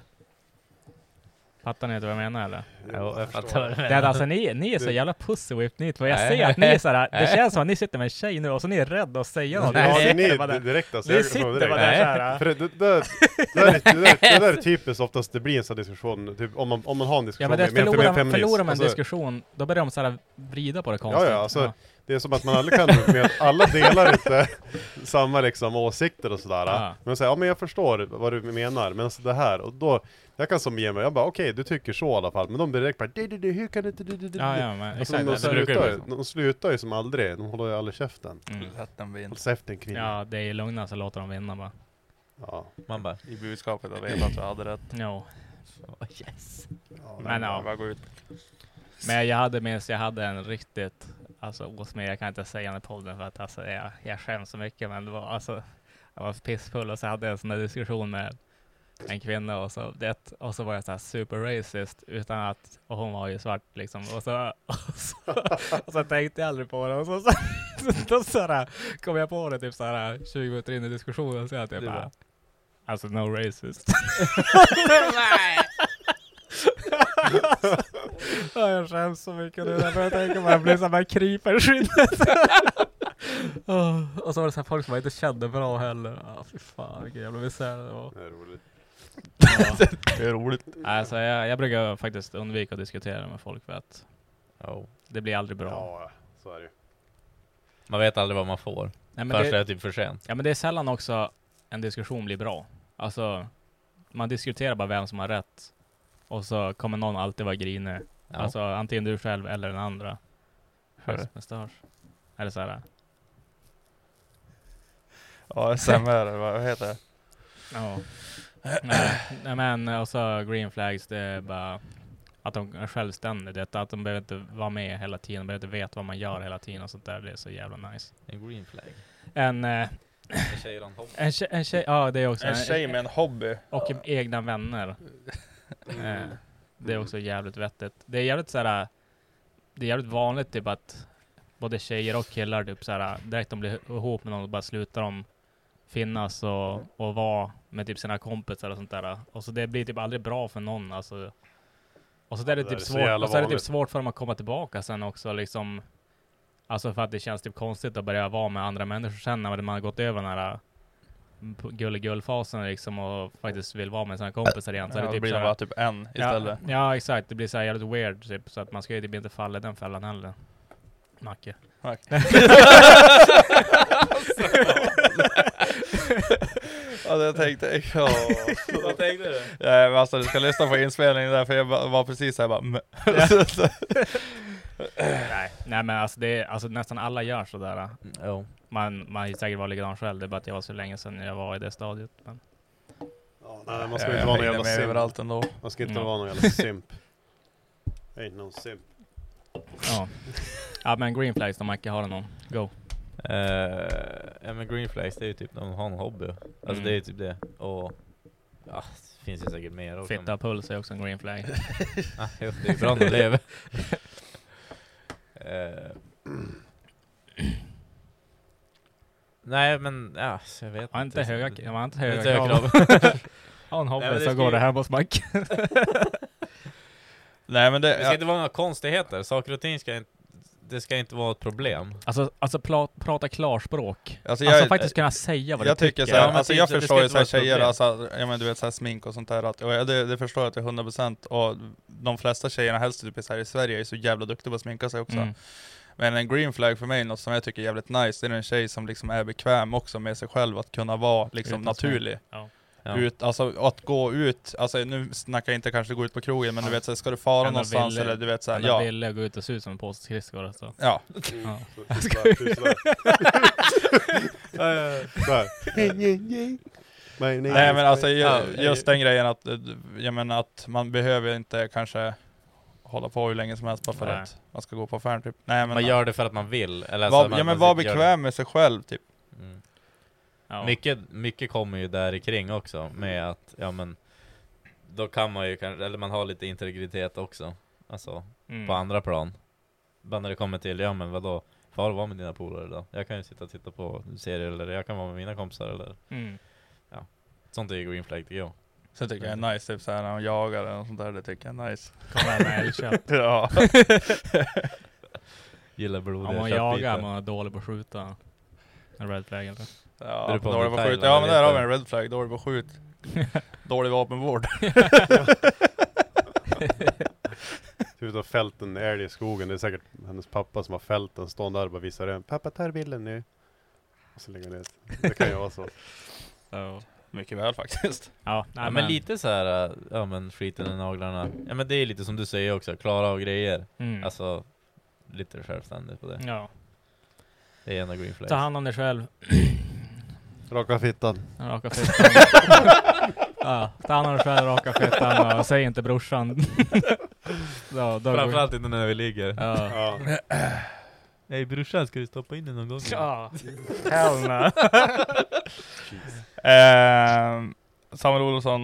[SPEAKER 1] Fattar ni inte vad jag menar eller?
[SPEAKER 2] Mm.
[SPEAKER 3] Jo, jag fattar vad du
[SPEAKER 1] Det är
[SPEAKER 3] menar.
[SPEAKER 1] alltså ni, ni är så
[SPEAKER 2] Det-
[SPEAKER 1] jävla pussywhip ni två. Jag
[SPEAKER 3] Nej.
[SPEAKER 1] ser att ni är såhär, det känns som att ni sitter med en tjej nu och så ni är rädda att säga något.
[SPEAKER 2] Ja, det är
[SPEAKER 1] Ni sitter bara
[SPEAKER 2] ni
[SPEAKER 1] där.
[SPEAKER 2] direkt alltså.
[SPEAKER 1] Ni
[SPEAKER 2] jag kommer
[SPEAKER 1] sitter
[SPEAKER 2] direkt.
[SPEAKER 1] bara där
[SPEAKER 3] Nej.
[SPEAKER 1] såhär.
[SPEAKER 2] För det, det, där, det, där, är- det, där, det där är typiskt oftast det blir en sån här diskussion, typ, om, man, om man har en diskussion
[SPEAKER 1] Ja men det
[SPEAKER 2] med- med- med
[SPEAKER 1] förlorar,
[SPEAKER 2] en feminist.
[SPEAKER 1] förlorar man en
[SPEAKER 2] Alltså,
[SPEAKER 1] diskussion, då börjar de såhär vrida på det konstigt.
[SPEAKER 2] Ja, ja, alltså, Det är som att man aldrig kan, med, alla delar inte samma liksom, åsikter och sådär.
[SPEAKER 1] Ja.
[SPEAKER 2] Men säger ja men jag förstår vad du menar, men så det här, och då, jag kan som ge mig, jag bara okej, du tycker så i alla fall, men de direkt bara, "Du, du, du, hur kan du, inte- du, du, du,
[SPEAKER 1] Ja,
[SPEAKER 2] du?"
[SPEAKER 1] ja, men
[SPEAKER 2] Alltså,
[SPEAKER 1] exakt.
[SPEAKER 2] de,
[SPEAKER 1] Alltså, det brukar ju
[SPEAKER 2] slutar,
[SPEAKER 1] bli
[SPEAKER 2] ju- de slutar ju som aldrig, de håller ju aldrig käften.
[SPEAKER 1] så. Mm.
[SPEAKER 4] Lätt en vind.
[SPEAKER 2] Håll käften kvinna. Ja.
[SPEAKER 1] Ja, det är lugna så låter de vinna bara.
[SPEAKER 2] Ja.
[SPEAKER 3] Man bara,
[SPEAKER 4] I budskapet av Eva att vi hade rätt.
[SPEAKER 1] No.
[SPEAKER 3] oh, yes.
[SPEAKER 1] Men ja.
[SPEAKER 4] Bara gå ut.
[SPEAKER 1] Men jag hade minst, jag hade en riktigt, alltså åt mig, jag kan inte säga den i podden för att alltså, jag, jag skäms så mycket men det var alltså, jag var pissfull och så hade jag en sån där diskussion med en kvinna och så, det, och så var jag så här super racist utan att, och hon var ju svart liksom och så, och så, och så tänkte jag aldrig på det och så, så, så, så här, kom jag på det typ så här 20 minuter in i diskussionen och så att jag
[SPEAKER 2] Du
[SPEAKER 1] bara,
[SPEAKER 2] bara.
[SPEAKER 1] alltså no racist. Ja, jag skäms så mycket nu när jag tänker på det. Jag blir som en kryper i skinnet. Åh, och så var det så här folk som jag inte kände bra heller. Ja, fy fan vilken jävla misär det var.
[SPEAKER 2] Det är roligt.
[SPEAKER 1] Ja.
[SPEAKER 4] Det är roligt.
[SPEAKER 1] alltså, jag, jag brukar faktiskt undvika att diskutera med folk för att
[SPEAKER 3] Oh.
[SPEAKER 1] det blir aldrig bra.
[SPEAKER 2] Ja, så är det ju.
[SPEAKER 3] Man vet aldrig vad man får.
[SPEAKER 1] Nej, men
[SPEAKER 3] Först är
[SPEAKER 1] det,
[SPEAKER 3] det typ för sent.
[SPEAKER 1] ja, men det är sällan också en diskussion blir bra. Alltså, man diskuterar bara vem som har rätt. Och så kommer någon alltid vara grinig.
[SPEAKER 3] Ja.
[SPEAKER 1] Alltså antingen du själv eller den andra.
[SPEAKER 4] Hör du?
[SPEAKER 1] Mustasch. Eller så här.
[SPEAKER 4] Ja, SMR, vad heter det?
[SPEAKER 1] Ja. Nej, nej, men och så green flags, det är bara att de är självständiga. Det är att de behöver inte vara med hela tiden, de behöver inte veta vad man gör hela tiden och sånt där. Det är så jävla nice.
[SPEAKER 3] En green flag.
[SPEAKER 1] En, eh,
[SPEAKER 3] En tjej utan hopp.
[SPEAKER 1] en, tjej, en tjej, ja det är också.
[SPEAKER 4] En tjej med en hobby.
[SPEAKER 1] Och egna vänner. Eh, Det är också jävligt vettigt. Det är jävligt såhär, det är jävligt vanligt typ att både tjejer och killar typ såhär, direkt de blir ihop med någon så bara slutar de finnas och, och vara med typ sina kompisar och sånt där. Och så det blir typ aldrig bra för någon alltså. Och så där är det,
[SPEAKER 2] Det där
[SPEAKER 1] typ
[SPEAKER 2] är så
[SPEAKER 1] svårt,
[SPEAKER 2] jävla
[SPEAKER 1] och så är det typ
[SPEAKER 2] vanligt.
[SPEAKER 1] svårt för dem att komma tillbaka sen också liksom. Alltså för att det känns typ konstigt att börja vara med andra människor sen när man har gått över den här gull-gull-fasen liksom och faktiskt vill vara med sina kompisar igen. Så är
[SPEAKER 4] Ja,
[SPEAKER 1] det
[SPEAKER 4] då
[SPEAKER 1] typ
[SPEAKER 4] blir det
[SPEAKER 1] såhär-
[SPEAKER 4] bara typ en istället.
[SPEAKER 1] Ja, ja exakt, det blir så här jävligt weird typ, så att man ska ju typ inte falla i den fällan heller. Macke.
[SPEAKER 4] Tack. Ja, det tänkte jag. Ja.
[SPEAKER 3] Vad tänkte du?
[SPEAKER 4] Nej, men alltså du ska lyssna på inspelningen där, för jag ba- var precis såhär bara "Mm." Så- så-
[SPEAKER 1] Nej, nej men alltså, det är, alltså nästan alla gör sådär.
[SPEAKER 3] Mm, Jo.
[SPEAKER 1] Man, man är säkert var likadan själv, det är bara att jag var så länge sedan jag var i det stadiet. Men,
[SPEAKER 2] Ja, nej, man ska
[SPEAKER 4] Jag
[SPEAKER 2] inte vara någon
[SPEAKER 4] hängde
[SPEAKER 2] jävla
[SPEAKER 4] med
[SPEAKER 2] simp.
[SPEAKER 4] överallt ändå.
[SPEAKER 2] Man ska inte
[SPEAKER 1] Mm.
[SPEAKER 2] vara någon jävla simp. Ain't no simp.
[SPEAKER 1] ja. ja men green flags då Macke, har du någon? Go.
[SPEAKER 3] Eh, Ja men green flags det är ju typ när man har en hobby. Alltså
[SPEAKER 1] Mm.
[SPEAKER 3] det är ju typ det. Och ja, det finns ju säkert mer också.
[SPEAKER 1] Fitta och puls är också en green flag.
[SPEAKER 3] Ah, jo, det är bra när du lever. Eh. Nej men ja, så jag vet
[SPEAKER 1] Har inte höga, jag har inte höga
[SPEAKER 3] Inte höga
[SPEAKER 1] krav.
[SPEAKER 3] krav.
[SPEAKER 1] Har en
[SPEAKER 3] Nej, men
[SPEAKER 1] hobby
[SPEAKER 3] det
[SPEAKER 1] så
[SPEAKER 3] ska
[SPEAKER 1] går
[SPEAKER 3] ju-
[SPEAKER 1] det hem hos Macke.
[SPEAKER 4] Nej men
[SPEAKER 3] Det ska
[SPEAKER 4] det,
[SPEAKER 3] inte vara några konstigheter. Saker och ting ska inte, det ska inte vara ett problem.
[SPEAKER 1] Alltså, alltså pla, prata klarspråk. Alltså
[SPEAKER 4] alltså jag,
[SPEAKER 1] faktiskt kunna säga vad
[SPEAKER 4] jag
[SPEAKER 1] du
[SPEAKER 4] tycker såhär,
[SPEAKER 3] Ja, men
[SPEAKER 4] alltså
[SPEAKER 3] typ,
[SPEAKER 4] jag
[SPEAKER 3] det ska
[SPEAKER 4] förstår ju
[SPEAKER 3] inte
[SPEAKER 4] såhär
[SPEAKER 3] vara ett
[SPEAKER 4] tjejer,
[SPEAKER 3] problem.
[SPEAKER 4] alltså, ja men du vet såhär smink och sånt där, att, och jag- det, det förstår jag till 100% och de flesta tjejerna, helst typ så här i Sverige, är så jävla duktiga på att sminka sig också.
[SPEAKER 1] Mm.
[SPEAKER 4] Men en green flag för mig, något som jag tycker är jävligt nice, det är en tjej som liksom är bekväm också med sig själv, att kunna vara liksom
[SPEAKER 1] Utan
[SPEAKER 4] naturlig.
[SPEAKER 3] Ja.
[SPEAKER 4] Ut, alltså att gå ut, alltså nu snackar jag inte kanske gå ut på krogen, men du
[SPEAKER 1] Ja.
[SPEAKER 4] vet såhär, ska du fara
[SPEAKER 1] Ändå
[SPEAKER 4] någonstans
[SPEAKER 1] ville-
[SPEAKER 4] eller du vet såhär,
[SPEAKER 1] Alla
[SPEAKER 4] ja.
[SPEAKER 1] ville gå ut och se ut som en påse skridskor alltså.
[SPEAKER 4] Ja,
[SPEAKER 2] Mm.
[SPEAKER 1] Ja.
[SPEAKER 2] Nej
[SPEAKER 4] nej men alltså
[SPEAKER 3] Ja,
[SPEAKER 4] ju- just den grejen att, eh, jag menar att man behöver inte kanske hålla på hur länge som helst bara för
[SPEAKER 1] Nej.
[SPEAKER 4] att man ska gå på affären typ. Nej men,
[SPEAKER 3] Man gör det för att man vill. Eller alltså,
[SPEAKER 4] var,
[SPEAKER 3] man,
[SPEAKER 4] ja, men
[SPEAKER 3] man
[SPEAKER 4] var
[SPEAKER 3] gör det.
[SPEAKER 4] bekväm med sig själv typ.
[SPEAKER 3] Mm.
[SPEAKER 1] Ja.
[SPEAKER 3] Mycket, mycket kommer ju där i kring också med att, ja men Då kan man ju kanske, eller man har lite integritet också Alltså
[SPEAKER 1] Mm.
[SPEAKER 3] på andra plan Bara när det kommer till, ja men vadå Far vara med dina polare idag Jag kan ju sitta och titta på serier eller jag kan vara med mina kompisar eller
[SPEAKER 1] Mm.
[SPEAKER 3] Sånt är ju green flag tycker jag
[SPEAKER 4] Sen tycker jag det är nice typ såhär när de jagar eller något sånt där, det tycker jag är nice.
[SPEAKER 1] Kom här med älgkött.
[SPEAKER 4] Ja.
[SPEAKER 3] Gillar blodiga
[SPEAKER 1] Om man
[SPEAKER 3] köttbitar.
[SPEAKER 1] jagar, man är dålig på att skjuta. En red flag eller?
[SPEAKER 4] Ja,
[SPEAKER 3] Beror på om
[SPEAKER 4] dålig
[SPEAKER 3] det
[SPEAKER 4] på
[SPEAKER 3] är
[SPEAKER 4] skjut.
[SPEAKER 3] Thailand
[SPEAKER 4] Ja men
[SPEAKER 3] eller
[SPEAKER 4] där har vi
[SPEAKER 3] inte.
[SPEAKER 4] en red flag, dålig på skjut. dålig vapenvård.
[SPEAKER 2] Typ utav fälten en älg i skogen. Det är säkert hennes pappa som har fällt den. Står där och bara visar den. Pappa tar bilden nu. Och så lägger hon ner. Det kan ju vara så.
[SPEAKER 1] Så.
[SPEAKER 4] Mycket väl faktiskt.
[SPEAKER 1] Ja,
[SPEAKER 3] Ja,
[SPEAKER 1] nej,
[SPEAKER 3] men,
[SPEAKER 1] men
[SPEAKER 3] lite så här, äh, ja men skiten i naglarna. Ja men det är lite som du säger också, klara av grejer.
[SPEAKER 1] Mm.
[SPEAKER 3] Alltså, lite självständigt på det.
[SPEAKER 1] Ja.
[SPEAKER 3] Det är en av green flags.
[SPEAKER 1] Ta hand om dig själv.
[SPEAKER 2] Raka fittan.
[SPEAKER 1] Raka fittan. ja, ta hand om dig själv, raka fittan och säg inte brorsan. ja, då
[SPEAKER 3] Framförallt inte när vi ligger.
[SPEAKER 1] Ja.
[SPEAKER 2] Ja.
[SPEAKER 3] Nej brorsan, ska du stoppa in den någon gång?
[SPEAKER 1] Ja.
[SPEAKER 4] Hell no. Ehm, Samuel Olofsson,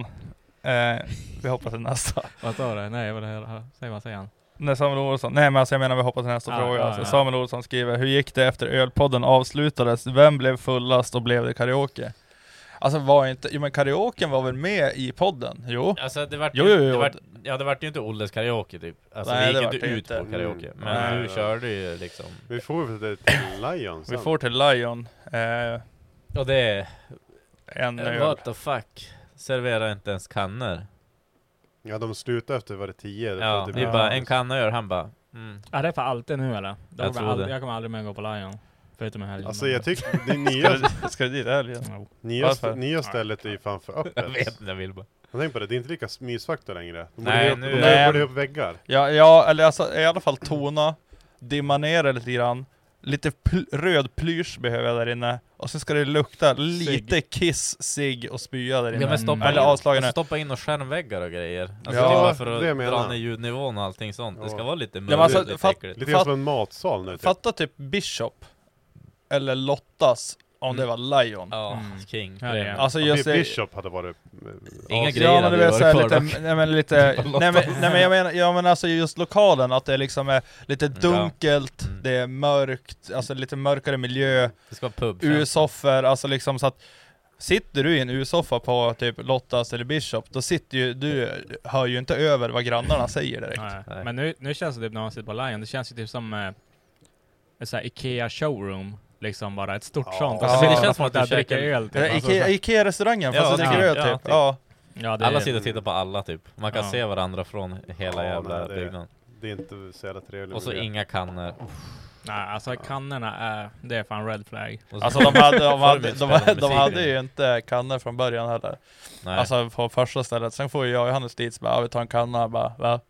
[SPEAKER 4] eh, vi hoppar till nästa.
[SPEAKER 1] Vad sa du? Nej, vad det här? Säg vad säger han?
[SPEAKER 4] Nej Samuel Olofsson, nej men alltså jag menar vi hoppar till nästa
[SPEAKER 1] Ja,
[SPEAKER 4] fråga.
[SPEAKER 1] ja,
[SPEAKER 4] alltså,
[SPEAKER 1] ja.
[SPEAKER 4] Samuel Olofsson skriver, hur gick det efter ölpodden avslutades? Vem blev fullast och blev det karaoke? Alltså var inte, jo men karaoken var väl med i podden? Jo.
[SPEAKER 3] Alltså det vart
[SPEAKER 4] Jo,
[SPEAKER 3] ju-
[SPEAKER 4] jo, jo.
[SPEAKER 3] Det vart, ja det vart ju inte Olles karaoke typ. Alltså
[SPEAKER 4] Nej,
[SPEAKER 3] vi
[SPEAKER 4] det
[SPEAKER 3] gick
[SPEAKER 4] vart
[SPEAKER 3] inte
[SPEAKER 4] det
[SPEAKER 3] ut
[SPEAKER 4] inte.
[SPEAKER 3] på karaoke.
[SPEAKER 2] Mm.
[SPEAKER 3] Men
[SPEAKER 4] Nej.
[SPEAKER 3] du körde ju liksom.
[SPEAKER 2] Vi får ju det till Lion sen.
[SPEAKER 4] Vi får till Lion, eh,
[SPEAKER 3] Och det är,
[SPEAKER 4] en
[SPEAKER 3] eh,
[SPEAKER 4] öl.
[SPEAKER 3] what the fuck. Servera inte ens kannor.
[SPEAKER 2] Ja, de slutar efter var det tio.
[SPEAKER 3] Ja,
[SPEAKER 2] det
[SPEAKER 3] det är bara en kanna öl, han bara mm.
[SPEAKER 1] Ja, det är för alltid nu eller? Då
[SPEAKER 3] Jag
[SPEAKER 1] kommer
[SPEAKER 3] tror
[SPEAKER 1] aldrig-
[SPEAKER 3] det.
[SPEAKER 1] jag kommer aldrig mer gå på Lion. Förutom i helgen.
[SPEAKER 2] Alltså
[SPEAKER 1] men-
[SPEAKER 2] jag tycker det nya,
[SPEAKER 4] Ska du- Ska du dit i helgen?
[SPEAKER 1] Jo.
[SPEAKER 2] nya,
[SPEAKER 4] Varför?
[SPEAKER 2] st- nya stället är ju fan för
[SPEAKER 3] Jag
[SPEAKER 2] öppet.
[SPEAKER 3] vet inte, jag vill bara.
[SPEAKER 2] Jag tänk på det, det är inte lika mysfaktor längre. De
[SPEAKER 3] Nej,
[SPEAKER 2] borde
[SPEAKER 3] nu-
[SPEAKER 2] ju- de
[SPEAKER 4] Nej.
[SPEAKER 2] borde ju upp väggar.
[SPEAKER 4] Ja, ja, eller alltså i alla fall tona, dimma ner det lite grann. Lite pl- röd plysch behöver jag där inne. Och sen ska det lukta lite kiss, cigg och spya där inne.
[SPEAKER 3] Ja, men stoppa
[SPEAKER 4] Eller
[SPEAKER 3] in,
[SPEAKER 4] avslagen
[SPEAKER 3] alltså,
[SPEAKER 4] här.
[SPEAKER 3] stoppa in och skärmväggar och grejer. Alltså
[SPEAKER 4] Ja,
[SPEAKER 3] ja, bara för
[SPEAKER 2] det
[SPEAKER 3] att
[SPEAKER 2] menar
[SPEAKER 3] dra
[SPEAKER 2] jag.
[SPEAKER 3] ner ljudnivån och allting sånt. Det ska
[SPEAKER 2] Ja.
[SPEAKER 3] vara lite mörkt,
[SPEAKER 4] men alltså,
[SPEAKER 3] lite
[SPEAKER 4] fatt-
[SPEAKER 3] äckligt.
[SPEAKER 2] Lite grann
[SPEAKER 4] Fatt-
[SPEAKER 2] som en matsal nu typ.
[SPEAKER 4] Fatta typ Bishop, eller Lottas, om
[SPEAKER 3] Mm.
[SPEAKER 4] det var Lion.
[SPEAKER 3] Ja,
[SPEAKER 1] Mm.
[SPEAKER 3] king.
[SPEAKER 1] Ja, det är-
[SPEAKER 4] Alltså
[SPEAKER 2] Ja,
[SPEAKER 4] just
[SPEAKER 2] Bi-
[SPEAKER 4] det.
[SPEAKER 2] Bishop hade varit... eh,
[SPEAKER 3] Inga
[SPEAKER 2] as-
[SPEAKER 3] grejer
[SPEAKER 4] Ja men
[SPEAKER 3] hade
[SPEAKER 4] du
[SPEAKER 3] ju
[SPEAKER 4] vet
[SPEAKER 3] varit
[SPEAKER 4] såhär
[SPEAKER 3] kvar
[SPEAKER 4] lite,
[SPEAKER 3] dock.
[SPEAKER 4] nej men lite,
[SPEAKER 3] Lottas.
[SPEAKER 4] nej men, nej men jag menar, ja men alltså just lokalen, att det liksom är lite
[SPEAKER 3] Ja.
[SPEAKER 4] dunkelt,
[SPEAKER 3] Mm.
[SPEAKER 4] det är mörkt, alltså lite mörkare miljö.
[SPEAKER 3] Det ska vara pub.
[SPEAKER 4] U-soffor, alltså liksom så att Sitter du i en U-soffa på typ Lottas eller Bishop, då sitter ju du, hör ju inte över vad grannarna säger direkt.
[SPEAKER 1] Nej.
[SPEAKER 3] Nej.
[SPEAKER 1] Men nu, nu känns det typ när man sitter på Lion, det känns ju typ som eh, ett sånt här Ikea showroom. Liksom bara ett stort
[SPEAKER 2] Ja.
[SPEAKER 1] sånt. Alltså, Och
[SPEAKER 4] Ja.
[SPEAKER 1] så sitter
[SPEAKER 4] Det
[SPEAKER 1] folk
[SPEAKER 3] känns som att
[SPEAKER 1] där och
[SPEAKER 3] du
[SPEAKER 1] dricker
[SPEAKER 3] käkar-
[SPEAKER 1] öl.
[SPEAKER 4] Eller
[SPEAKER 1] Typ. Alltså,
[SPEAKER 4] Ikea-
[SPEAKER 1] så-
[SPEAKER 4] Ikea-restaurangen fast
[SPEAKER 3] Ja,
[SPEAKER 4] det dricker
[SPEAKER 3] ja,
[SPEAKER 4] öl
[SPEAKER 3] ja,
[SPEAKER 4] typ.
[SPEAKER 3] typ.
[SPEAKER 4] Ja.
[SPEAKER 1] ja, det
[SPEAKER 3] Alla
[SPEAKER 1] är-
[SPEAKER 3] sitter och tittar på alla typ. Man kan
[SPEAKER 1] Ja.
[SPEAKER 3] se varandra från hela
[SPEAKER 2] Ja,
[SPEAKER 3] jävla
[SPEAKER 2] nej, det-
[SPEAKER 3] byggnaden.
[SPEAKER 2] Det är inte så jävla trevligt.
[SPEAKER 3] Och så inga kannor.
[SPEAKER 1] Nej, alltså kannorna är, det är fan red flag.
[SPEAKER 3] Och så-
[SPEAKER 4] Alltså de hade, de hade, de,
[SPEAKER 3] Förmiddagskvällen
[SPEAKER 4] hade,
[SPEAKER 3] med
[SPEAKER 4] de hade
[SPEAKER 3] Sigrid.
[SPEAKER 4] ju inte kannor från början heller.
[SPEAKER 3] Nej.
[SPEAKER 4] Alltså på första stället. Sen får ju jag och Johannes dit så bara, ja, vi tar en kanna. Jag bara, va?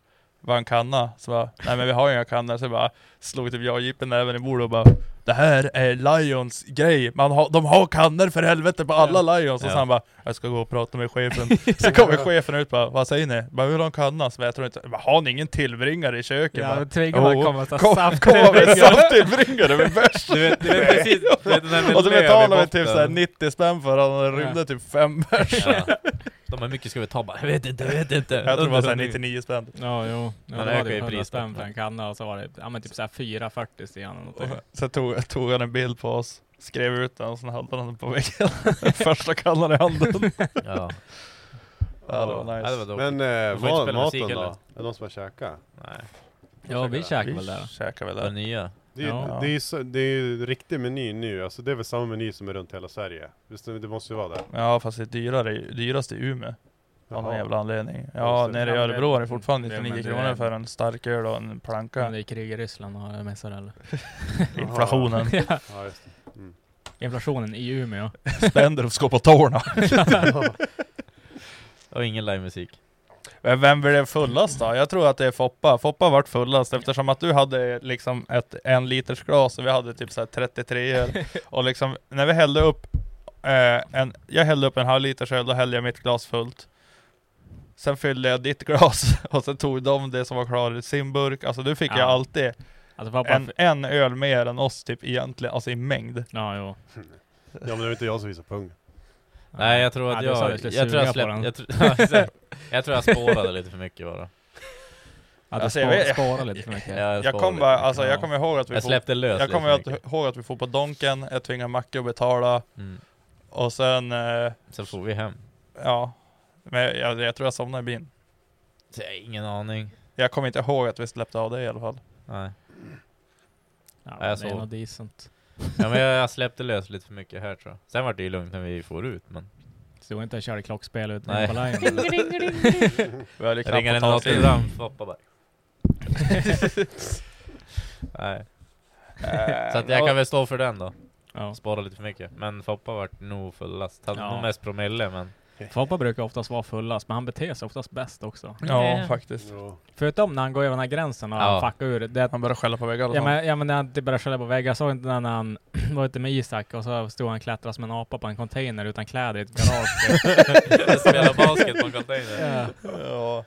[SPEAKER 4] Vad en kanna? Så bara, nej men vi har ju inga kannor. Så jag bara, slog typ jag och Jippen även i bordet och bara, det här är Lions grej. Man har, de har kannor för helvete på alla Lions. Och
[SPEAKER 3] Ja.
[SPEAKER 4] sen han bara, jag ska gå och prata med chefen. Sen kommer chefen ut och bara, vad säger ni? Jag Bara, vi vill ha en kanna? Så bara, jag tror inte, jag bara, har ni ingen tillbringare i köket?
[SPEAKER 1] Ja,
[SPEAKER 4] Ja,
[SPEAKER 1] men tvingarna
[SPEAKER 4] Jo,
[SPEAKER 1] kommer så
[SPEAKER 4] Kom,
[SPEAKER 1] saft
[SPEAKER 4] kom
[SPEAKER 1] i
[SPEAKER 4] med
[SPEAKER 1] ryggen.
[SPEAKER 4] safttillbringare med bärs!
[SPEAKER 3] Du vet, du vet precis, du vet den där med
[SPEAKER 4] Och så
[SPEAKER 3] löv i
[SPEAKER 4] betalade vi
[SPEAKER 3] botten.
[SPEAKER 4] typ såhär 90 spänn för han och det
[SPEAKER 1] Ja.
[SPEAKER 4] rymde typ fem bärs.
[SPEAKER 3] Ja. De har mycket ska vi ta bara, jag vet inte, jag vet inte.
[SPEAKER 4] Jag tror det var såhär 99 spänn.
[SPEAKER 1] Ja, jo. Ja,
[SPEAKER 3] Men
[SPEAKER 1] det var
[SPEAKER 3] ökar ju
[SPEAKER 1] typ 100
[SPEAKER 3] priset.
[SPEAKER 1] spänn för en kanna och så var det ja, men typ såhär 4,40 steg eller någonting.
[SPEAKER 4] Sen tog, tog han en bild på oss, skrev ut den och sen hade han den på väggen. Första kallan i handen.
[SPEAKER 3] Ja.
[SPEAKER 4] Ja, det var
[SPEAKER 3] Ja, det var
[SPEAKER 4] nice.
[SPEAKER 3] dope.
[SPEAKER 2] Men eh,
[SPEAKER 3] De får inte
[SPEAKER 2] ma-
[SPEAKER 3] spela musik
[SPEAKER 2] maten
[SPEAKER 3] heller.
[SPEAKER 2] då? Är de som har käkat?
[SPEAKER 3] Nej,
[SPEAKER 1] Ja, vi käkade väl
[SPEAKER 4] Vi
[SPEAKER 1] där.
[SPEAKER 4] käkade väl
[SPEAKER 3] det var
[SPEAKER 4] där.
[SPEAKER 3] nya.
[SPEAKER 2] Det är,
[SPEAKER 1] Ja.
[SPEAKER 2] det, är ju så, det är ju riktig meny nu, alltså det är väl samma meny som är runt hela Sverige? Visst, det det måste ju vara det?
[SPEAKER 4] Ja fast det är dyrare, dyrast i Umeå. Av någon
[SPEAKER 2] Jaha.
[SPEAKER 4] jävla anledning.
[SPEAKER 2] Just
[SPEAKER 4] Ja
[SPEAKER 2] det.
[SPEAKER 4] nere i
[SPEAKER 1] Ja, men
[SPEAKER 4] Örebro
[SPEAKER 1] det-
[SPEAKER 4] är det fortfarande
[SPEAKER 1] det- men
[SPEAKER 4] 99
[SPEAKER 1] det
[SPEAKER 4] kronor
[SPEAKER 1] är-
[SPEAKER 4] för en stark öl och en
[SPEAKER 1] Men
[SPEAKER 4] planka.
[SPEAKER 1] det är krig i Ryssland och mässar eller?
[SPEAKER 4] Inflationen.
[SPEAKER 2] Ja, just det.
[SPEAKER 1] Inflationen i Umeå.
[SPEAKER 4] Spender och skå på tårna.
[SPEAKER 3] Och ingen livemusik.
[SPEAKER 4] Men Vem blev fullast då? Jag tror att det är Foppa. Foppa vart fullast eftersom att du hade liksom ett en liters glas och vi hade typ så här 33 öl. Och liksom när vi hällde upp eh, en, jag hällde upp en halv liters öl, då hällde jag mitt glas fullt. Sen fyllde jag ditt glas och sen tog de det som var kvar i sin burk. Alltså du fick
[SPEAKER 1] Ja.
[SPEAKER 4] ju alltid
[SPEAKER 1] Alltså pappa...
[SPEAKER 4] en, en öl mer än oss typ egentligen, alltså i mängd.
[SPEAKER 1] Ja, jo.
[SPEAKER 2] Ja men det är inte jag som visar pung.
[SPEAKER 3] Nej jag tror att
[SPEAKER 1] du sa du
[SPEAKER 3] jag,
[SPEAKER 1] skulle
[SPEAKER 3] jag
[SPEAKER 1] suga på
[SPEAKER 3] tror jag släppte,
[SPEAKER 1] den.
[SPEAKER 3] jag, tror- ja, exakt. jag tror jag spårade lite för mycket bara.
[SPEAKER 1] Ja, du
[SPEAKER 4] Alltså, jag
[SPEAKER 1] spar,
[SPEAKER 4] vet-
[SPEAKER 1] sparar lite för mycket.
[SPEAKER 3] Ja,
[SPEAKER 4] Jag
[SPEAKER 3] spårade
[SPEAKER 4] kommer
[SPEAKER 3] lite.
[SPEAKER 4] bara, alltså
[SPEAKER 1] Ja.
[SPEAKER 4] jag kommer ihåg att vi
[SPEAKER 3] Jag
[SPEAKER 4] for,
[SPEAKER 3] släppte lös
[SPEAKER 4] jag
[SPEAKER 3] lite
[SPEAKER 4] kommer
[SPEAKER 3] för mycket.
[SPEAKER 4] att- ihåg att vi får på Donken, jag tvingade Macke att betala
[SPEAKER 3] Mm.
[SPEAKER 4] och sen eh,
[SPEAKER 3] Sen får vi hem.
[SPEAKER 4] Ja. Men jag, jag, jag tror jag somnade i bilen.
[SPEAKER 3] Så jag har ingen aning.
[SPEAKER 4] Jag kommer inte ihåg att vi släppte av det i alla fall.
[SPEAKER 3] Nej.
[SPEAKER 1] Ja,
[SPEAKER 3] jag
[SPEAKER 1] det är
[SPEAKER 3] såg.
[SPEAKER 1] nog decent.
[SPEAKER 3] Ja, men jag, jag släppte lös lite för mycket här tror jag. Sen var det ju lugnt när vi for ut men...
[SPEAKER 1] Stod inte och körde klockspel ute
[SPEAKER 3] Nej.
[SPEAKER 1] på linjen.
[SPEAKER 4] Vi hade ju knappt
[SPEAKER 3] Ringa
[SPEAKER 4] fått
[SPEAKER 3] en
[SPEAKER 4] ta oss in.
[SPEAKER 3] Notre-Dame, Foppa bara. Nej, så att jag kan väl stå för den då.
[SPEAKER 1] Ja.
[SPEAKER 3] Spara lite för mycket. Men Foppa vart nog fullast. Hade
[SPEAKER 1] Ja.
[SPEAKER 3] nog mest promille men...
[SPEAKER 1] Foppa brukar oftast vara fullast, men han beter sig oftast bäst också.
[SPEAKER 4] Ja, faktiskt.
[SPEAKER 2] Ja.
[SPEAKER 1] Förutom när han går över den här gränsen och
[SPEAKER 3] Ja.
[SPEAKER 1] han fuckar ur. Det,
[SPEAKER 4] Han började skälla på väggar och
[SPEAKER 1] ja,
[SPEAKER 4] sånt.
[SPEAKER 1] men, ja men när han typ började skälla på väggar. Jag såg inte när han var ute med Isak och så stod han och klättrade som en apa på en container utan kläder i ett garage.
[SPEAKER 3] Spela basket på en container.
[SPEAKER 1] Ja.
[SPEAKER 4] Ja.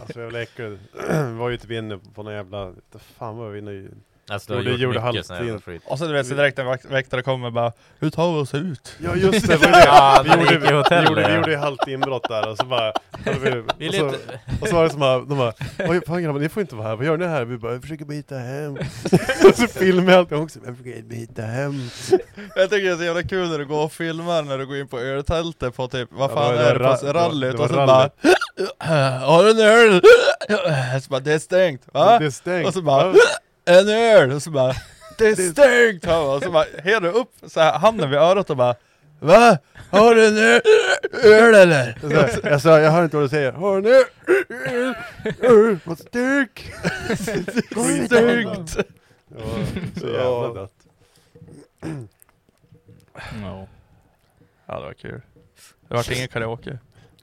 [SPEAKER 2] Alltså jag blev äcklad. Vi var ju typ inne på någon jävla... vad Fan vad var vi inne i?
[SPEAKER 3] Alltså
[SPEAKER 2] Jo,
[SPEAKER 3] du
[SPEAKER 2] det
[SPEAKER 3] har gjort
[SPEAKER 2] gjorde
[SPEAKER 3] mycket sån här jävla skit.
[SPEAKER 4] Och så du vet, så direkt när vak- väktare kommer bara Hur tar vi oss ut?
[SPEAKER 2] Ja just det, det
[SPEAKER 3] Ja,
[SPEAKER 2] var
[SPEAKER 3] när
[SPEAKER 2] ju
[SPEAKER 3] vi
[SPEAKER 2] det.
[SPEAKER 3] gick
[SPEAKER 2] Vi
[SPEAKER 3] i
[SPEAKER 2] gjorde, vi
[SPEAKER 3] hotellet,
[SPEAKER 2] gjorde, vi
[SPEAKER 3] ja.
[SPEAKER 2] gjorde ju halvt inbrott där och så bara... hade Vi,
[SPEAKER 3] Vi
[SPEAKER 2] och,
[SPEAKER 3] är
[SPEAKER 2] så,
[SPEAKER 3] lite...
[SPEAKER 2] och så var det som att de bara... Oj fan grabbar, ni får inte vara här. Vad gör ni här? Vi bara, jag försöker byta hem. Och så filmade jag allt. Jag också, jag försöker byta hem.
[SPEAKER 4] Jag tycker det är så jävla kul när du går och filmar när du går in på öltältet på typ Vad
[SPEAKER 2] Ja,
[SPEAKER 4] fan
[SPEAKER 2] det var
[SPEAKER 4] är det
[SPEAKER 2] ra-
[SPEAKER 4] på rallyt?
[SPEAKER 2] det var
[SPEAKER 4] Och så bara
[SPEAKER 2] rallyt.
[SPEAKER 4] Har du en öl? Så bara det är stängt
[SPEAKER 3] Ah,
[SPEAKER 4] va?
[SPEAKER 2] Det är stängt.
[SPEAKER 4] Och så bara-
[SPEAKER 2] Ja.
[SPEAKER 4] en öl! Och så bara Det är stängt! Han bara, och så bara hela upp så här, handen vid örat och bara Va? Har du en ö- öl eller?
[SPEAKER 2] Så här, Jag sa, jag hör inte vad du säger. Hör ni? Vad styrk!
[SPEAKER 4] Stängt!
[SPEAKER 2] Ja, så jävla dött.
[SPEAKER 1] Ja.
[SPEAKER 4] Ja det var kul. Det vart ingen karaoke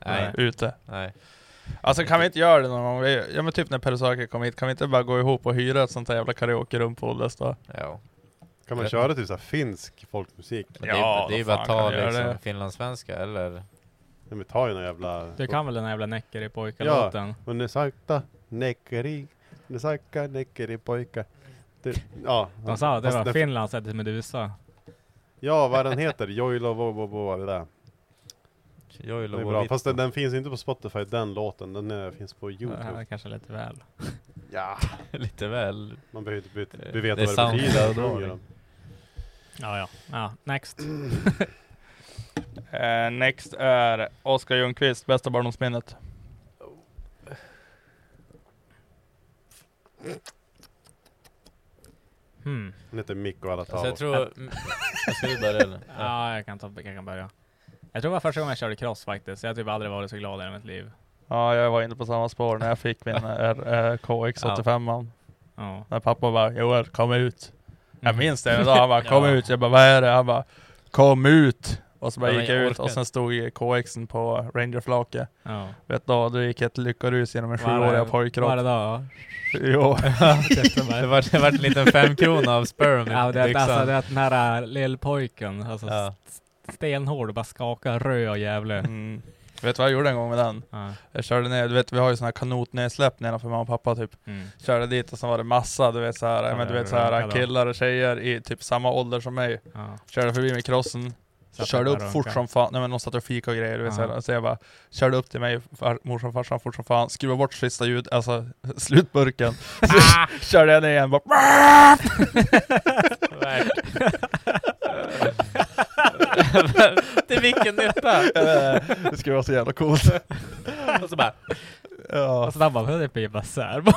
[SPEAKER 3] Nej,
[SPEAKER 4] ute.
[SPEAKER 3] nej.
[SPEAKER 4] Alltså kan vi inte göra det någon gång? Vi- Ja men typ när Perusaki kom hit, kan vi inte bara gå ihop och hyra ett sånt här jävla karaoke-rum på Olles då?
[SPEAKER 3] Ja.
[SPEAKER 2] Kan man köra typ så här finsk folkmusik?
[SPEAKER 3] Men det är-
[SPEAKER 4] Ja,
[SPEAKER 3] det är ju
[SPEAKER 4] vad
[SPEAKER 3] bara
[SPEAKER 4] fan
[SPEAKER 3] att
[SPEAKER 4] kan
[SPEAKER 3] ta
[SPEAKER 4] du göra
[SPEAKER 3] liksom
[SPEAKER 4] det?
[SPEAKER 3] finlandssvenska eller...
[SPEAKER 2] Nej, men ta ju någon jävla...
[SPEAKER 1] Du kan väl den här jävla Näcker i pojkarlåten?
[SPEAKER 2] Och nu sakta näckeri, nu sakta näckeri pojkar. Det, ja,
[SPEAKER 1] De sa det
[SPEAKER 2] fast
[SPEAKER 1] var
[SPEAKER 2] den-
[SPEAKER 1] Finlands Eddie Meduza.
[SPEAKER 2] Ja, vad den heter? Joilo Vovovo, det där. Det är bra.
[SPEAKER 3] Joilovovit.
[SPEAKER 2] Fast den, den finns inte på Spotify, den låten. Den eh, finns på
[SPEAKER 1] Det här är
[SPEAKER 2] Youtube.
[SPEAKER 1] kanske lite väl.
[SPEAKER 2] Ja,
[SPEAKER 3] Lite väl...
[SPEAKER 2] man behöver inte byta,
[SPEAKER 3] Eh,
[SPEAKER 2] vi vet
[SPEAKER 3] det är
[SPEAKER 2] vad det betyder.
[SPEAKER 3] sound-
[SPEAKER 2] de sjunger om.
[SPEAKER 1] Ja, ja. ja next.
[SPEAKER 4] Eh, next är Oskar Ljungqvist, bästa barndomsminnet.
[SPEAKER 1] Hmm.
[SPEAKER 2] Den heter Mick och alla
[SPEAKER 3] Alltså
[SPEAKER 2] tavlor.
[SPEAKER 3] jag tror... Mm, Ska du börja eller? Ja.
[SPEAKER 1] Ja, jag kan, ta, jag kan börja. Jag tror det var första gången jag körde cross faktiskt. Jag har typ aldrig varit så glad i hela mitt liv.
[SPEAKER 4] Ja, jag var inne på samma spår när jag fick min KX85.
[SPEAKER 1] Ja.
[SPEAKER 4] När pappa bara Joel, kom ut. Jag minns det, så han bara kom
[SPEAKER 1] Ja.
[SPEAKER 4] ut. Jag bara vad är det? Han bara kom ut. Och så bara
[SPEAKER 3] Ja, men
[SPEAKER 4] gick jag
[SPEAKER 3] jag
[SPEAKER 4] ut
[SPEAKER 3] orkar
[SPEAKER 4] och sen stod ju KXen på Rangerflaket.
[SPEAKER 1] Ja.
[SPEAKER 4] Vet du, då gick ett lyckorus genom en
[SPEAKER 1] Var det-
[SPEAKER 4] sjuåriga
[SPEAKER 1] Var
[SPEAKER 4] pojkropp.
[SPEAKER 1] det då?
[SPEAKER 4] Jo.
[SPEAKER 3] Det vart det vart en liten femkrona av sperm i
[SPEAKER 1] Ja, det är alltså
[SPEAKER 3] byxan.
[SPEAKER 1] det är den här äh, lillpojken. Alltså
[SPEAKER 3] Ja.
[SPEAKER 1] stenhård och bara skakar röd och jävlig.
[SPEAKER 4] Mm. Vet du vad jag gjorde en gång med den?
[SPEAKER 1] Ja.
[SPEAKER 4] Jag körde ner, du vet vi har ju såna här kanotnedsläpp nedanför mamma och pappa typ.
[SPEAKER 1] Mm.
[SPEAKER 4] Körde dit och så var det massa, du vet så här,
[SPEAKER 1] Ja,
[SPEAKER 4] men du
[SPEAKER 1] det
[SPEAKER 4] vet
[SPEAKER 1] är
[SPEAKER 4] så här
[SPEAKER 1] rankade.
[SPEAKER 4] killar och tjejer i typ samma ålder som mig.
[SPEAKER 1] Ja.
[SPEAKER 4] Körde förbi med crossen.
[SPEAKER 1] Satt
[SPEAKER 4] körde
[SPEAKER 1] där
[SPEAKER 4] upp
[SPEAKER 1] och
[SPEAKER 4] fort
[SPEAKER 1] runkade.
[SPEAKER 4] som fan, nej men de satt och fika och grejer du vet så, här,
[SPEAKER 1] Ja.
[SPEAKER 4] så jag bara Körde upp till mig, far, morsan farsan fort som fan, skruva bort sista ljud, alltså slutburken Ah! Körde jag ner igen, bara
[SPEAKER 3] Till vilken nytta?
[SPEAKER 4] "Eh, Det skulle vara så jävla coolt
[SPEAKER 3] Och så bara...
[SPEAKER 4] Ja,
[SPEAKER 1] Och så Alltså, han bara, det blir bara så här.
[SPEAKER 3] Mm.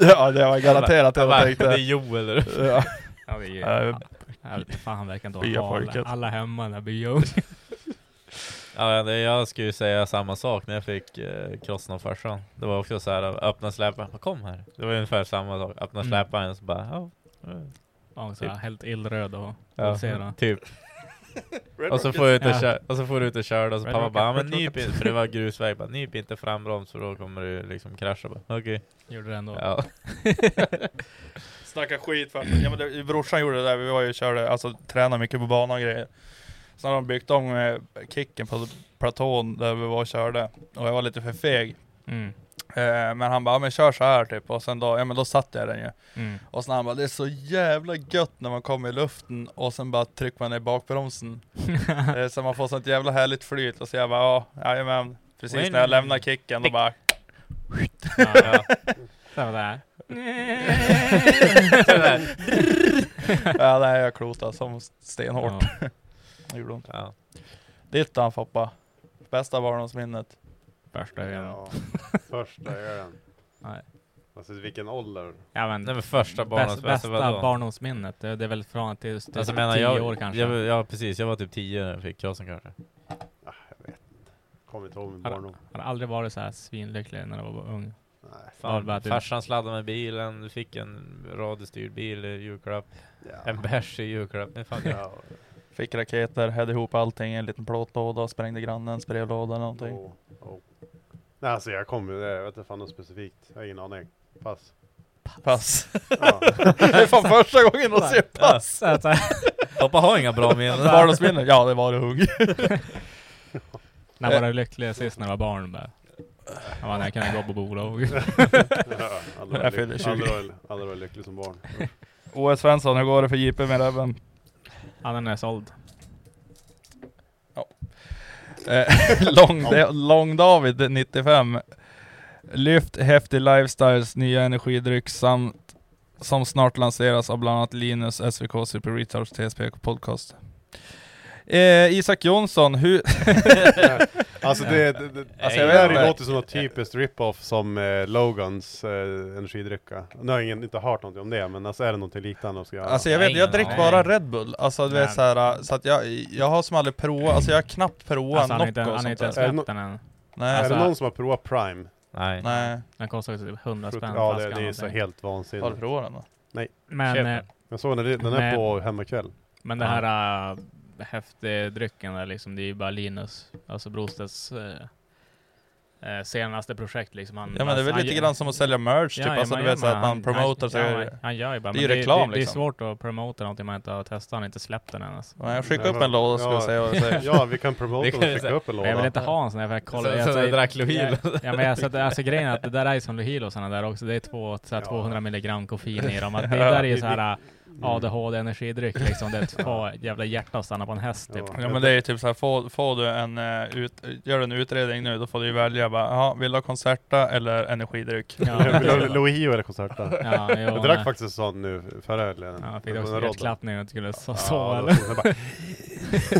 [SPEAKER 4] ja det var garanterat det
[SPEAKER 3] Jag
[SPEAKER 4] jag
[SPEAKER 3] bara, det är
[SPEAKER 4] tänkte
[SPEAKER 3] Joel. eller?
[SPEAKER 4] ja.
[SPEAKER 1] Ja, det är ju,
[SPEAKER 4] Eh,
[SPEAKER 1] ja, fan, han verkar inte
[SPEAKER 4] bya
[SPEAKER 1] ha alla,
[SPEAKER 4] pojken.
[SPEAKER 1] alla hemma i den här byung.
[SPEAKER 3] Ja, det, jag skulle ju säga samma sak när jag fick eh, krossen av farsan. Det var också så här, öppna släpan, "Bara, kom här. Det var ungefär samma sak. Öppna
[SPEAKER 1] Mm.
[SPEAKER 3] släpan och så bara, ja. eh,
[SPEAKER 1] Ja, så här, Helt illröd och
[SPEAKER 3] ja,
[SPEAKER 1] pulserad.
[SPEAKER 3] typ. Och så får du ut och
[SPEAKER 1] Ja.
[SPEAKER 3] kör, och så får du ut och kör och så
[SPEAKER 1] Red
[SPEAKER 3] pappa
[SPEAKER 1] Rocket,
[SPEAKER 3] bara, "Ja, men
[SPEAKER 1] Red
[SPEAKER 3] nyp inte, för det var grusväg, bara, nyp inte frambroms för då kommer du liksom krascha. Bara, Okej.
[SPEAKER 1] Gjorde det ändå.
[SPEAKER 3] Ja.
[SPEAKER 4] Snacka skit för ja, men det, brorsan gjorde det där, vi var ju och körde, alltså tränade mycket på banan och grejer. Sen har de byggt om eh, kicken på platån där vi var och körde, och jag var lite för feg.
[SPEAKER 1] Mm.
[SPEAKER 4] Eh, men han bara, ja, men kör så här typ, och sen då, ja men då satte jag den ju.
[SPEAKER 1] Mm.
[SPEAKER 4] Och sen han bara, det är så jävla gött när man kommer i luften och sen bara trycker man ner bakbromsen. eh, så man får sånt jävla härligt flyt, och så jag bara, ja, jajamän. Precis när jag lämnar kicken, då bara
[SPEAKER 1] Ja, ja. Så var det här.
[SPEAKER 4] Ja nej jag klotade som alltså." stenhårt.
[SPEAKER 1] Ja.
[SPEAKER 4] Det gjorde ont.
[SPEAKER 3] Ja.
[SPEAKER 4] Ditt då Foppa? Bästa barndomsminnet.
[SPEAKER 1] Värsta ölen.
[SPEAKER 2] Ja, första ölen.
[SPEAKER 1] Nej.
[SPEAKER 2] Alltså vilken ålder.
[SPEAKER 1] Ja, men,
[SPEAKER 3] Nej men första
[SPEAKER 1] bäst,
[SPEAKER 3] barnens
[SPEAKER 1] bästa
[SPEAKER 3] bästa vadå?
[SPEAKER 1] barndomsminnet, det det är väl från till just
[SPEAKER 3] Alltså
[SPEAKER 1] alltså,
[SPEAKER 3] menar
[SPEAKER 1] tio
[SPEAKER 3] jag,
[SPEAKER 1] år kanske?
[SPEAKER 3] Jag, ja precis, jag var typ 10 när jag fick krossen kanske.
[SPEAKER 2] Ah, jag vet inte. Kommer inte ihåg min
[SPEAKER 1] Har-
[SPEAKER 2] barndom.
[SPEAKER 1] Han har aldrig varit så här svinlycklig när han var ung.
[SPEAKER 2] Nej.
[SPEAKER 1] Ja, det var typ-
[SPEAKER 3] Fan,
[SPEAKER 1] att du-
[SPEAKER 3] farsan sladdade med bilen, du fick en radiostyrd bil i julklapp, en
[SPEAKER 2] Ja.
[SPEAKER 3] bärs i julklapp. Men fan, ja.
[SPEAKER 2] Ja,
[SPEAKER 4] Fick raketer, hällde ihop allting i en liten plåtlåda, sprängde grannens brevlåda eller någonting.
[SPEAKER 2] oh, oh. Nej alltså jag kommer ju, jag vet inte fan något specifikt. Jag har ingen aning. Pass.
[SPEAKER 4] Pass.
[SPEAKER 2] Ja.
[SPEAKER 4] det är fan första gången de ser pass.
[SPEAKER 1] Så att, så här,
[SPEAKER 3] Pappa har inga bra minnen.
[SPEAKER 4] Barndomsminne? Ja, det var det hugg.
[SPEAKER 1] när var du lycklig sist när du var barn? Bara. Han bara, när jag kunde gå på bolag.
[SPEAKER 2] Ja, Aldrig
[SPEAKER 4] Jag
[SPEAKER 2] var
[SPEAKER 4] fyller
[SPEAKER 2] lyck-
[SPEAKER 4] 20.
[SPEAKER 2] aldrig var- aldrig var lycklig som barn.
[SPEAKER 4] OS Svensson, hur går det för JP med Rebben?
[SPEAKER 1] Han är såld.
[SPEAKER 4] Eh, Lång, Lång David 95 Lyft Häftig Lifestyles nya energidryck samt som snart lanseras av bland annat Linus, SVK, Super Retards, TSP och Podcast. Eh, Isak Jonsson, hur...
[SPEAKER 2] Alltså det, det, det, alltså
[SPEAKER 3] jag
[SPEAKER 2] det
[SPEAKER 3] vet
[SPEAKER 2] här
[SPEAKER 4] inte.
[SPEAKER 2] låter som något typiskt rip-off som eh, Logans eh, energidricka. Nu har jag ingen, inte hört någonting om det, men alltså är det någonting liknande de ska göra?
[SPEAKER 4] Alltså jag vet, jag
[SPEAKER 3] Ingen
[SPEAKER 4] dricker
[SPEAKER 3] aning.
[SPEAKER 4] bara Red Bull. Alltså du vet
[SPEAKER 1] Nej.
[SPEAKER 4] såhär, så att jag, jag har som aldrig provat, alltså jag har knappt provat
[SPEAKER 1] Alltså, han har
[SPEAKER 4] Nocco
[SPEAKER 1] inte,
[SPEAKER 4] och
[SPEAKER 1] han har
[SPEAKER 4] sånt
[SPEAKER 1] inte ens
[SPEAKER 4] där.
[SPEAKER 2] där. Är det
[SPEAKER 1] släppt den än.
[SPEAKER 4] Nej,
[SPEAKER 1] alltså-
[SPEAKER 2] är det någon som har provat Prime?
[SPEAKER 3] Nej.
[SPEAKER 4] nej.
[SPEAKER 1] Den kostar ju typ 100 spänn
[SPEAKER 2] ja, det,
[SPEAKER 1] flaskan
[SPEAKER 2] det är så
[SPEAKER 1] någonting.
[SPEAKER 2] helt
[SPEAKER 4] Har du
[SPEAKER 2] vansinnigt.
[SPEAKER 4] provat den då?
[SPEAKER 1] Men,
[SPEAKER 3] Köp
[SPEAKER 1] eh,
[SPEAKER 3] den.
[SPEAKER 2] Jag såg den, den
[SPEAKER 1] Nej.
[SPEAKER 2] är på hemmakväll.
[SPEAKER 1] men det här äh, häftdrycken där liksom, det är ju bara Linus, alltså Brostedts eh, eh, senaste projekt liksom. Han,
[SPEAKER 4] Ja men det är väl
[SPEAKER 1] han-
[SPEAKER 4] lite grann som att sälja merch typ, alltså
[SPEAKER 1] men-
[SPEAKER 4] du vet såhär
[SPEAKER 1] men
[SPEAKER 4] att man promotar
[SPEAKER 1] han,
[SPEAKER 4] sig.
[SPEAKER 1] Ja, men han gör ju bara.
[SPEAKER 4] Det är
[SPEAKER 1] men
[SPEAKER 4] ju reklam,
[SPEAKER 1] det, det är
[SPEAKER 4] liksom.
[SPEAKER 1] svårt att promota någonting man inte har testat, han har inte släppt den än. Alltså.
[SPEAKER 4] Nej, jag skickar
[SPEAKER 2] Ja,
[SPEAKER 4] upp en låda ska
[SPEAKER 2] ja.
[SPEAKER 4] vi se vad det säger.
[SPEAKER 2] Ja, vi kan promota
[SPEAKER 3] Det
[SPEAKER 2] och
[SPEAKER 3] kan vi
[SPEAKER 2] skicka
[SPEAKER 3] säga.
[SPEAKER 2] upp en
[SPEAKER 1] Men jag vill
[SPEAKER 2] låda.
[SPEAKER 1] inte ha en sån här för jag kollar.
[SPEAKER 3] Så-
[SPEAKER 1] jag
[SPEAKER 3] så
[SPEAKER 1] säger-
[SPEAKER 3] drack Lohil.
[SPEAKER 1] Ja, ja, men jag, så att, alltså, grejen är att det där är som Lohil och såna där också. Det är två, så här,
[SPEAKER 2] Ja.
[SPEAKER 1] 200 milligram koffein i dem. Att det där är ju så här äh,
[SPEAKER 2] Mm.
[SPEAKER 1] ADHD energidryck liksom. Det är två jävla hjärtan stannar på en häst typ.
[SPEAKER 2] Ja.
[SPEAKER 4] Ja men det är ju typ såhär, får, får du en, eh, ut, gör du en utredning nu, då får du ju välja bara, jaha, vill du ha konserta eller energidryck?
[SPEAKER 1] Ja.
[SPEAKER 2] Lohio eller konserta.
[SPEAKER 1] Ja, jo,
[SPEAKER 2] Jag drack faktiskt en sån nu förra helgen.
[SPEAKER 1] Ja, jag
[SPEAKER 2] Det
[SPEAKER 1] fick
[SPEAKER 2] var
[SPEAKER 1] också
[SPEAKER 2] en rodd.
[SPEAKER 1] hjärtklappning när jag skulle so-
[SPEAKER 2] Ja,
[SPEAKER 1] sova.
[SPEAKER 2] det
[SPEAKER 1] eller?
[SPEAKER 2] var så- jag bara,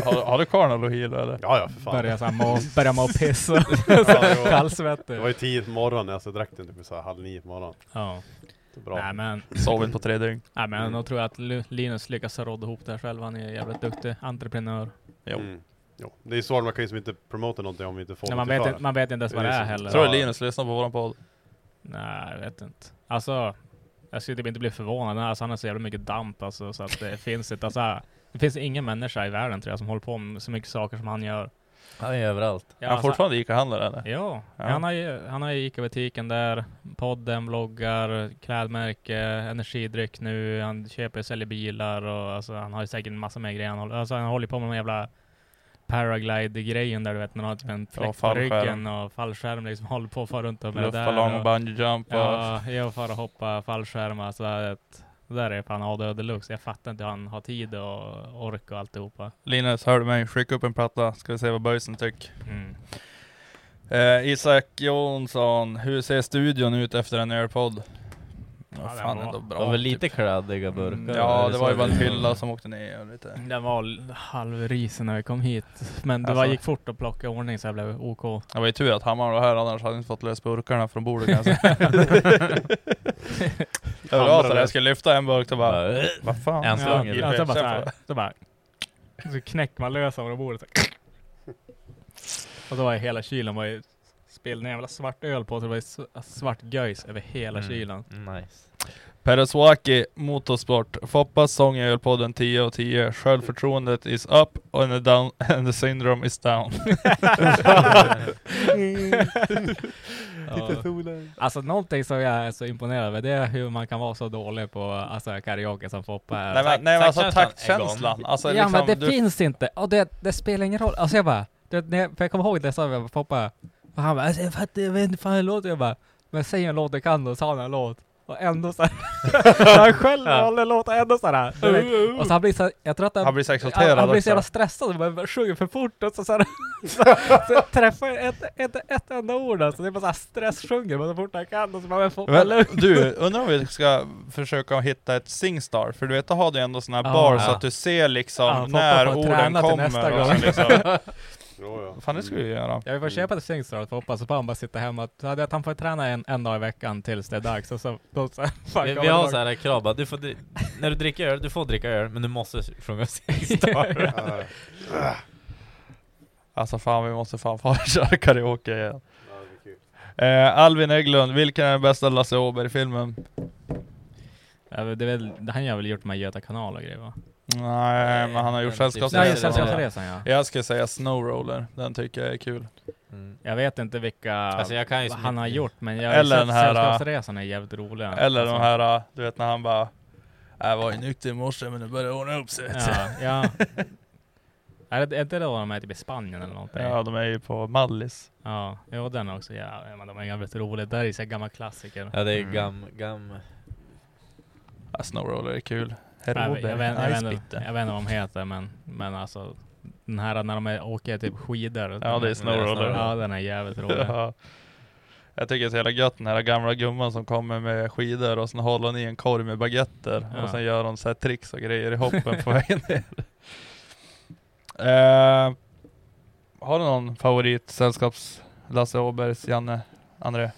[SPEAKER 4] har, har du kvar någon Lohilo eller?
[SPEAKER 2] Ja, ja för fan.
[SPEAKER 1] Började, så här, må, började må piss och
[SPEAKER 2] Ja, jo. Det var
[SPEAKER 1] kallsvettig.
[SPEAKER 2] ju tio på morgonen, alltså jag drack den typ så här halv nio på morgonen.
[SPEAKER 1] Ja.
[SPEAKER 2] Så Bra. Mm.
[SPEAKER 1] Nej men,
[SPEAKER 4] Sovit på tre dygn.
[SPEAKER 1] nej, men då tror jag att Lu- Linus lyckas rodda ihop det här själv. Han är ju jävligt duktig entreprenör.
[SPEAKER 4] Jo.
[SPEAKER 2] Mm. Jo. Det är ju svårt, man kan ju liksom inte promota någonting om vi inte får
[SPEAKER 1] Nej, man,
[SPEAKER 2] något
[SPEAKER 1] vet
[SPEAKER 2] för
[SPEAKER 1] inte, man vet inte ens vad det
[SPEAKER 2] Det är
[SPEAKER 1] är
[SPEAKER 2] så-
[SPEAKER 1] heller.
[SPEAKER 4] Tror du
[SPEAKER 2] Ja.
[SPEAKER 4] Linus lyssnar på våran podd?
[SPEAKER 1] Nej, jag vet inte. Alltså, jag skulle typ inte bli förvånad. Alltså, han har så jävla mycket damp alltså, så att det finns inte. Alltså, det finns ingen människa i världen tror jag som håller på med så mycket saker som han gör.
[SPEAKER 3] Han är överallt.
[SPEAKER 4] Är han
[SPEAKER 1] alltså,
[SPEAKER 4] fortfarande Ica-handlare eller?
[SPEAKER 1] Ja,
[SPEAKER 4] Ja.
[SPEAKER 1] han har ju, han har ju Ica-butiken där, podden, bloggar, klädmärke, energidryck nu, han köper och säljer bilar och alltså, han har ju säkert en massa mer grejer han håller, alltså, han håller på med den jävla paraglide-grejen där du vet, när han har typ en fläkt på
[SPEAKER 4] fallskärm.
[SPEAKER 1] ryggen och fallskärm liksom, håller på och far runt med det där.
[SPEAKER 4] Luftballong,
[SPEAKER 1] och-
[SPEAKER 4] bungee jump och...
[SPEAKER 1] Ja, jag far och hoppa fallskärm alltså. Att, det där är fan ADHD deluxe. Jag fattar inte hur han har tid och ork och alltihopa.
[SPEAKER 4] Linus, hör du mig? Skicka upp en platta, ska vi se vad böjsen tycker.
[SPEAKER 1] Mm.
[SPEAKER 4] Eh, Isak Jonsson, hur ser studion ut efter en ölpodd?
[SPEAKER 1] Ja,
[SPEAKER 4] Ja,
[SPEAKER 1] den
[SPEAKER 4] fan
[SPEAKER 1] var- Mm.
[SPEAKER 4] ändå
[SPEAKER 3] De
[SPEAKER 4] bra.
[SPEAKER 3] var väl
[SPEAKER 4] typ.
[SPEAKER 3] lite kladdiga burkar. Liksom.
[SPEAKER 4] Ja, det var ju
[SPEAKER 3] så
[SPEAKER 4] bara en
[SPEAKER 3] det-
[SPEAKER 4] hylla som åkte ner och lite...
[SPEAKER 1] Den var l- halvrisen när vi kom hit. Men det
[SPEAKER 4] Alltså.
[SPEAKER 1] var, gick fort att plocka i ordning så jag blev OK.
[SPEAKER 4] Det var ju tur att Hammar var här, annars hade jag inte fått lös burkarna från bordet kanske.
[SPEAKER 3] Alltså.
[SPEAKER 4] jag var så där, jag skulle lyfta en burk och bara,
[SPEAKER 3] Bara, "Äh,
[SPEAKER 4] vad fan?
[SPEAKER 3] En
[SPEAKER 1] Ja,
[SPEAKER 3] slang, eller?
[SPEAKER 1] ja, så bara så
[SPEAKER 4] Sen
[SPEAKER 1] här. Så bara. Så knäcker man lös över bordet. så här. Och då var ju hela kylen var ju spilld en jävla svart öl på. Så det var ju s- svart göjs över hela
[SPEAKER 3] Mm.
[SPEAKER 1] kylen.
[SPEAKER 3] Nice.
[SPEAKER 4] Pereswaki, motorsport. Foppas sång i ölpodden 10 och 10. Självförtroendet is up and the, down, and the syndrome is down.
[SPEAKER 1] Ja. Alltså någonting som jag är så imponerad över det är hur man kan vara så dålig på alltså, karaoke som Foppa är.
[SPEAKER 4] nej men, nej, men alltså
[SPEAKER 3] taktkänslan
[SPEAKER 4] taktkänslan. Alltså,
[SPEAKER 1] ja
[SPEAKER 4] liksom,
[SPEAKER 1] men det
[SPEAKER 4] du,
[SPEAKER 1] finns inte, och det, det spelar ingen roll. Alltså jag bara, du, vet, när jag, för jag kommer ihåg det sa jag bara, Foppa, och han bara alltså, jag fattar, jag vet inte fan hur låter. Jag bara, men säg en låt du kan då, sa han en låt. Och ändå såhär, han själv
[SPEAKER 3] Ja.
[SPEAKER 1] håller låten ändå såhär. du vet. Och så han blir så, jag tror att
[SPEAKER 4] Uh, han blir så exalterad
[SPEAKER 1] han, han blir så
[SPEAKER 4] också.
[SPEAKER 1] jävla stressad och bara sjunger för fort och så, så, här, så, så träffar jag ett, ett, ett enda ord alltså. Det är bara såhär stressjunger men så fort han kan och så bara men får
[SPEAKER 4] Men,
[SPEAKER 1] lugn.
[SPEAKER 4] du, undrar om vi ska försöka hitta ett Singstar, för du vet, då har du ändå såna här
[SPEAKER 1] Ja.
[SPEAKER 4] bar så att du ser liksom
[SPEAKER 1] Ja, Foppa
[SPEAKER 4] när
[SPEAKER 1] får
[SPEAKER 4] orden
[SPEAKER 1] träna till
[SPEAKER 4] kommer.
[SPEAKER 1] nästa
[SPEAKER 4] och så
[SPEAKER 1] gång.
[SPEAKER 4] liksom.
[SPEAKER 2] Jo, ja. Mm.
[SPEAKER 4] Vad fan det skulle jag göra.
[SPEAKER 1] Jag vill
[SPEAKER 3] Mm.
[SPEAKER 1] bara köpa ett Singstar för att hoppas på att han bara sitter hemma. Så hade jag att han får träna en, en dag i veckan tills det är dags. Och så, då, så,
[SPEAKER 3] Vi, vi har så här krav bara, du får, dri- när du dricker öl, du får dricka öl, men du måste sjunga Singstar.
[SPEAKER 2] Ja,
[SPEAKER 4] Alltså fan vi måste fan fan köra karaoke igen.
[SPEAKER 2] ja, det är kul.
[SPEAKER 4] Eh, Alvin Hägglund, vilken är den bästa Lasse Åberg-filmen?
[SPEAKER 1] Ja, men det är väl, han har väl gjort med Göta kanal och grejer va?
[SPEAKER 4] Nej, men han har gjort
[SPEAKER 3] den typ-
[SPEAKER 4] Sällskapsresan.
[SPEAKER 1] Nej,
[SPEAKER 3] just det,
[SPEAKER 4] Ja.
[SPEAKER 1] Sällskapsresan ja.
[SPEAKER 4] Jag skulle säga Snowroller, den tycker jag är kul.
[SPEAKER 3] Mm.
[SPEAKER 1] Jag vet inte vilka
[SPEAKER 3] Alltså jag kan ju så
[SPEAKER 1] han har
[SPEAKER 3] mycket.
[SPEAKER 1] gjort, men jag
[SPEAKER 4] Eller
[SPEAKER 1] Eller
[SPEAKER 4] den här,
[SPEAKER 1] Sällskapsresan är jävligt rolig.
[SPEAKER 4] Eller
[SPEAKER 1] Alltså,
[SPEAKER 4] de här, eh, du vet när han bara "Äh, Jag var ju nykter i morse men nu börjar det ordna upp sig. vet du."
[SPEAKER 1] Alltså. Ja, ja. Är det är inte då de är typ i Spanien eller någonting?
[SPEAKER 4] Ja, de är ju på Mallis.
[SPEAKER 1] Ja, jo den också. Ja, men de är jävligt roliga. Där är ju så här gamla klassiker. Mm.
[SPEAKER 3] Ja det är gam, gam.
[SPEAKER 4] Ja, Snowroller är kul.
[SPEAKER 1] Jag vet,
[SPEAKER 4] Heroder,
[SPEAKER 1] jag, vet, jag, vet, inte-
[SPEAKER 4] isbitte.
[SPEAKER 1] jag vet inte vad de heter, men, men alltså den här när de är, åker typ skidor.
[SPEAKER 4] Ja, det är
[SPEAKER 3] Snowroller.
[SPEAKER 4] Snowroller.
[SPEAKER 1] Ja, den är jävligt rolig.
[SPEAKER 4] Ja. Jag tycker det är så jävla gött den här gamla gumman som kommer med skidor och sen håller hon i en korg med baguetter och
[SPEAKER 1] Ja.
[SPEAKER 4] sen gör hon så här tricks och grejer i hoppen på vägen ner. Eh, har du någon favorit sällskaps Lasse Åbergs Janne? André?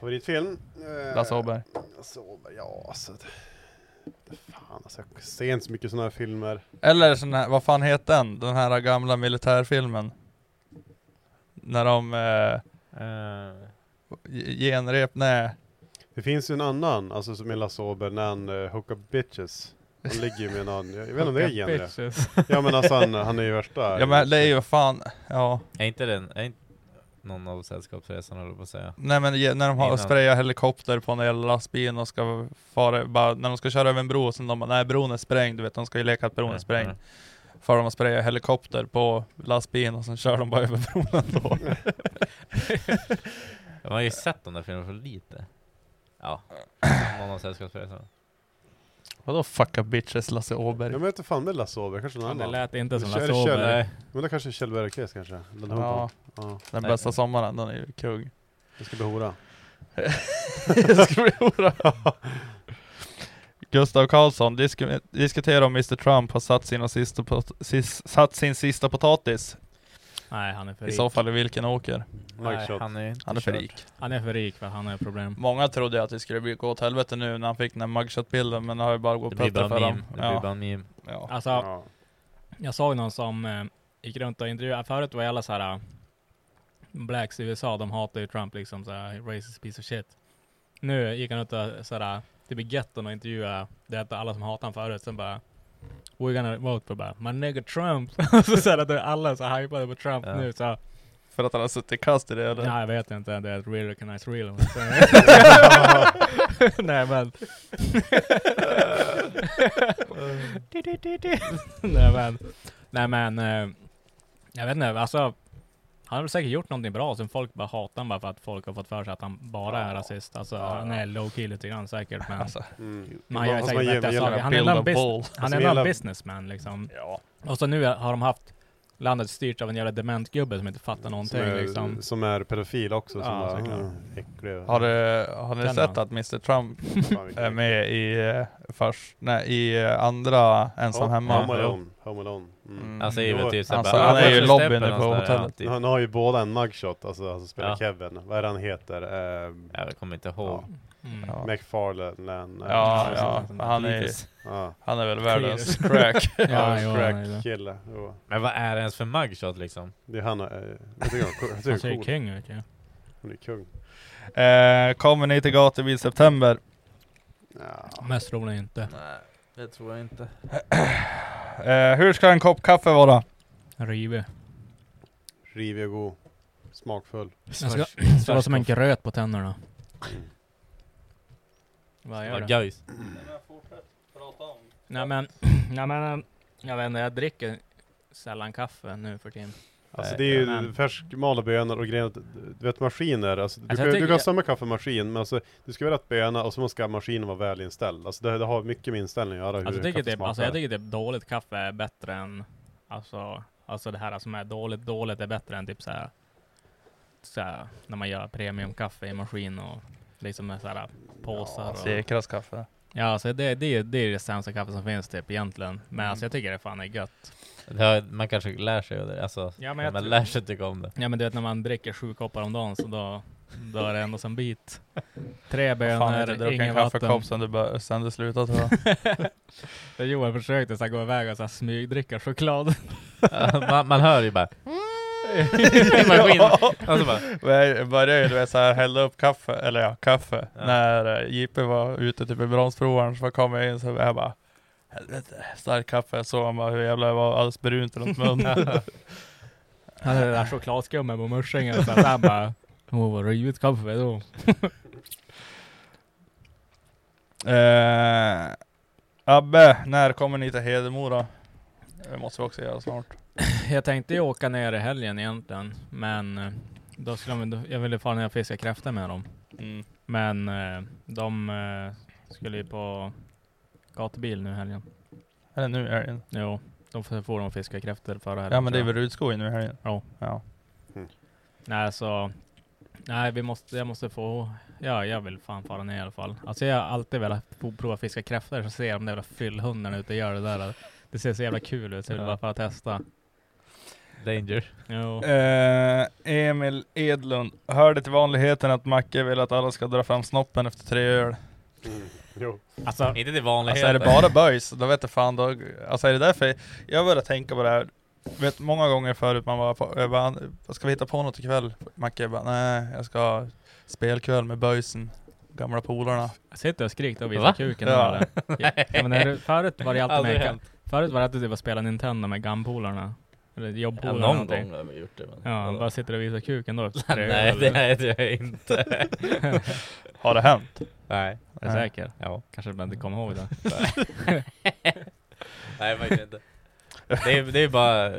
[SPEAKER 2] Favoritfilm? Eh,
[SPEAKER 4] Lasse Åberg?
[SPEAKER 2] Lasse Åberg, ja alltså. det- Fan alltså, jag ser inte så mycket sådana här filmer.
[SPEAKER 4] Eller sån här, vad fan heter den? Den här gamla militärfilmen? När de eh,
[SPEAKER 3] eh,
[SPEAKER 4] ge- genrep, nej.
[SPEAKER 2] Det finns ju en annan, alltså som är Lasse Åberg, när han uh, hookar bitches. Han ligger ju med någon, jag vet inte om det är genre.
[SPEAKER 1] Bitches.
[SPEAKER 2] Ja men alltså han, han är ju värsta.
[SPEAKER 4] Ja men det är ju vad fan, ja.
[SPEAKER 3] är inte den, är inte någon av Sällskapsresan håller jag på att säga.
[SPEAKER 4] Nej men ge- när de har
[SPEAKER 3] Innan.
[SPEAKER 4] sprayat helikopter på en jävla lastbil och ska fara, bara, när de ska köra över en bro, sen de bara, nej bron är sprängd, du vet de ska ju leka att bron är
[SPEAKER 3] Mm,
[SPEAKER 4] sprängd.
[SPEAKER 3] mm.
[SPEAKER 4] Far de och sprayar helikopter på lastbilen och sen kör de bara över bron ändå.
[SPEAKER 3] Jag har ju sett de där filmerna för lite. Ja. Någon av Sällskapsresan.
[SPEAKER 4] Vadå fucka bitches Lasse Åberg?
[SPEAKER 2] Ja men jag vet inte fan med Lasse Åberg, kanske någon
[SPEAKER 1] Det
[SPEAKER 2] annan.
[SPEAKER 1] lät inte som
[SPEAKER 2] Kör,
[SPEAKER 1] Lasse
[SPEAKER 2] kör.
[SPEAKER 1] Åberg.
[SPEAKER 3] Nej.
[SPEAKER 2] Men det kanske är Kjell Bergqvist kanske? Den
[SPEAKER 4] Ja,
[SPEAKER 2] ja. ja.
[SPEAKER 4] den
[SPEAKER 3] Nej.
[SPEAKER 4] bästa sommaren, den är ju kung.
[SPEAKER 2] Jag ska bli hora.
[SPEAKER 4] Jag ska bli hora. Gustav Karlsson, disku- diskutera om Mr Trump har satt, sina sista pot- sis- satt sin sista potatis.
[SPEAKER 1] Nej, han är för
[SPEAKER 4] I
[SPEAKER 1] rik.
[SPEAKER 4] så fall i vilken åker?
[SPEAKER 2] Mike
[SPEAKER 3] Nej,
[SPEAKER 2] shot.
[SPEAKER 3] han är inte
[SPEAKER 4] Han är för
[SPEAKER 3] körd.
[SPEAKER 4] rik.
[SPEAKER 1] Han är för rik för att han har problem.
[SPEAKER 4] Många trodde att det skulle bli gå åt helvete nu när han fick den här mugshot-bilden, men det har ju bara gått
[SPEAKER 3] Det blir
[SPEAKER 4] bättre
[SPEAKER 3] bara
[SPEAKER 4] för dem.
[SPEAKER 3] en meme. Det blir bara
[SPEAKER 4] Ja.
[SPEAKER 3] en meme.
[SPEAKER 4] Ja.
[SPEAKER 1] Alltså,
[SPEAKER 2] Ja.
[SPEAKER 1] jag såg någon som eh, gick runt och intervjuade. Förut var ju alla så här eh, blacks i USA, de hatar ju Trump liksom så här, racist piece of shit. Nu gick han runt och så här, typ i getton och intervjuade, det är alla som hatar honom förut, sen bara We're gonna vote for bara, my nigga Trump. så så här, att alla är så hypade på Trump
[SPEAKER 3] Ja.
[SPEAKER 1] nu så,
[SPEAKER 4] För att han har suttit kast i det eller?
[SPEAKER 1] nej jag vet inte, det är ett real recognize real. nej men. Du, du, du, du. nej men, nej men, eh, jag vet inte, alltså. Han har väl säkert gjort någonting bra, sen folk bara hatar honom bara för att folk har fått för sig att han bara är rasist. Alltså han är low key lite grann säkert men.
[SPEAKER 4] Alltså,
[SPEAKER 2] Mm.
[SPEAKER 1] Men han gör
[SPEAKER 2] Fast
[SPEAKER 1] säkert
[SPEAKER 2] man
[SPEAKER 1] vettiga
[SPEAKER 2] gillar-
[SPEAKER 1] saker.
[SPEAKER 4] den
[SPEAKER 1] Han är
[SPEAKER 4] build
[SPEAKER 1] en
[SPEAKER 4] of ball.
[SPEAKER 1] business, han
[SPEAKER 2] Alltså,
[SPEAKER 1] är
[SPEAKER 2] vi
[SPEAKER 1] en
[SPEAKER 2] gillar-
[SPEAKER 1] businessman liksom.
[SPEAKER 4] ja.
[SPEAKER 1] Och så nu har de haft landet styrt av en jävla dement gubbe som inte fattar någonting
[SPEAKER 2] som, är,
[SPEAKER 1] liksom.
[SPEAKER 2] som är pedofil också. Som
[SPEAKER 1] Ja,
[SPEAKER 2] bara,
[SPEAKER 1] såklart.
[SPEAKER 2] mm, äcklig.
[SPEAKER 4] Har, du, har ni
[SPEAKER 1] Kan
[SPEAKER 4] sett
[SPEAKER 1] han?
[SPEAKER 4] att Mr Trump
[SPEAKER 2] Fan, vilken-
[SPEAKER 4] är med i, eh, först, nej, i eh, andra ensam
[SPEAKER 2] Ja,
[SPEAKER 4] hemma?
[SPEAKER 2] Home Alone. Home Alone. Mm.
[SPEAKER 4] Mm.
[SPEAKER 3] Han säger väl typ såhär
[SPEAKER 4] Alltså,
[SPEAKER 3] bara,
[SPEAKER 4] han
[SPEAKER 3] "Ah,
[SPEAKER 4] är ju i
[SPEAKER 3] första
[SPEAKER 4] lobbyn
[SPEAKER 3] steppen"
[SPEAKER 4] på
[SPEAKER 3] och sådär,
[SPEAKER 4] hotellet.
[SPEAKER 3] ja, typ.
[SPEAKER 2] Han har ju båda en mugshot, alltså han som spelar
[SPEAKER 3] Ja.
[SPEAKER 2] Kevin. Vad är det han heter? Eh,
[SPEAKER 3] Jag kommer inte ihåg.
[SPEAKER 1] Mm.
[SPEAKER 4] Ja.
[SPEAKER 2] McFarlane. eh,
[SPEAKER 4] Ja,
[SPEAKER 2] något
[SPEAKER 4] ja,
[SPEAKER 2] sånt.
[SPEAKER 4] han är,
[SPEAKER 2] ja.
[SPEAKER 4] han är väl världens
[SPEAKER 1] Clear.
[SPEAKER 4] crack.
[SPEAKER 1] Ja, jo,
[SPEAKER 2] crack.
[SPEAKER 1] han är det.
[SPEAKER 2] Kille. Jo.
[SPEAKER 3] Men vad är det ens för mugshot liksom?
[SPEAKER 2] Det är han. eh, Jag tycker han är cool. Jag
[SPEAKER 1] Han
[SPEAKER 2] tycker
[SPEAKER 1] ser ju
[SPEAKER 2] han är cool.
[SPEAKER 1] king ut ju.
[SPEAKER 2] Han är kung.
[SPEAKER 4] Eh, kommer ni till gatubil i september?
[SPEAKER 2] Ja.
[SPEAKER 1] Mest roligt inte.
[SPEAKER 3] Nej, det tror jag inte.
[SPEAKER 4] Eh, hur ska en kopp kaffe vara?
[SPEAKER 1] Rive.
[SPEAKER 2] Rivig och god. Smakfull.
[SPEAKER 1] Jag ska- Det var som en gröt på tänderna. Mm. Vad gör du?
[SPEAKER 3] Guys.
[SPEAKER 1] Nej men, nej men, eh, jag vet inte, jag dricker sällan kaffe nu för tiden.
[SPEAKER 2] Alltså
[SPEAKER 3] Nej,
[SPEAKER 2] det är ju
[SPEAKER 1] men-
[SPEAKER 2] färskmalda bönor och grejen att, du vet maskiner, alltså, du,
[SPEAKER 1] Alltså, jag
[SPEAKER 2] kan, du
[SPEAKER 1] tycker-
[SPEAKER 2] kan ha samma kaffemaskin men alltså du ska ha rätt böna och så ska maskinen vara välinställd. Alltså det, det har mycket med inställning att göra hur
[SPEAKER 1] Alltså jag tycker,
[SPEAKER 2] kaffe
[SPEAKER 1] typ, alltså, jag
[SPEAKER 2] smakar.
[SPEAKER 1] tycker typ dåligt kaffe är bättre än, alltså, alltså det här som är dåligt dåligt är bättre än typ såhär, såhär när man gör premiumkaffe i maskin och liksom med såhär påsar och...
[SPEAKER 4] Säkras kaffe.
[SPEAKER 1] Mm. Ja alltså det, det, är- det är det sämsta kaffe som finns typ egentligen. Men alltså jag tycker det fan är gött.
[SPEAKER 3] Det har, man kanske lär sig av det, alltså,
[SPEAKER 1] Ja, men
[SPEAKER 3] man
[SPEAKER 1] jag tror-
[SPEAKER 3] lär sig tycka om det.
[SPEAKER 1] Ja men du vet när man dricker sju koppar om dagen så då, då är det ändå som bit. Tre
[SPEAKER 4] Fan, jag har inte
[SPEAKER 1] bönor,
[SPEAKER 4] druckit en
[SPEAKER 1] ingen vatten.
[SPEAKER 4] kaffekopp sen du, bör- sen du slutade tror jag.
[SPEAKER 1] Där Johan försökte så här, gå iväg och så här, smygdricka choklad.
[SPEAKER 3] man, man hör ju bara i maskinen. Och så bara,
[SPEAKER 4] Men Alltså, Jag började ju du vet, så här, hälla upp kaffe, eller ja, kaffe.
[SPEAKER 3] Ja.
[SPEAKER 4] När eh, JP var ute typ i bromsprovaren så kom jag in så jag bara Helvete, starkt kaffe. Jag såg han bara hur jävla det var alldeles brunt runt munnen.
[SPEAKER 1] Han hade det där chokladskummet på mussingen. Så att han bara Åh vad rivigt kaffe då.
[SPEAKER 4] Eh, Abbe, när kommer ni till Hedemora? Det måste vi också göra snart.
[SPEAKER 1] Jag tänkte ju åka ner i helgen egentligen. Men eh, då skulle de, då- jag ville fara ner och fiska kräftor med dem.
[SPEAKER 4] Mm.
[SPEAKER 1] Men eh, de eh, skulle ju på gatubil nu i helgen.
[SPEAKER 4] Eller nu i helgen?
[SPEAKER 1] Jo, de får, får de fiska kräftor förra helgen.
[SPEAKER 4] Ja men det är
[SPEAKER 1] tror
[SPEAKER 4] väl
[SPEAKER 1] jag.
[SPEAKER 4] Rudskog nu i helgen?
[SPEAKER 1] Ja.
[SPEAKER 4] ja.
[SPEAKER 1] Nej så. Nej vi måste, jag måste få. Ja jag vill fan fara ner i alla fall. Alltså jag har alltid velat po- prova fiska kräftor. Så ser jag de där jävla fyllhundarna ute och gör det där. Det ser så jävla kul ut så jag vill
[SPEAKER 3] Ja.
[SPEAKER 1] bara fara och testa.
[SPEAKER 3] danger.
[SPEAKER 1] Jo.
[SPEAKER 4] Eh, Emil Edlund, hörde till vanligheten att Macke vill att alla ska dra fram snoppen efter tre öl.
[SPEAKER 2] Mm. Jo.
[SPEAKER 1] Alltså
[SPEAKER 3] Inte till vanligheter.
[SPEAKER 4] Alltså är det bara böjs, då vet jag fan då, Alltså är det därför, jag började tänka på det här. Vet många gånger förut man var på, jag bara, ska vi hitta på något ikväll? Macke jag bara, nej jag ska ha spelkväll med böjsen. Gamla polarna.
[SPEAKER 1] jag sitter och skriker och
[SPEAKER 3] Va?
[SPEAKER 1] visar kuken.
[SPEAKER 4] Ja.
[SPEAKER 1] Ja. Ja, men är det, förut var det alltid
[SPEAKER 3] Aldrig
[SPEAKER 1] med,
[SPEAKER 3] hänt.
[SPEAKER 1] förut var det alltid typ att spela Nintendo med gammpolarna. Eller
[SPEAKER 3] Ja,
[SPEAKER 1] jobbpolarna.
[SPEAKER 3] någon
[SPEAKER 1] någonting.
[SPEAKER 3] gång har vi gjort det. Men.
[SPEAKER 1] Ja, han bara sitter och visar kuken då. efter tre
[SPEAKER 3] Nej,
[SPEAKER 1] öl.
[SPEAKER 3] det är jag inte.
[SPEAKER 4] Har det hänt?
[SPEAKER 3] Nej.
[SPEAKER 1] Är du säker?
[SPEAKER 3] Ja.
[SPEAKER 1] Kanske du inte kommer ihåg det.
[SPEAKER 3] Nej, faktiskt inte. Det är, det är bara,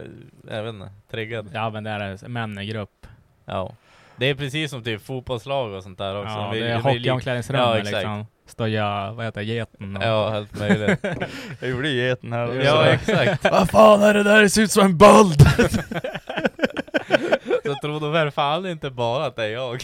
[SPEAKER 3] jag vet inte, triggad.
[SPEAKER 1] Ja men det är män i grupp.
[SPEAKER 3] Ja. Det är precis som typ fotbollslag och sånt där också.
[SPEAKER 1] Ja,
[SPEAKER 3] Vi-
[SPEAKER 1] det är
[SPEAKER 3] vi- vi-
[SPEAKER 1] hockeyomklädningsrummet
[SPEAKER 3] Ja, exakt.
[SPEAKER 1] liksom. Stöja, vad heter det, geten och...
[SPEAKER 3] Ja, helt möjligt.
[SPEAKER 4] Jag gjorde ju geten här. Eh,
[SPEAKER 3] ja, exakt.
[SPEAKER 4] Vad fan är det där? Det ser ut som en böld!
[SPEAKER 3] Så tror de väl fan inte bara att det är jag.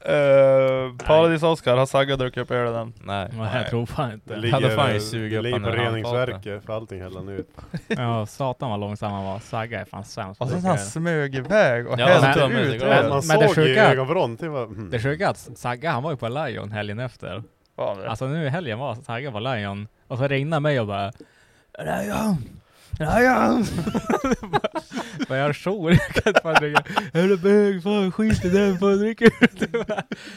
[SPEAKER 4] Eh, Paradis Oscar, har Sagga druckit upp ölen än?
[SPEAKER 3] Nej.
[SPEAKER 1] Nej, Jag tror fan inte.
[SPEAKER 2] Det
[SPEAKER 3] Ja, då får han ju
[SPEAKER 2] ligger,
[SPEAKER 3] suga
[SPEAKER 2] det
[SPEAKER 3] upp
[SPEAKER 2] ligger
[SPEAKER 3] han
[SPEAKER 2] på
[SPEAKER 3] ur handfatet.
[SPEAKER 2] reningsverket för allting häller han ut.
[SPEAKER 1] Ja, satan vad långsam han var. Sagga är fan sämst på
[SPEAKER 4] Och sen
[SPEAKER 1] att
[SPEAKER 4] han
[SPEAKER 1] dricka öl.
[SPEAKER 4] smög iväg och
[SPEAKER 3] Ja,
[SPEAKER 4] hällde
[SPEAKER 3] men-
[SPEAKER 4] ut
[SPEAKER 3] men-
[SPEAKER 2] Men,
[SPEAKER 4] ölen.
[SPEAKER 2] man
[SPEAKER 1] men det
[SPEAKER 2] såg i
[SPEAKER 1] sjuka-
[SPEAKER 2] ögonvrån, det var... Mm.
[SPEAKER 1] Det sjuka är att Sagga han var ju på Lion helgen efter.
[SPEAKER 4] Fan, det-
[SPEAKER 1] Alltså nu i helgen var Sagga på Lion. Och så ringde han mig och bara Lion! Lion! Vad jag tror, jag kan inte fan dricka. Är du bög? Fan skit i den, fan drick ut.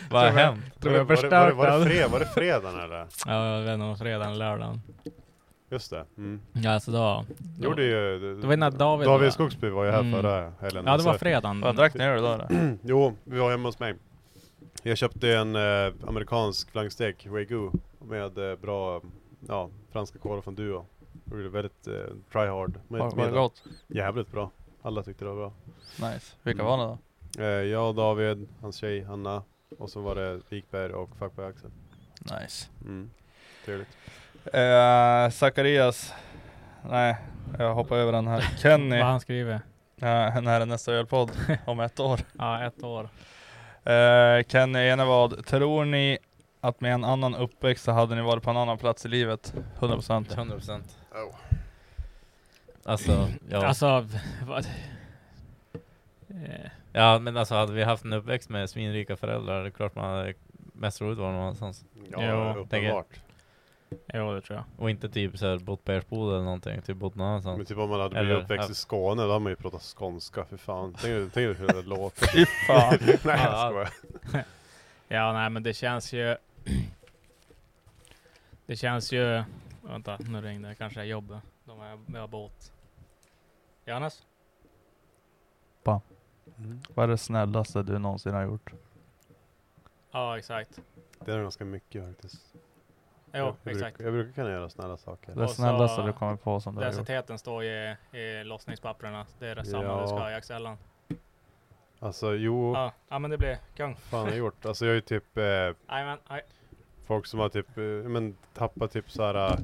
[SPEAKER 3] Vad har hänt?
[SPEAKER 1] Tror jag
[SPEAKER 2] var, det, var, det,
[SPEAKER 1] förstört
[SPEAKER 2] var, det
[SPEAKER 1] den.
[SPEAKER 2] fred, var det fredagen eller?
[SPEAKER 1] Ja, jag vet inte om fredagen, lördagen.
[SPEAKER 2] Just det. Mm.
[SPEAKER 1] Ja, så då. då
[SPEAKER 2] Gjorde ju...
[SPEAKER 1] Det var ju när David var-
[SPEAKER 2] David Skogsby var ju här
[SPEAKER 1] Mm.
[SPEAKER 2] förra helgen.
[SPEAKER 1] Ja, det var
[SPEAKER 2] Så-
[SPEAKER 1] fredagen.
[SPEAKER 4] Vad drack ni öl då? eller?
[SPEAKER 2] Jo, vi var hemma hos mig. Jag köpte en eh, amerikansk flankstek, Wagyu, med eh, bra ja, franska korv från Duo. Och det är väldigt eh, try hard. Men
[SPEAKER 4] Var,
[SPEAKER 2] inte
[SPEAKER 4] var det
[SPEAKER 2] middag.
[SPEAKER 4] gott?
[SPEAKER 2] Jävligt bra. Alla tyckte det var bra.
[SPEAKER 4] Nice. Vilka
[SPEAKER 2] Mm.
[SPEAKER 4] var det då?
[SPEAKER 2] Eh, jag och David, hans tjej Hanna och så var det Wikberg och Fuckboy Axel.
[SPEAKER 4] Nice.
[SPEAKER 2] Mm. Trevligt.
[SPEAKER 4] Eh, Zacharias. Nej, jag hoppar över den här. Kenny.
[SPEAKER 1] Vad han skriver.
[SPEAKER 4] Uh, när är nästa ölpodd? Om ett år.
[SPEAKER 1] Ja, ett år.
[SPEAKER 4] Eh, Kenny Enevad. Tror ni att med en annan uppväxt så hade ni varit på en annan plats i livet? 100%.
[SPEAKER 3] 100%.
[SPEAKER 4] Oh.
[SPEAKER 3] Alltså, ja.
[SPEAKER 1] Alltså, v- vad... Eh,
[SPEAKER 3] ja men alltså hade vi haft en uppväxt med svinrika föräldrar, det är klart man hade mest roligt var någon annanstans.
[SPEAKER 2] Ja,
[SPEAKER 1] Jo,
[SPEAKER 2] uppenbart.
[SPEAKER 1] Jo, det tror jag.
[SPEAKER 3] Och inte typ såhär bott på Ersboda eller någonting, typ bott någon
[SPEAKER 2] Men
[SPEAKER 3] annanstans.
[SPEAKER 2] typ om man hade blivit
[SPEAKER 3] Eller-
[SPEAKER 2] uppväxt
[SPEAKER 3] ja.
[SPEAKER 2] i Skåne, då hade man ju pratat skånska, för fan. Tänk dig- tänk dig hur det låter.
[SPEAKER 4] Fy fan.
[SPEAKER 2] Nej jag
[SPEAKER 3] Ja.
[SPEAKER 2] skojar.
[SPEAKER 1] Ja, nej, men det känns ju... Det känns ju... Vänta, nu ringde det. Kanske är jobbet. De har, jag har båt. Johannes?
[SPEAKER 2] Mm.
[SPEAKER 4] Vad är det snällaste du någonsin har gjort?
[SPEAKER 1] Ja, exakt.
[SPEAKER 2] Det är ganska mycket faktiskt.
[SPEAKER 1] Jo,
[SPEAKER 2] jag,
[SPEAKER 1] exakt.
[SPEAKER 2] Brukar, jag brukar kunna göra snälla saker.
[SPEAKER 4] Det
[SPEAKER 1] Och så-
[SPEAKER 4] snällaste du kommer på som du har gjort?
[SPEAKER 1] Densiteten står ju i, i lossningspapperna. Det är det samma
[SPEAKER 2] Ja.
[SPEAKER 1] du ska ha i axellan.
[SPEAKER 2] Alltså jo,
[SPEAKER 1] Ja, ja, men det blir kung.
[SPEAKER 2] fan har jag gjort. Alltså jag är ju typ eh,
[SPEAKER 1] Jajamän, aj.
[SPEAKER 2] folk som har typ, eh, men tappat typ såhär, eh,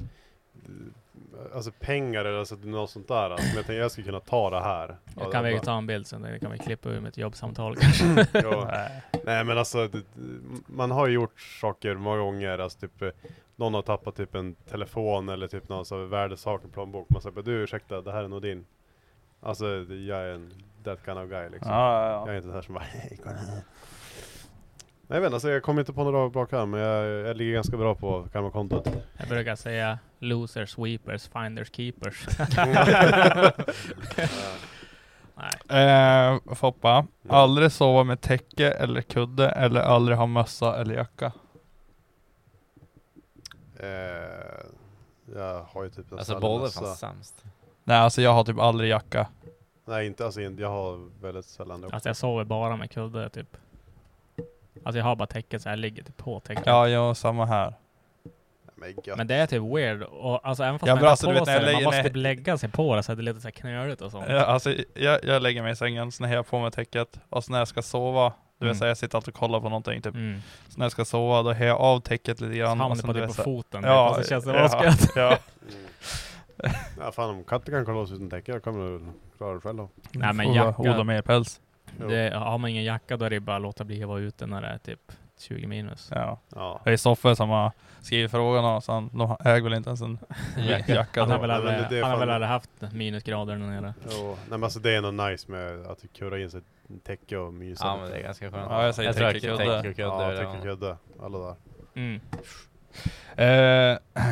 [SPEAKER 2] alltså pengar eller alltså, något sånt där. Alltså, men jag tänkte jag skulle kunna ta det här.
[SPEAKER 1] Jag kan vi
[SPEAKER 2] bara-
[SPEAKER 1] ta en bild sen. Det kan vi klippa ur mitt jobbsamtal.
[SPEAKER 2] Ja.
[SPEAKER 4] Nej.
[SPEAKER 2] Nej men alltså, det, man har ju gjort saker många gånger. Alltså typ, eh, någon har tappat typ en telefon eller typ någon så här värdesak, en plånbok. Man säger bara, du ursäkta, det här är nog din. Alltså jag är en that kind of guy liksom.
[SPEAKER 4] Ja,
[SPEAKER 2] Jag
[SPEAKER 4] ja,
[SPEAKER 2] är inte den här som bara, hej kolla här." Nej jag vet inte, alltså, jag kommer inte på några bra karm, men jag, jag ligger ganska bra på karmakontot.
[SPEAKER 1] Jag brukar säga losers, sweepers, finders, keepers.
[SPEAKER 2] Eh,
[SPEAKER 4] ja. Eh, Foppa,
[SPEAKER 2] Ja.
[SPEAKER 4] aldrig sova med täcke eller kudde eller aldrig ha mössa eller jacka.
[SPEAKER 2] Eh, jag har ju typ en
[SPEAKER 3] Alltså
[SPEAKER 2] sällan
[SPEAKER 3] båda är
[SPEAKER 2] mössa.
[SPEAKER 3] fan sämst.
[SPEAKER 4] Nej alltså jag har typ aldrig jacka.
[SPEAKER 2] Nej inte, alltså inte- jag har väldigt sällan det.
[SPEAKER 1] Alltså jag sover bara med kudde typ. Alltså jag har bara täcket så jag ligger typ på täcket.
[SPEAKER 4] Ja, jag samma här.
[SPEAKER 2] Men gött.
[SPEAKER 1] Men det är typ weird. Och alltså även fast
[SPEAKER 4] Ja,
[SPEAKER 1] man
[SPEAKER 4] men
[SPEAKER 1] har
[SPEAKER 4] alltså, du
[SPEAKER 1] på
[SPEAKER 4] vet,
[SPEAKER 1] sig
[SPEAKER 4] när jag
[SPEAKER 1] det, man
[SPEAKER 4] lägger
[SPEAKER 1] måste
[SPEAKER 4] ner-
[SPEAKER 1] typ lägga sig på det så att det är lite så här knöligt och sånt.
[SPEAKER 4] Ja, alltså, jag, jag lägger mig i sängen, så när jag har på mig täcket och så när jag ska sova, du vet
[SPEAKER 1] Mm.
[SPEAKER 4] så här, jag sitter alltid och kollar på någonting typ.
[SPEAKER 1] Mm.
[SPEAKER 4] Så när jag ska sova då har jag av täcket lite
[SPEAKER 1] Så
[SPEAKER 4] grann.
[SPEAKER 1] har man
[SPEAKER 4] och
[SPEAKER 1] det
[SPEAKER 4] sen,
[SPEAKER 1] på
[SPEAKER 4] alltså, du
[SPEAKER 1] typ
[SPEAKER 4] vet,
[SPEAKER 1] på
[SPEAKER 4] så här-
[SPEAKER 1] foten typ, och så känns det asgött.
[SPEAKER 4] ja.
[SPEAKER 2] Mm. Ja fan om katter kan kolla oss utan täcke, jag kommer du klara det själv då.
[SPEAKER 1] Nej, men
[SPEAKER 4] Får
[SPEAKER 1] jacka-
[SPEAKER 4] Odla mer päls.
[SPEAKER 2] Jo.
[SPEAKER 1] Det, har man ingen jacka då är det bara att låta bli att vara ute när det är typ 20 minus.
[SPEAKER 4] Ja.
[SPEAKER 2] Ja.
[SPEAKER 4] Det är Soffe som har skrivit frågan och så han, de äger väl inte ens en
[SPEAKER 3] Jacka.
[SPEAKER 4] jacka.
[SPEAKER 1] Han har
[SPEAKER 4] då.
[SPEAKER 1] väl
[SPEAKER 2] Ja, men det- det
[SPEAKER 1] aldrig,
[SPEAKER 2] är
[SPEAKER 1] han har
[SPEAKER 2] fan-
[SPEAKER 1] väl aldrig haft minusgrader där nere.
[SPEAKER 2] Jo. Nej men alltså det är nog nice med att kurra in sig i täcke och mysa.
[SPEAKER 3] Ja men det är ganska skönt.
[SPEAKER 4] Ja, jag säger
[SPEAKER 3] tror
[SPEAKER 4] täcke
[SPEAKER 3] jag
[SPEAKER 4] och kudde.
[SPEAKER 3] täcke och kudde.
[SPEAKER 2] Ja,
[SPEAKER 3] är
[SPEAKER 2] täcke och
[SPEAKER 3] det.
[SPEAKER 2] kudde. Alla där.
[SPEAKER 1] Mm.
[SPEAKER 4] Eh,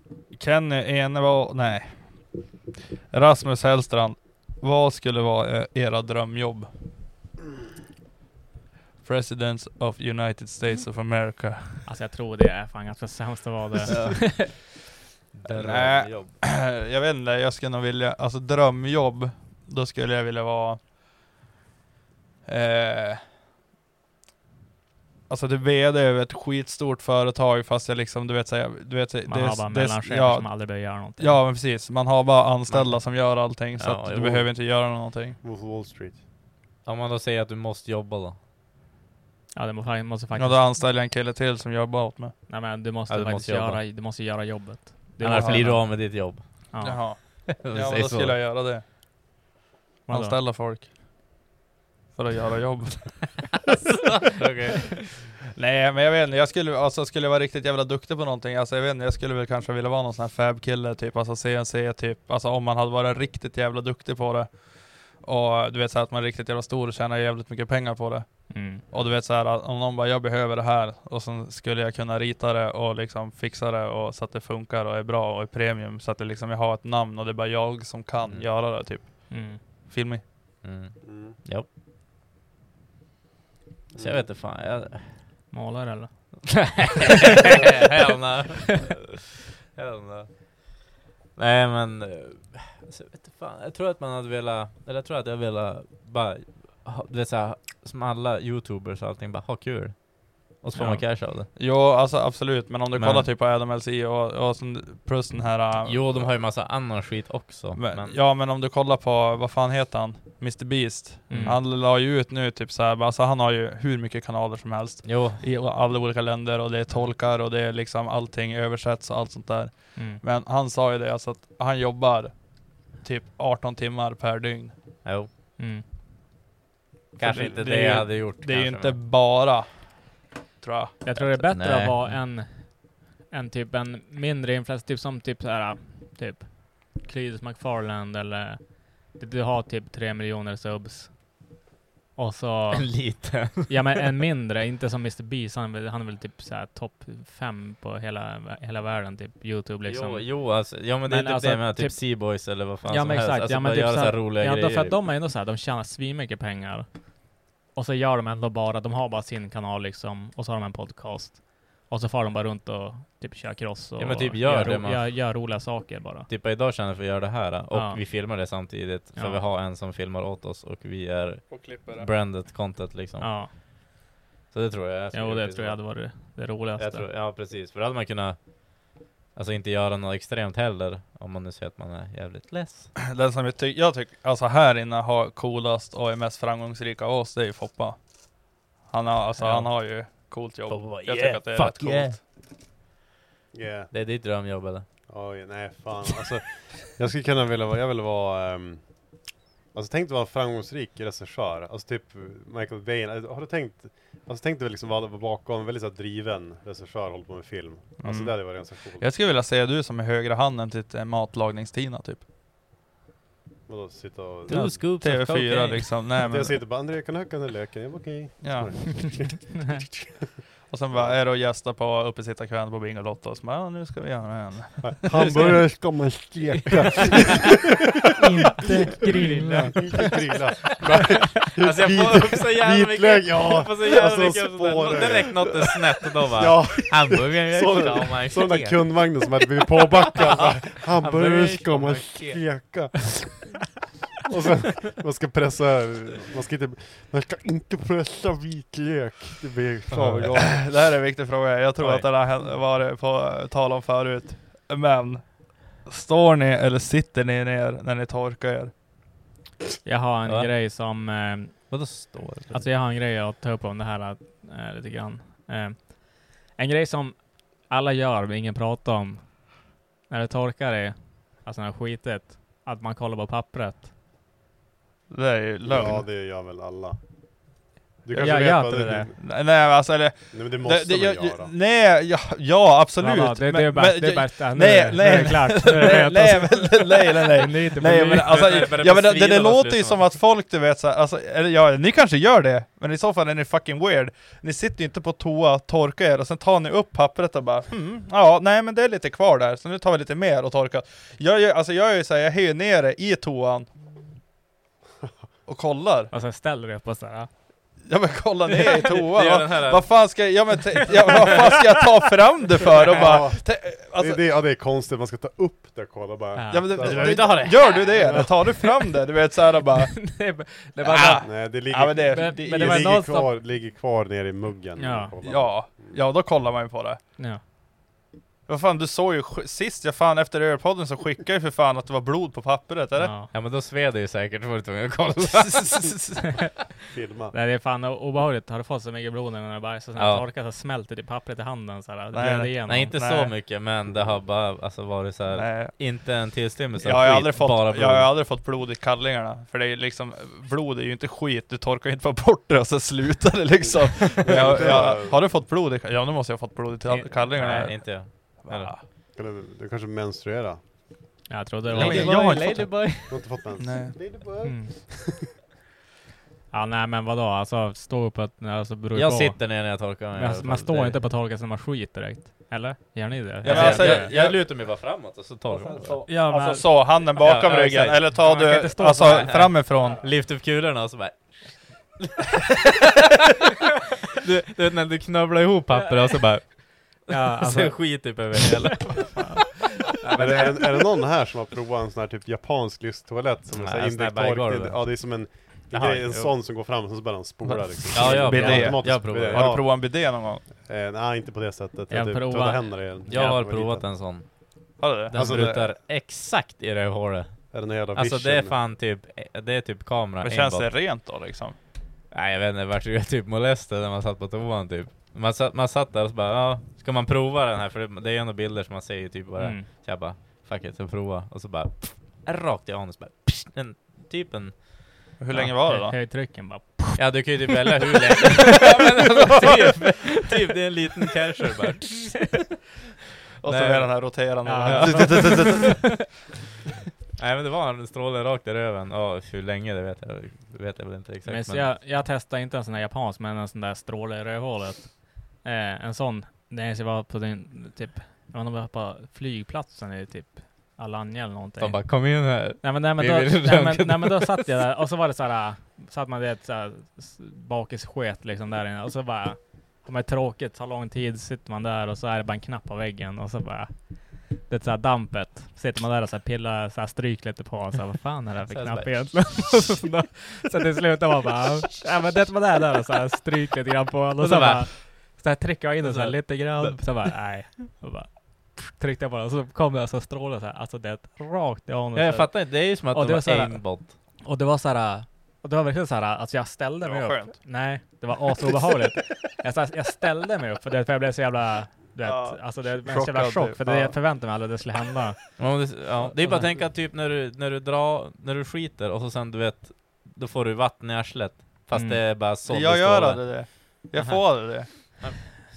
[SPEAKER 4] Kenny Enevall, nej. Rasmus Hellstrand, vad skulle vara eh, era drömjobb? President of United States of America.
[SPEAKER 1] Alltså jag tror det är fan ganska sämst att vara det.
[SPEAKER 3] Drömjobb.
[SPEAKER 4] jag vet inte, jag skulle nog vilja, alltså drömjobb, då skulle jag vilja vara eh, Alltså du VD över ett skitstort företag fast jag liksom, du vet säga, du vet säga,
[SPEAKER 1] Man har bara mellanchefer
[SPEAKER 4] ja,
[SPEAKER 1] som aldrig behöver göra någonting.
[SPEAKER 4] ja men precis, man har bara anställda som gör allting så
[SPEAKER 3] Ja,
[SPEAKER 4] att du
[SPEAKER 3] jo.
[SPEAKER 4] behöver inte göra någonting.
[SPEAKER 2] Wolf of Wall Street.
[SPEAKER 3] Om man då säger att du måste jobba då?
[SPEAKER 1] Ja, det må- fan, måste
[SPEAKER 4] Ja,
[SPEAKER 1] faktiskt...
[SPEAKER 4] då anställer jag en kille till som jobbar åt mig.
[SPEAKER 1] Nej men du måste
[SPEAKER 3] Ja, du
[SPEAKER 1] faktiskt
[SPEAKER 3] måste jobba.
[SPEAKER 1] göra, du måste göra jobbet. Du
[SPEAKER 3] Annars
[SPEAKER 1] måste-
[SPEAKER 3] blir du av med ditt jobb.
[SPEAKER 1] Ja.
[SPEAKER 4] Jaha,
[SPEAKER 3] Om vi
[SPEAKER 4] ja, men
[SPEAKER 3] säger
[SPEAKER 4] då
[SPEAKER 3] så.
[SPEAKER 4] skulle jag göra det.
[SPEAKER 1] Vadå?
[SPEAKER 4] Anställa folk. För att göra jobb.
[SPEAKER 3] Okej.
[SPEAKER 4] Nej men jag vet inte, jag skulle, alltså, skulle jag vara riktigt jävla duktig på någonting, alltså jag vet inte, jag skulle väl kanske vilja vara någon sån här fab-kille typ, alltså CNC typ, alltså om man hade varit riktigt jävla duktig på det. Och du vet såhär att man är riktigt jävla stor och tjänar jävligt mycket pengar på det.
[SPEAKER 1] Mm.
[SPEAKER 4] Och du vet såhär att om någon bara jag behöver det här och sen skulle jag kunna rita det och liksom fixa det och så att det funkar och är bra och är premium så att det liksom jag har ett namn och det är bara jag som kan
[SPEAKER 3] Mm.
[SPEAKER 4] göra det typ.
[SPEAKER 1] Mm.
[SPEAKER 4] Filmig.
[SPEAKER 3] Mm.
[SPEAKER 2] Mm.
[SPEAKER 3] Ja. Så jag vet inte fan. Jag...
[SPEAKER 1] Målare eller?
[SPEAKER 3] Hell no. Hell no. Nej men, eh, alltså, jag vet inte fan. Jag tror att man hade velat, eller jag tror att jag velat bara, ha- du vet såhär, som alla youtubers och allting, bara ha kul. Och så får
[SPEAKER 1] Ja.
[SPEAKER 3] man cash av det.
[SPEAKER 4] Jo alltså absolut, men om du
[SPEAKER 3] Men-
[SPEAKER 4] kollar typ på Adam LC och, och sen, plus den här... äh,
[SPEAKER 3] Jo, de har ju massa annan skit också.
[SPEAKER 4] Men,
[SPEAKER 3] Men,
[SPEAKER 4] Ja men om du kollar på, vad fan heter han? Mr Beast.
[SPEAKER 1] Mm.
[SPEAKER 4] Han la ju ut nu typ såhär, alltså han har ju hur mycket kanaler som helst.
[SPEAKER 3] Jo,
[SPEAKER 4] I alla olika länder och det är tolkar och det är liksom allting översätts och allt sånt där.
[SPEAKER 1] Mm.
[SPEAKER 4] Men han sa ju det alltså att han jobbar typ 18 timmar per dygn.
[SPEAKER 3] jo.
[SPEAKER 1] Mm.
[SPEAKER 3] Kanske
[SPEAKER 4] det-
[SPEAKER 3] inte
[SPEAKER 4] det
[SPEAKER 3] det,
[SPEAKER 4] är ju-
[SPEAKER 3] jag hade gjort.
[SPEAKER 4] Det är ju
[SPEAKER 3] kanske,
[SPEAKER 4] inte
[SPEAKER 3] men-
[SPEAKER 4] bara, tror jag.
[SPEAKER 1] Jag tror det är bättre
[SPEAKER 3] Nej.
[SPEAKER 1] att vara en, en typ en mindre influencer, typ som typ såhär, typ Cletus McFarland eller du- du har typ tre miljoner subs. Och så,
[SPEAKER 3] En liten.
[SPEAKER 1] ja men en mindre, inte som Mr Beast, han, är väl- han är väl typ såhär topp fem på hela, hela världen, typ Youtube liksom.
[SPEAKER 3] Jo, jo alltså, ja men det är
[SPEAKER 1] Men
[SPEAKER 3] typ
[SPEAKER 1] alltså,
[SPEAKER 3] det med
[SPEAKER 1] typ-
[SPEAKER 3] typ Seaboys eller vad fan
[SPEAKER 1] Ja,
[SPEAKER 3] som
[SPEAKER 1] men
[SPEAKER 3] helst.
[SPEAKER 1] exakt.
[SPEAKER 3] Alltså
[SPEAKER 1] Ja, men
[SPEAKER 3] bara
[SPEAKER 1] typ
[SPEAKER 3] göra
[SPEAKER 1] så
[SPEAKER 3] så
[SPEAKER 1] här-
[SPEAKER 3] här roliga
[SPEAKER 1] Ja, då
[SPEAKER 3] grejer.
[SPEAKER 1] för att de är ändå såhär, de tjänar svinmycket pengar. Och så gör de ändå bara, de har bara sin kanal liksom, och så har de en podcast. Och så far de bara runt och typ kör cross och
[SPEAKER 3] Ja, men typ gör det
[SPEAKER 1] ro-
[SPEAKER 3] man-
[SPEAKER 1] gör, gör roliga saker bara.
[SPEAKER 3] Typ idag känner vi att vi gör det här och
[SPEAKER 1] Ja.
[SPEAKER 3] vi filmar det samtidigt för
[SPEAKER 1] Ja.
[SPEAKER 3] vi har en som filmar åt oss och vi är
[SPEAKER 4] Och klipper
[SPEAKER 3] branded content liksom.
[SPEAKER 1] Ja,
[SPEAKER 3] Så det tror jag. jag
[SPEAKER 1] jo,
[SPEAKER 3] skulle
[SPEAKER 1] det
[SPEAKER 3] bli
[SPEAKER 1] tror jag hade
[SPEAKER 3] så.
[SPEAKER 1] varit det roligaste.
[SPEAKER 3] jag tror, Ja precis, för då hade man kunnat Alltså inte göra något extremt heller om man nu ser att man är jävligt less.
[SPEAKER 4] Den som jag tycker, jag tycker, alltså här inne har coolast och är mest framgångsrik av oss, det är ju Foppa. Han har, alltså,
[SPEAKER 3] Ja.
[SPEAKER 4] han har ju coolt jobb.
[SPEAKER 3] Foppa bara,
[SPEAKER 4] jag
[SPEAKER 3] "Yeah,
[SPEAKER 4] tycker att det är
[SPEAKER 3] fuck
[SPEAKER 4] rätt coolt.
[SPEAKER 3] yeah."
[SPEAKER 2] Yeah.
[SPEAKER 3] Det är ditt drömjobb eller?
[SPEAKER 2] Oj, nej fan alltså. Jag skulle kunna vilja vara, jag vill vara ehm, Alltså tänk dig vara en framgångsrik regissör, alltså typ Michael Bay, alltså, har du tänkt, alltså tänk dig väl liksom vara vara bakom, en väldigt så här, driven regissör håller på med film. Alltså
[SPEAKER 4] Mm.
[SPEAKER 2] det hade varit ganska coolt.
[SPEAKER 4] Jag skulle vilja säga du som är högra handen till eh, matlagningstina typ.
[SPEAKER 2] Vadå, sitta och...
[SPEAKER 4] Ja,
[SPEAKER 3] Two scoops of
[SPEAKER 4] TV4
[SPEAKER 3] cocaine.
[SPEAKER 4] liksom. Nej, men,
[SPEAKER 2] Jag sitter bara, André kan du hacka den där löken? Jag bara okej.
[SPEAKER 4] ja.
[SPEAKER 1] Nej.
[SPEAKER 4] Och sen bara är det och gästa på uppesittarkvällen på Bingolotto och så bara, ja, nu ska vi göra en.
[SPEAKER 2] Hamburgare ska man steka.
[SPEAKER 1] Inte grilla.
[SPEAKER 2] Inte grilla.
[SPEAKER 3] Alltså jag får upp så jävla
[SPEAKER 2] vitlök,
[SPEAKER 3] mycket,
[SPEAKER 2] ja.
[SPEAKER 3] jag får så jävla
[SPEAKER 2] Alltså,
[SPEAKER 3] mycket sånt där.
[SPEAKER 2] spårare.
[SPEAKER 3] Direkt något är snett och då bara
[SPEAKER 2] Ja,
[SPEAKER 3] hamburgare, jag
[SPEAKER 2] Sån-
[SPEAKER 3] ska man
[SPEAKER 2] så den där
[SPEAKER 3] steka."
[SPEAKER 2] kundvagnen som hade blivit påbackad. bara, Hamburgare ska man
[SPEAKER 3] steka."
[SPEAKER 2] steka. Och sen, man ska pressa, man ska inte, man ska inte pressa vitlök. Det blir klargång.
[SPEAKER 4] Det här är en viktig fråga, jag tror
[SPEAKER 3] Oj.
[SPEAKER 4] att det har hänt- varit på eh, tal om förut. Men, står ni eller sitter ni ner när ni torkar er?
[SPEAKER 1] Jag har en
[SPEAKER 3] Va?
[SPEAKER 1] grej som eh,
[SPEAKER 3] Vadå står det?
[SPEAKER 1] Alltså jag har en grej att ta upp om det här eh, lite grann. Eh, en grej som alla gör men ingen pratar om. När det torkar är, alltså när det är skitet, att man kollar på pappret.
[SPEAKER 4] Det är ju lögn.
[SPEAKER 2] Ja, det gör väl alla. Du
[SPEAKER 4] Jag
[SPEAKER 2] kanske
[SPEAKER 1] gör
[SPEAKER 2] vet
[SPEAKER 1] inte
[SPEAKER 2] vad
[SPEAKER 1] det
[SPEAKER 2] det
[SPEAKER 1] där.
[SPEAKER 2] är.
[SPEAKER 4] Nej, Nej alltså eller,
[SPEAKER 2] Nej men det måste
[SPEAKER 4] det, det,
[SPEAKER 2] man
[SPEAKER 4] jag,
[SPEAKER 2] göra.
[SPEAKER 4] Nej, ja, ja absolut.
[SPEAKER 1] Alla, det, det är
[SPEAKER 4] Men-
[SPEAKER 1] bara,
[SPEAKER 4] men-
[SPEAKER 1] det är bara,
[SPEAKER 4] nej,
[SPEAKER 1] nu, nu är det
[SPEAKER 4] nej.
[SPEAKER 1] klart. Nu är
[SPEAKER 4] Nej,
[SPEAKER 1] det
[SPEAKER 4] nej,
[SPEAKER 1] rätt.
[SPEAKER 4] men- nej, nej, nej.
[SPEAKER 1] Det är inte
[SPEAKER 4] Nej
[SPEAKER 1] på
[SPEAKER 4] men
[SPEAKER 1] mig.
[SPEAKER 4] alltså,
[SPEAKER 3] Nej, men det
[SPEAKER 4] ja, men det, det,
[SPEAKER 3] besvider
[SPEAKER 4] det
[SPEAKER 3] oss
[SPEAKER 4] låter
[SPEAKER 3] liksom.
[SPEAKER 4] ju som att folk du vet så här, alltså, eller ja, ni kanske gör det, men i så fall är ni fucking weird. Ni sitter ju inte på toa, torkar er och sen tar ni upp pappret och bara hmm, ja nej men det är lite kvar där, så nu tar vi lite mer och torkar. Jag, gör- alltså, jag är ju såhär, jag höjer ner det i toan och kollar.
[SPEAKER 1] Och sen ställer du upp och sådär.
[SPEAKER 4] Jag bara kollar ner i
[SPEAKER 3] Det
[SPEAKER 4] toan.
[SPEAKER 3] gör
[SPEAKER 4] Va,
[SPEAKER 3] den här.
[SPEAKER 4] vad fan ska jag, ja, men, te- ja, vad fan ska jag ta fram det för? Och bara,
[SPEAKER 2] Ja.
[SPEAKER 4] te- alltså,
[SPEAKER 2] det, det, ja, det är konstigt, man ska ta upp det och kolla bara.
[SPEAKER 1] Ja.
[SPEAKER 4] ja, men, det,
[SPEAKER 2] Du
[SPEAKER 4] det,
[SPEAKER 2] behöver
[SPEAKER 3] inte ha det.
[SPEAKER 4] gör du det? Eller tar du fram det? Du vet såhär bara,
[SPEAKER 1] det är bara- det är bara
[SPEAKER 4] ah,
[SPEAKER 2] Nej, det ligger,
[SPEAKER 4] ja men det,
[SPEAKER 1] Men-
[SPEAKER 4] det,
[SPEAKER 1] men
[SPEAKER 2] det
[SPEAKER 1] det var
[SPEAKER 2] ligger,
[SPEAKER 1] någon som-
[SPEAKER 2] kvar, ligger kvar nere i muggen. när
[SPEAKER 1] Ja.
[SPEAKER 2] man kollar.
[SPEAKER 4] Ja, ja då kollar man ju på det.
[SPEAKER 1] Ja.
[SPEAKER 4] Vad fan du såg ju sk- sist, jag fan efter ölpodden så skickade jag ju för fan att det var blod på papperet eller?
[SPEAKER 1] Ja.
[SPEAKER 3] Ja men då sved det ju säkert, då var du tvungen att kolla.
[SPEAKER 2] Filma.
[SPEAKER 1] Nej, det är fan o- obehagligt. Har du fått så mycket blod när du bajsar så när
[SPEAKER 3] Ja.
[SPEAKER 1] det torkar så smälter det pappret i handen såhär. Det
[SPEAKER 4] Nej,
[SPEAKER 1] blöder
[SPEAKER 4] nej.
[SPEAKER 1] igenom.
[SPEAKER 3] Nej inte
[SPEAKER 4] Nej.
[SPEAKER 3] så mycket men det har bara alltså, varit så här.
[SPEAKER 4] Nej.
[SPEAKER 3] inte en tillstymmelse
[SPEAKER 4] Jag har, ju
[SPEAKER 3] skit,
[SPEAKER 4] aldrig fått,
[SPEAKER 3] bara
[SPEAKER 4] jag har ju
[SPEAKER 3] blod.
[SPEAKER 4] aldrig fått blod i kallingarna, för det är ju liksom, blod är ju inte skit, du torkar ju inte bara bort det och så slutar det liksom. jag, jag, har du fått blod i kallingarna? Ja, nu måste jag ha fått blod i ta- kallingarna.
[SPEAKER 3] Nej inte jag.
[SPEAKER 4] Va?
[SPEAKER 2] Kan Du, du kanske menstruerar?
[SPEAKER 1] Jag trodde det
[SPEAKER 4] Nej,
[SPEAKER 1] var...
[SPEAKER 4] men jag har inte fått det.
[SPEAKER 3] Ladyboy.
[SPEAKER 2] Du har inte fått mens?
[SPEAKER 4] Nej.
[SPEAKER 1] Mm. ja nej men vadå, alltså stå upp att, alltså beror ju
[SPEAKER 3] Jag
[SPEAKER 1] på.
[SPEAKER 3] sitter ner när jag torkar mig. i alla
[SPEAKER 1] Man,
[SPEAKER 3] fall.
[SPEAKER 1] man står
[SPEAKER 3] Det-
[SPEAKER 1] inte på torken som man skit direkt. Eller? Gör ni det?
[SPEAKER 4] Ja, men
[SPEAKER 3] jag,
[SPEAKER 4] alltså,
[SPEAKER 3] jag,
[SPEAKER 4] jag-
[SPEAKER 3] jag lutar mig bara framåt och så torkar man. bara.
[SPEAKER 1] Ja, men-
[SPEAKER 4] Alltså så, handen bakom
[SPEAKER 3] Ja, ja,
[SPEAKER 4] ryggen,
[SPEAKER 3] exakt.
[SPEAKER 4] eller tar
[SPEAKER 1] Man kan
[SPEAKER 4] du
[SPEAKER 1] inte stå så
[SPEAKER 4] alltså,
[SPEAKER 3] här.
[SPEAKER 4] framifrån?
[SPEAKER 3] Lyft upp kulorna och så bara... du, du vet när du knövlar ihop papper och så bara...
[SPEAKER 1] ja,
[SPEAKER 3] Alltså,
[SPEAKER 1] alltså,
[SPEAKER 3] sen skit typ över hela.
[SPEAKER 2] Är, det, är, är det någon här som har provat en sån här typ japansk lysttoalett som är
[SPEAKER 3] Nej,
[SPEAKER 2] såhär
[SPEAKER 3] en sån här
[SPEAKER 2] indirekt tork?
[SPEAKER 3] berggolv.
[SPEAKER 2] Det- Ja, det är som en, en,
[SPEAKER 3] Jaha,
[SPEAKER 2] grej, en
[SPEAKER 3] jo.
[SPEAKER 2] sån som går fram och så börjar den spola liksom.
[SPEAKER 3] Ja, jag,
[SPEAKER 4] Bidé.
[SPEAKER 3] jag, jag,
[SPEAKER 2] Automatisk
[SPEAKER 3] jag
[SPEAKER 2] bidé.
[SPEAKER 3] provar.
[SPEAKER 4] Har
[SPEAKER 2] Ja.
[SPEAKER 4] du provat en bidé någon gång?
[SPEAKER 2] Eh, nej, inte på det sättet.
[SPEAKER 1] Jag
[SPEAKER 2] du
[SPEAKER 1] provar.
[SPEAKER 2] tvättar händerna i den.
[SPEAKER 3] Jag
[SPEAKER 2] Ja,
[SPEAKER 3] har
[SPEAKER 2] det var
[SPEAKER 3] provat
[SPEAKER 2] liten.
[SPEAKER 3] en sån.
[SPEAKER 4] Har du det?
[SPEAKER 3] Den
[SPEAKER 2] Alltså, det-
[SPEAKER 3] sprutar exakt i rövhålet.
[SPEAKER 2] Är det någon jävla
[SPEAKER 3] Alltså det är
[SPEAKER 2] vision?
[SPEAKER 3] fan typ, det är typ kamera.
[SPEAKER 4] Men känns det
[SPEAKER 3] aimbot.
[SPEAKER 4] rent då liksom?
[SPEAKER 3] Nej jag vet inte, vart jag typ molestad när man satt på toan typ. Man satt, man satt där och så bara, ja, ska man prova den här? För det, det är ju ändå bilder som man ser ju typ bara.
[SPEAKER 1] mm.
[SPEAKER 3] Så jag bara, fuck it, så prova. Och så bara, pff, rakt i anus bara, pff, en, typ en
[SPEAKER 4] Hur länge var det
[SPEAKER 1] hö-
[SPEAKER 4] då?
[SPEAKER 1] Högtrycken bara.
[SPEAKER 3] Ja du kan ju typ välja hur länge ja, men alltså, typ, typ, det är en liten casher bara
[SPEAKER 4] Och så
[SPEAKER 3] Nej.
[SPEAKER 4] är den här roterande.
[SPEAKER 1] Ja.
[SPEAKER 3] Nej men det var en stråle rakt i röven, ja hur länge det vet jag, det vet jag väl inte
[SPEAKER 1] Men,
[SPEAKER 3] exakt
[SPEAKER 1] så jag, jag testade inte en sån där japansk, men en sån där stråle i rövhålet. Eh, en sån, när jag var på den, typ, jag var på flygplatsen i typ Alanya eller någonting.
[SPEAKER 3] De bara kom in här
[SPEAKER 1] Nej men, nej, men,
[SPEAKER 3] Vi
[SPEAKER 1] då,
[SPEAKER 3] vill
[SPEAKER 1] nej,
[SPEAKER 3] röntga
[SPEAKER 1] men, nej men då satt jag där och så var det såhär, äh, satt man vet såhär s- bakisket liksom där inne och så bara, har man tråkigt, tar lång tid, sitter man där och så är det bara en knapp på väggen och så bara, det är såhär dampet, sitter man där och såhär pillar, såhär stryk lite på och såhär, vad fan är det här för
[SPEAKER 3] Så här
[SPEAKER 1] knapp
[SPEAKER 3] bara-
[SPEAKER 1] egentligen? Och så- så då- så till slut var man bara, ja men det var där där och såhär stryk lite grann på och så,
[SPEAKER 3] Och så bara-
[SPEAKER 1] bara, så här trycker jag in den såhär lite grann, så bara nej. Och bara, tryckte jag på den och så kom det alltså strålar såhär, alltså det är ett rakt i anus.
[SPEAKER 3] ja, Jag fattar inte, det är ju som att
[SPEAKER 1] Ja, det
[SPEAKER 3] de
[SPEAKER 1] var så
[SPEAKER 3] var
[SPEAKER 1] här-
[SPEAKER 3] aimbot
[SPEAKER 1] Och det var så här. Och det var verkligen så här att jag ställde
[SPEAKER 4] Det
[SPEAKER 1] mig
[SPEAKER 4] var
[SPEAKER 1] upp.
[SPEAKER 4] skönt.
[SPEAKER 1] Nej, det var asobehagligt. jag, så här, jag ställde mig upp för, det, för jag blev så jävla du vet,
[SPEAKER 4] Ja.
[SPEAKER 1] alltså det är en
[SPEAKER 4] Chockad
[SPEAKER 1] jävla chock,
[SPEAKER 4] typ.
[SPEAKER 1] för det
[SPEAKER 4] Ja.
[SPEAKER 1] jag förväntade mig aldrig det skulle hända.
[SPEAKER 3] Ja, det, ja. det är bara att tänka typ när du, när du drar, när du skiter och så sen du vet, då får du vatten i arslet. Fast
[SPEAKER 1] Mm.
[SPEAKER 3] det är bara såld
[SPEAKER 4] Jag gör
[SPEAKER 3] stråle.
[SPEAKER 4] aldrig det. Jag
[SPEAKER 3] Aha.
[SPEAKER 4] får aldrig det.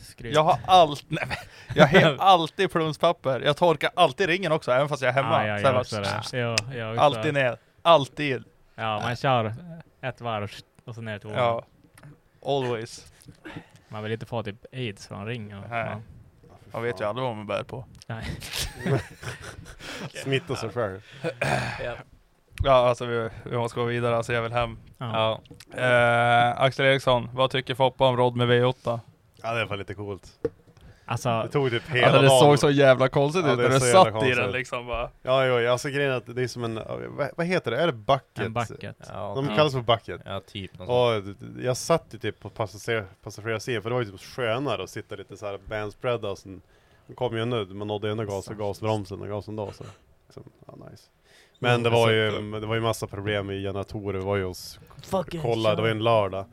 [SPEAKER 1] Skryt.
[SPEAKER 4] Jag har allt, nej, men, jag har alltid plumspapper. Jag torkar alltid ringen också, även fast jag är
[SPEAKER 1] Ja,
[SPEAKER 4] hemma.
[SPEAKER 1] ja,
[SPEAKER 4] Så jag
[SPEAKER 1] jag
[SPEAKER 4] bara,
[SPEAKER 1] också det. Jo, jag också.
[SPEAKER 4] alltid ner. Alltid.
[SPEAKER 1] Ja, man kör ett varv och så ner till toan.
[SPEAKER 4] Ja. Always.
[SPEAKER 1] Man vill inte få typ aids från ringen.
[SPEAKER 4] Nej.
[SPEAKER 1] Ja.
[SPEAKER 4] Man vet ju aldrig vad man bär på.
[SPEAKER 2] Smitta sig själv.
[SPEAKER 3] Ja.
[SPEAKER 4] Ja, alltså vi, vi måste gå vidare. Alltså jag vill hem.
[SPEAKER 3] Ja.
[SPEAKER 4] Eh, Axel Eriksson, vad tycker Foppa om Rod med V8?
[SPEAKER 2] Ja, det var lite coolt.
[SPEAKER 1] Alltså,
[SPEAKER 2] Det tog typ hela
[SPEAKER 4] Alltså, det
[SPEAKER 2] dagen.
[SPEAKER 4] såg så jävla konstigt
[SPEAKER 2] Ja,
[SPEAKER 4] ut
[SPEAKER 2] det
[SPEAKER 4] när
[SPEAKER 2] är
[SPEAKER 4] du
[SPEAKER 2] så jävla
[SPEAKER 4] satt i
[SPEAKER 2] konstigt.
[SPEAKER 4] den liksom bara.
[SPEAKER 2] Ja, jo, ja, alltså grejen är att det är som en, vad- vad heter det? Är det bucket?
[SPEAKER 1] en bucket.
[SPEAKER 3] Ja,
[SPEAKER 2] De
[SPEAKER 3] ja.
[SPEAKER 2] kallas för bucket.
[SPEAKER 3] Ja, typ något sånt.
[SPEAKER 2] Och jag satt ju typ på passager- passagerarsidan för det var ju typ skönare att sitta lite såhär bandspread och sen de kom ju nu, man nådde ju ändå gas och gasbromsen och gasen då så. så Liksom. ja, nice. Men det var ju, det var ju massa problem med generatorer, vi var ju hos, kolla, det var ju en lördag.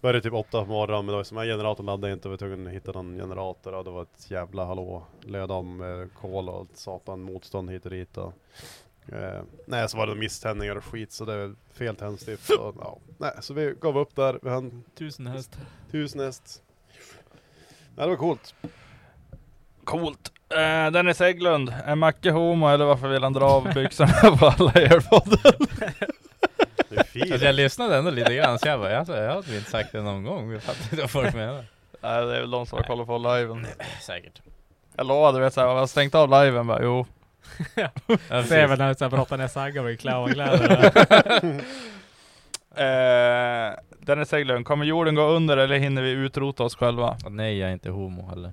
[SPEAKER 2] Började typ åtta på morgonen men det var som, generatorn laddade inte, vi var tvungna att hitta någon generator och det var ett jävla hallå. Löd om eh, kol och satan motstånd hit och dit och, eh, Nej, så var det misständningar och skit så det är fel tändstift och, ja. Nej, så vi gav upp där, vi hann
[SPEAKER 3] Tusen häst.
[SPEAKER 2] Tusen häst. Ja, det var coolt.
[SPEAKER 4] Coolt. Eh, Dennis Hägglund, är Macke homo eller varför vill han dra av byxorna på alla airpodden?
[SPEAKER 2] Det är fint.
[SPEAKER 3] Alltså jag lyssnade ändå lite grann så jag bara, alltså, jag hade inte sagt det någon gång. Jag fattar inte vad folk menar.
[SPEAKER 4] Nej, det är väl de som har kollat på liven.
[SPEAKER 3] Säkert.
[SPEAKER 4] Jag lovade, du vet såhär, jag har stängt av liven bara, jo.
[SPEAKER 3] Ja,
[SPEAKER 1] Ser
[SPEAKER 3] precis.
[SPEAKER 1] väl när jag brottar ner Sagga med clownkläder.
[SPEAKER 4] Eh, Dennis Hägglund, kommer jorden gå under eller hinner vi utrota oss själva?
[SPEAKER 3] Och nej, jag är inte homo heller.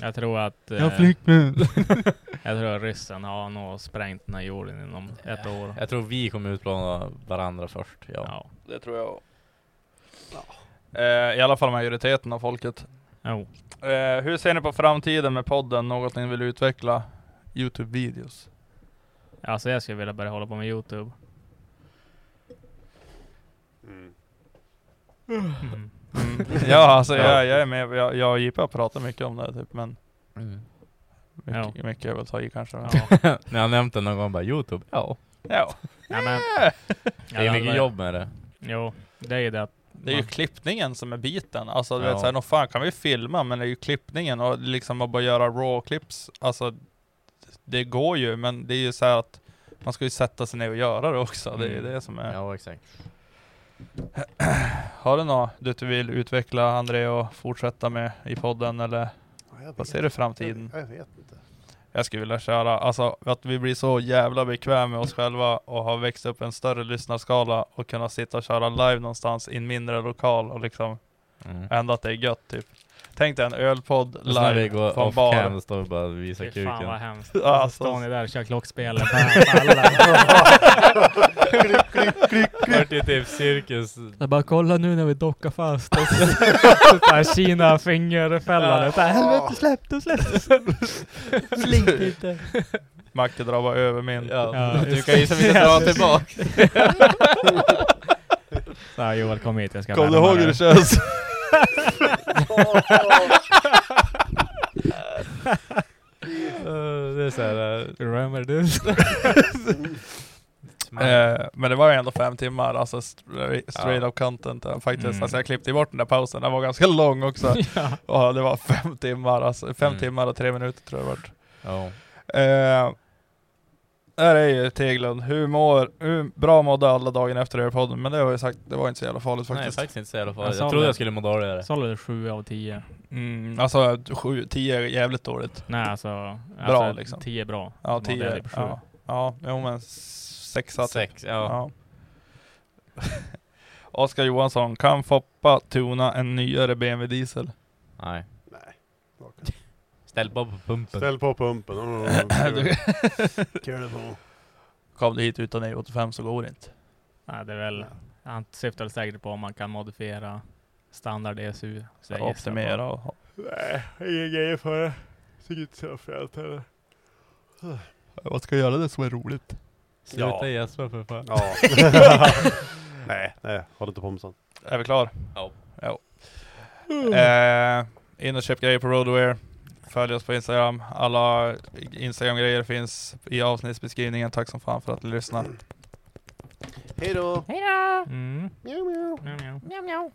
[SPEAKER 1] jag tror att... eh,
[SPEAKER 4] flickvän.
[SPEAKER 1] Jag tror att ryssen har nog sprängt den här jorden inom ett år.
[SPEAKER 3] Jag tror vi kommer utplåna varandra först. Ja.
[SPEAKER 1] Ja.
[SPEAKER 4] Det tror jag eh, I alla fall majoriteten av folket.
[SPEAKER 1] Jo.
[SPEAKER 4] Eh, hur ser ni på framtiden med podden? Något ni vill utveckla? Youtube-videos?
[SPEAKER 1] Alltså jag skulle vilja börja hålla på med Youtube.
[SPEAKER 2] Mm.
[SPEAKER 1] Mm.
[SPEAKER 4] ja, alltså jag, jag är med. Jag, jag och JP har pratat mycket om det här, typ, men
[SPEAKER 3] Mm.
[SPEAKER 4] mycket, mycket är väl ta i kanske. men-
[SPEAKER 1] Ja.
[SPEAKER 3] Ni har nämnt det någon gång bara, Youtube? Ja.
[SPEAKER 4] Ja.
[SPEAKER 1] Ja, men,
[SPEAKER 3] Det är mycket jobb med det.
[SPEAKER 1] Jo, det är ju det.
[SPEAKER 4] Det är ju klippningen som är biten. Alltså du
[SPEAKER 3] Ja.
[SPEAKER 4] vet såhär, nog fan kan vi filma, men det är ju klippningen och liksom att bara göra raw clips. Alltså, det går ju, men det är ju så här att man ska ju sätta sig ner och göra det också. Det är ju
[SPEAKER 1] Mm.
[SPEAKER 4] det som är...
[SPEAKER 3] Ja, exakt.
[SPEAKER 4] Har du något du inte vill utveckla André och fortsätta med i podden eller
[SPEAKER 2] Ja, jag
[SPEAKER 4] vad
[SPEAKER 2] vet
[SPEAKER 4] ser du i
[SPEAKER 2] inte.
[SPEAKER 4] framtiden?
[SPEAKER 2] Ja, Jag vet inte.
[SPEAKER 4] Jag skulle vilja köra, alltså att vi blir så jävla bekväma med oss själva och har växt upp en större lyssnarskala och kunna sitta och köra live någonstans i en mindre lokal och liksom
[SPEAKER 3] Mm.
[SPEAKER 4] ändå att det är gött typ. Tänk dig en ölpodd
[SPEAKER 3] Och så när vi
[SPEAKER 4] live
[SPEAKER 3] går
[SPEAKER 4] på en
[SPEAKER 3] off
[SPEAKER 4] bar.
[SPEAKER 3] cam och står vi bara och visar
[SPEAKER 1] Fy fan vad
[SPEAKER 3] kuken.
[SPEAKER 1] hemskt.
[SPEAKER 4] Ja,
[SPEAKER 1] Och så
[SPEAKER 4] alltså.
[SPEAKER 1] står ni där och kör klockspel. Bam, alla.
[SPEAKER 3] Vart ju typ cirkus.
[SPEAKER 1] Jag bara kolla nu när vi dockar fast. Och så, så här, Kina fingerfällande. Så här, Helvete släpp det, släpp det. Slink lite.
[SPEAKER 4] Macke drar bara över min.
[SPEAKER 1] Ja,
[SPEAKER 3] Ja, du
[SPEAKER 1] just
[SPEAKER 3] kan ju
[SPEAKER 1] det.
[SPEAKER 3] som inte dra tillbaka.
[SPEAKER 1] Så här, Joel kom hit, jag ska
[SPEAKER 4] Kom du
[SPEAKER 1] värma
[SPEAKER 4] ihåg hur
[SPEAKER 1] dig.
[SPEAKER 4] det känns?
[SPEAKER 3] Eh, Det är såhär...
[SPEAKER 1] Remember this?
[SPEAKER 4] Eh, men det var ju ändå fem timmar, alltså stra- straight
[SPEAKER 3] Ja.
[SPEAKER 4] up content eh, faktiskt.
[SPEAKER 1] Mm.
[SPEAKER 4] Alltså jag klippte ju bort den där pausen, den var ganska lång också.
[SPEAKER 1] ja.
[SPEAKER 4] Och det var fem timmar, alltså fem
[SPEAKER 3] Mm.
[SPEAKER 4] timmar och tre minuter tror jag det vart.
[SPEAKER 3] Ja.
[SPEAKER 4] Eh, där är ju Teglund, hur mår, hur bra mådde alla dagen efter Airpodden? Men det har jag sagt, det var inte så jävla farligt
[SPEAKER 3] Nej,
[SPEAKER 4] faktiskt.
[SPEAKER 3] faktiskt inte så jävla
[SPEAKER 1] Jag
[SPEAKER 3] farligt.
[SPEAKER 1] sa
[SPEAKER 3] Jag trodde
[SPEAKER 1] det.
[SPEAKER 3] jag skulle må dåligare.
[SPEAKER 1] Så håller det 7 av 10.
[SPEAKER 4] mm, alltså sju, tio är jävligt dåligt.
[SPEAKER 1] Nej alltså,
[SPEAKER 4] Bra,
[SPEAKER 1] alltså
[SPEAKER 4] liksom.
[SPEAKER 1] 10 bra.
[SPEAKER 4] Ja,
[SPEAKER 1] Man delar
[SPEAKER 4] tio.
[SPEAKER 1] det på sju.
[SPEAKER 4] Ja, ja jo, men sexa typ.
[SPEAKER 3] Sex,
[SPEAKER 4] Ja.
[SPEAKER 3] ja.
[SPEAKER 4] Oskar Johansson, kan Foppa tuna en nyare BMW diesel?
[SPEAKER 3] Nej.
[SPEAKER 2] Nej.
[SPEAKER 3] Ställ bara på pumpen.
[SPEAKER 2] Ställ på pumpen. Mm,
[SPEAKER 4] Du-
[SPEAKER 2] kul. Kul på.
[SPEAKER 4] Kom du hit utan E85 så går det inte.
[SPEAKER 1] Nej, det är väl, han syftar säkert på om man kan modifiera standard E ESU. Så jag gissar på-
[SPEAKER 4] Optimera och...
[SPEAKER 2] Nej, inga grejer för det. Tycker inte så fränt heller.
[SPEAKER 4] Vad ska jag göra det som är roligt?
[SPEAKER 3] Sluta
[SPEAKER 2] Ja.
[SPEAKER 3] gäspa för fan.
[SPEAKER 2] Ja. nej, nej, håll inte på med sånt.
[SPEAKER 4] Är vi klar?
[SPEAKER 3] Ja.
[SPEAKER 4] ja. Eh, in och köp grejer på Roadwear. Följ oss på Instagram. Alla Instagram-grejer finns i avsnittsbeskrivningen. Tack som fan för att ni lyssnade.
[SPEAKER 2] Hej då!
[SPEAKER 3] Mm.
[SPEAKER 2] Mjau, mjau.
[SPEAKER 3] Mjau, mjau.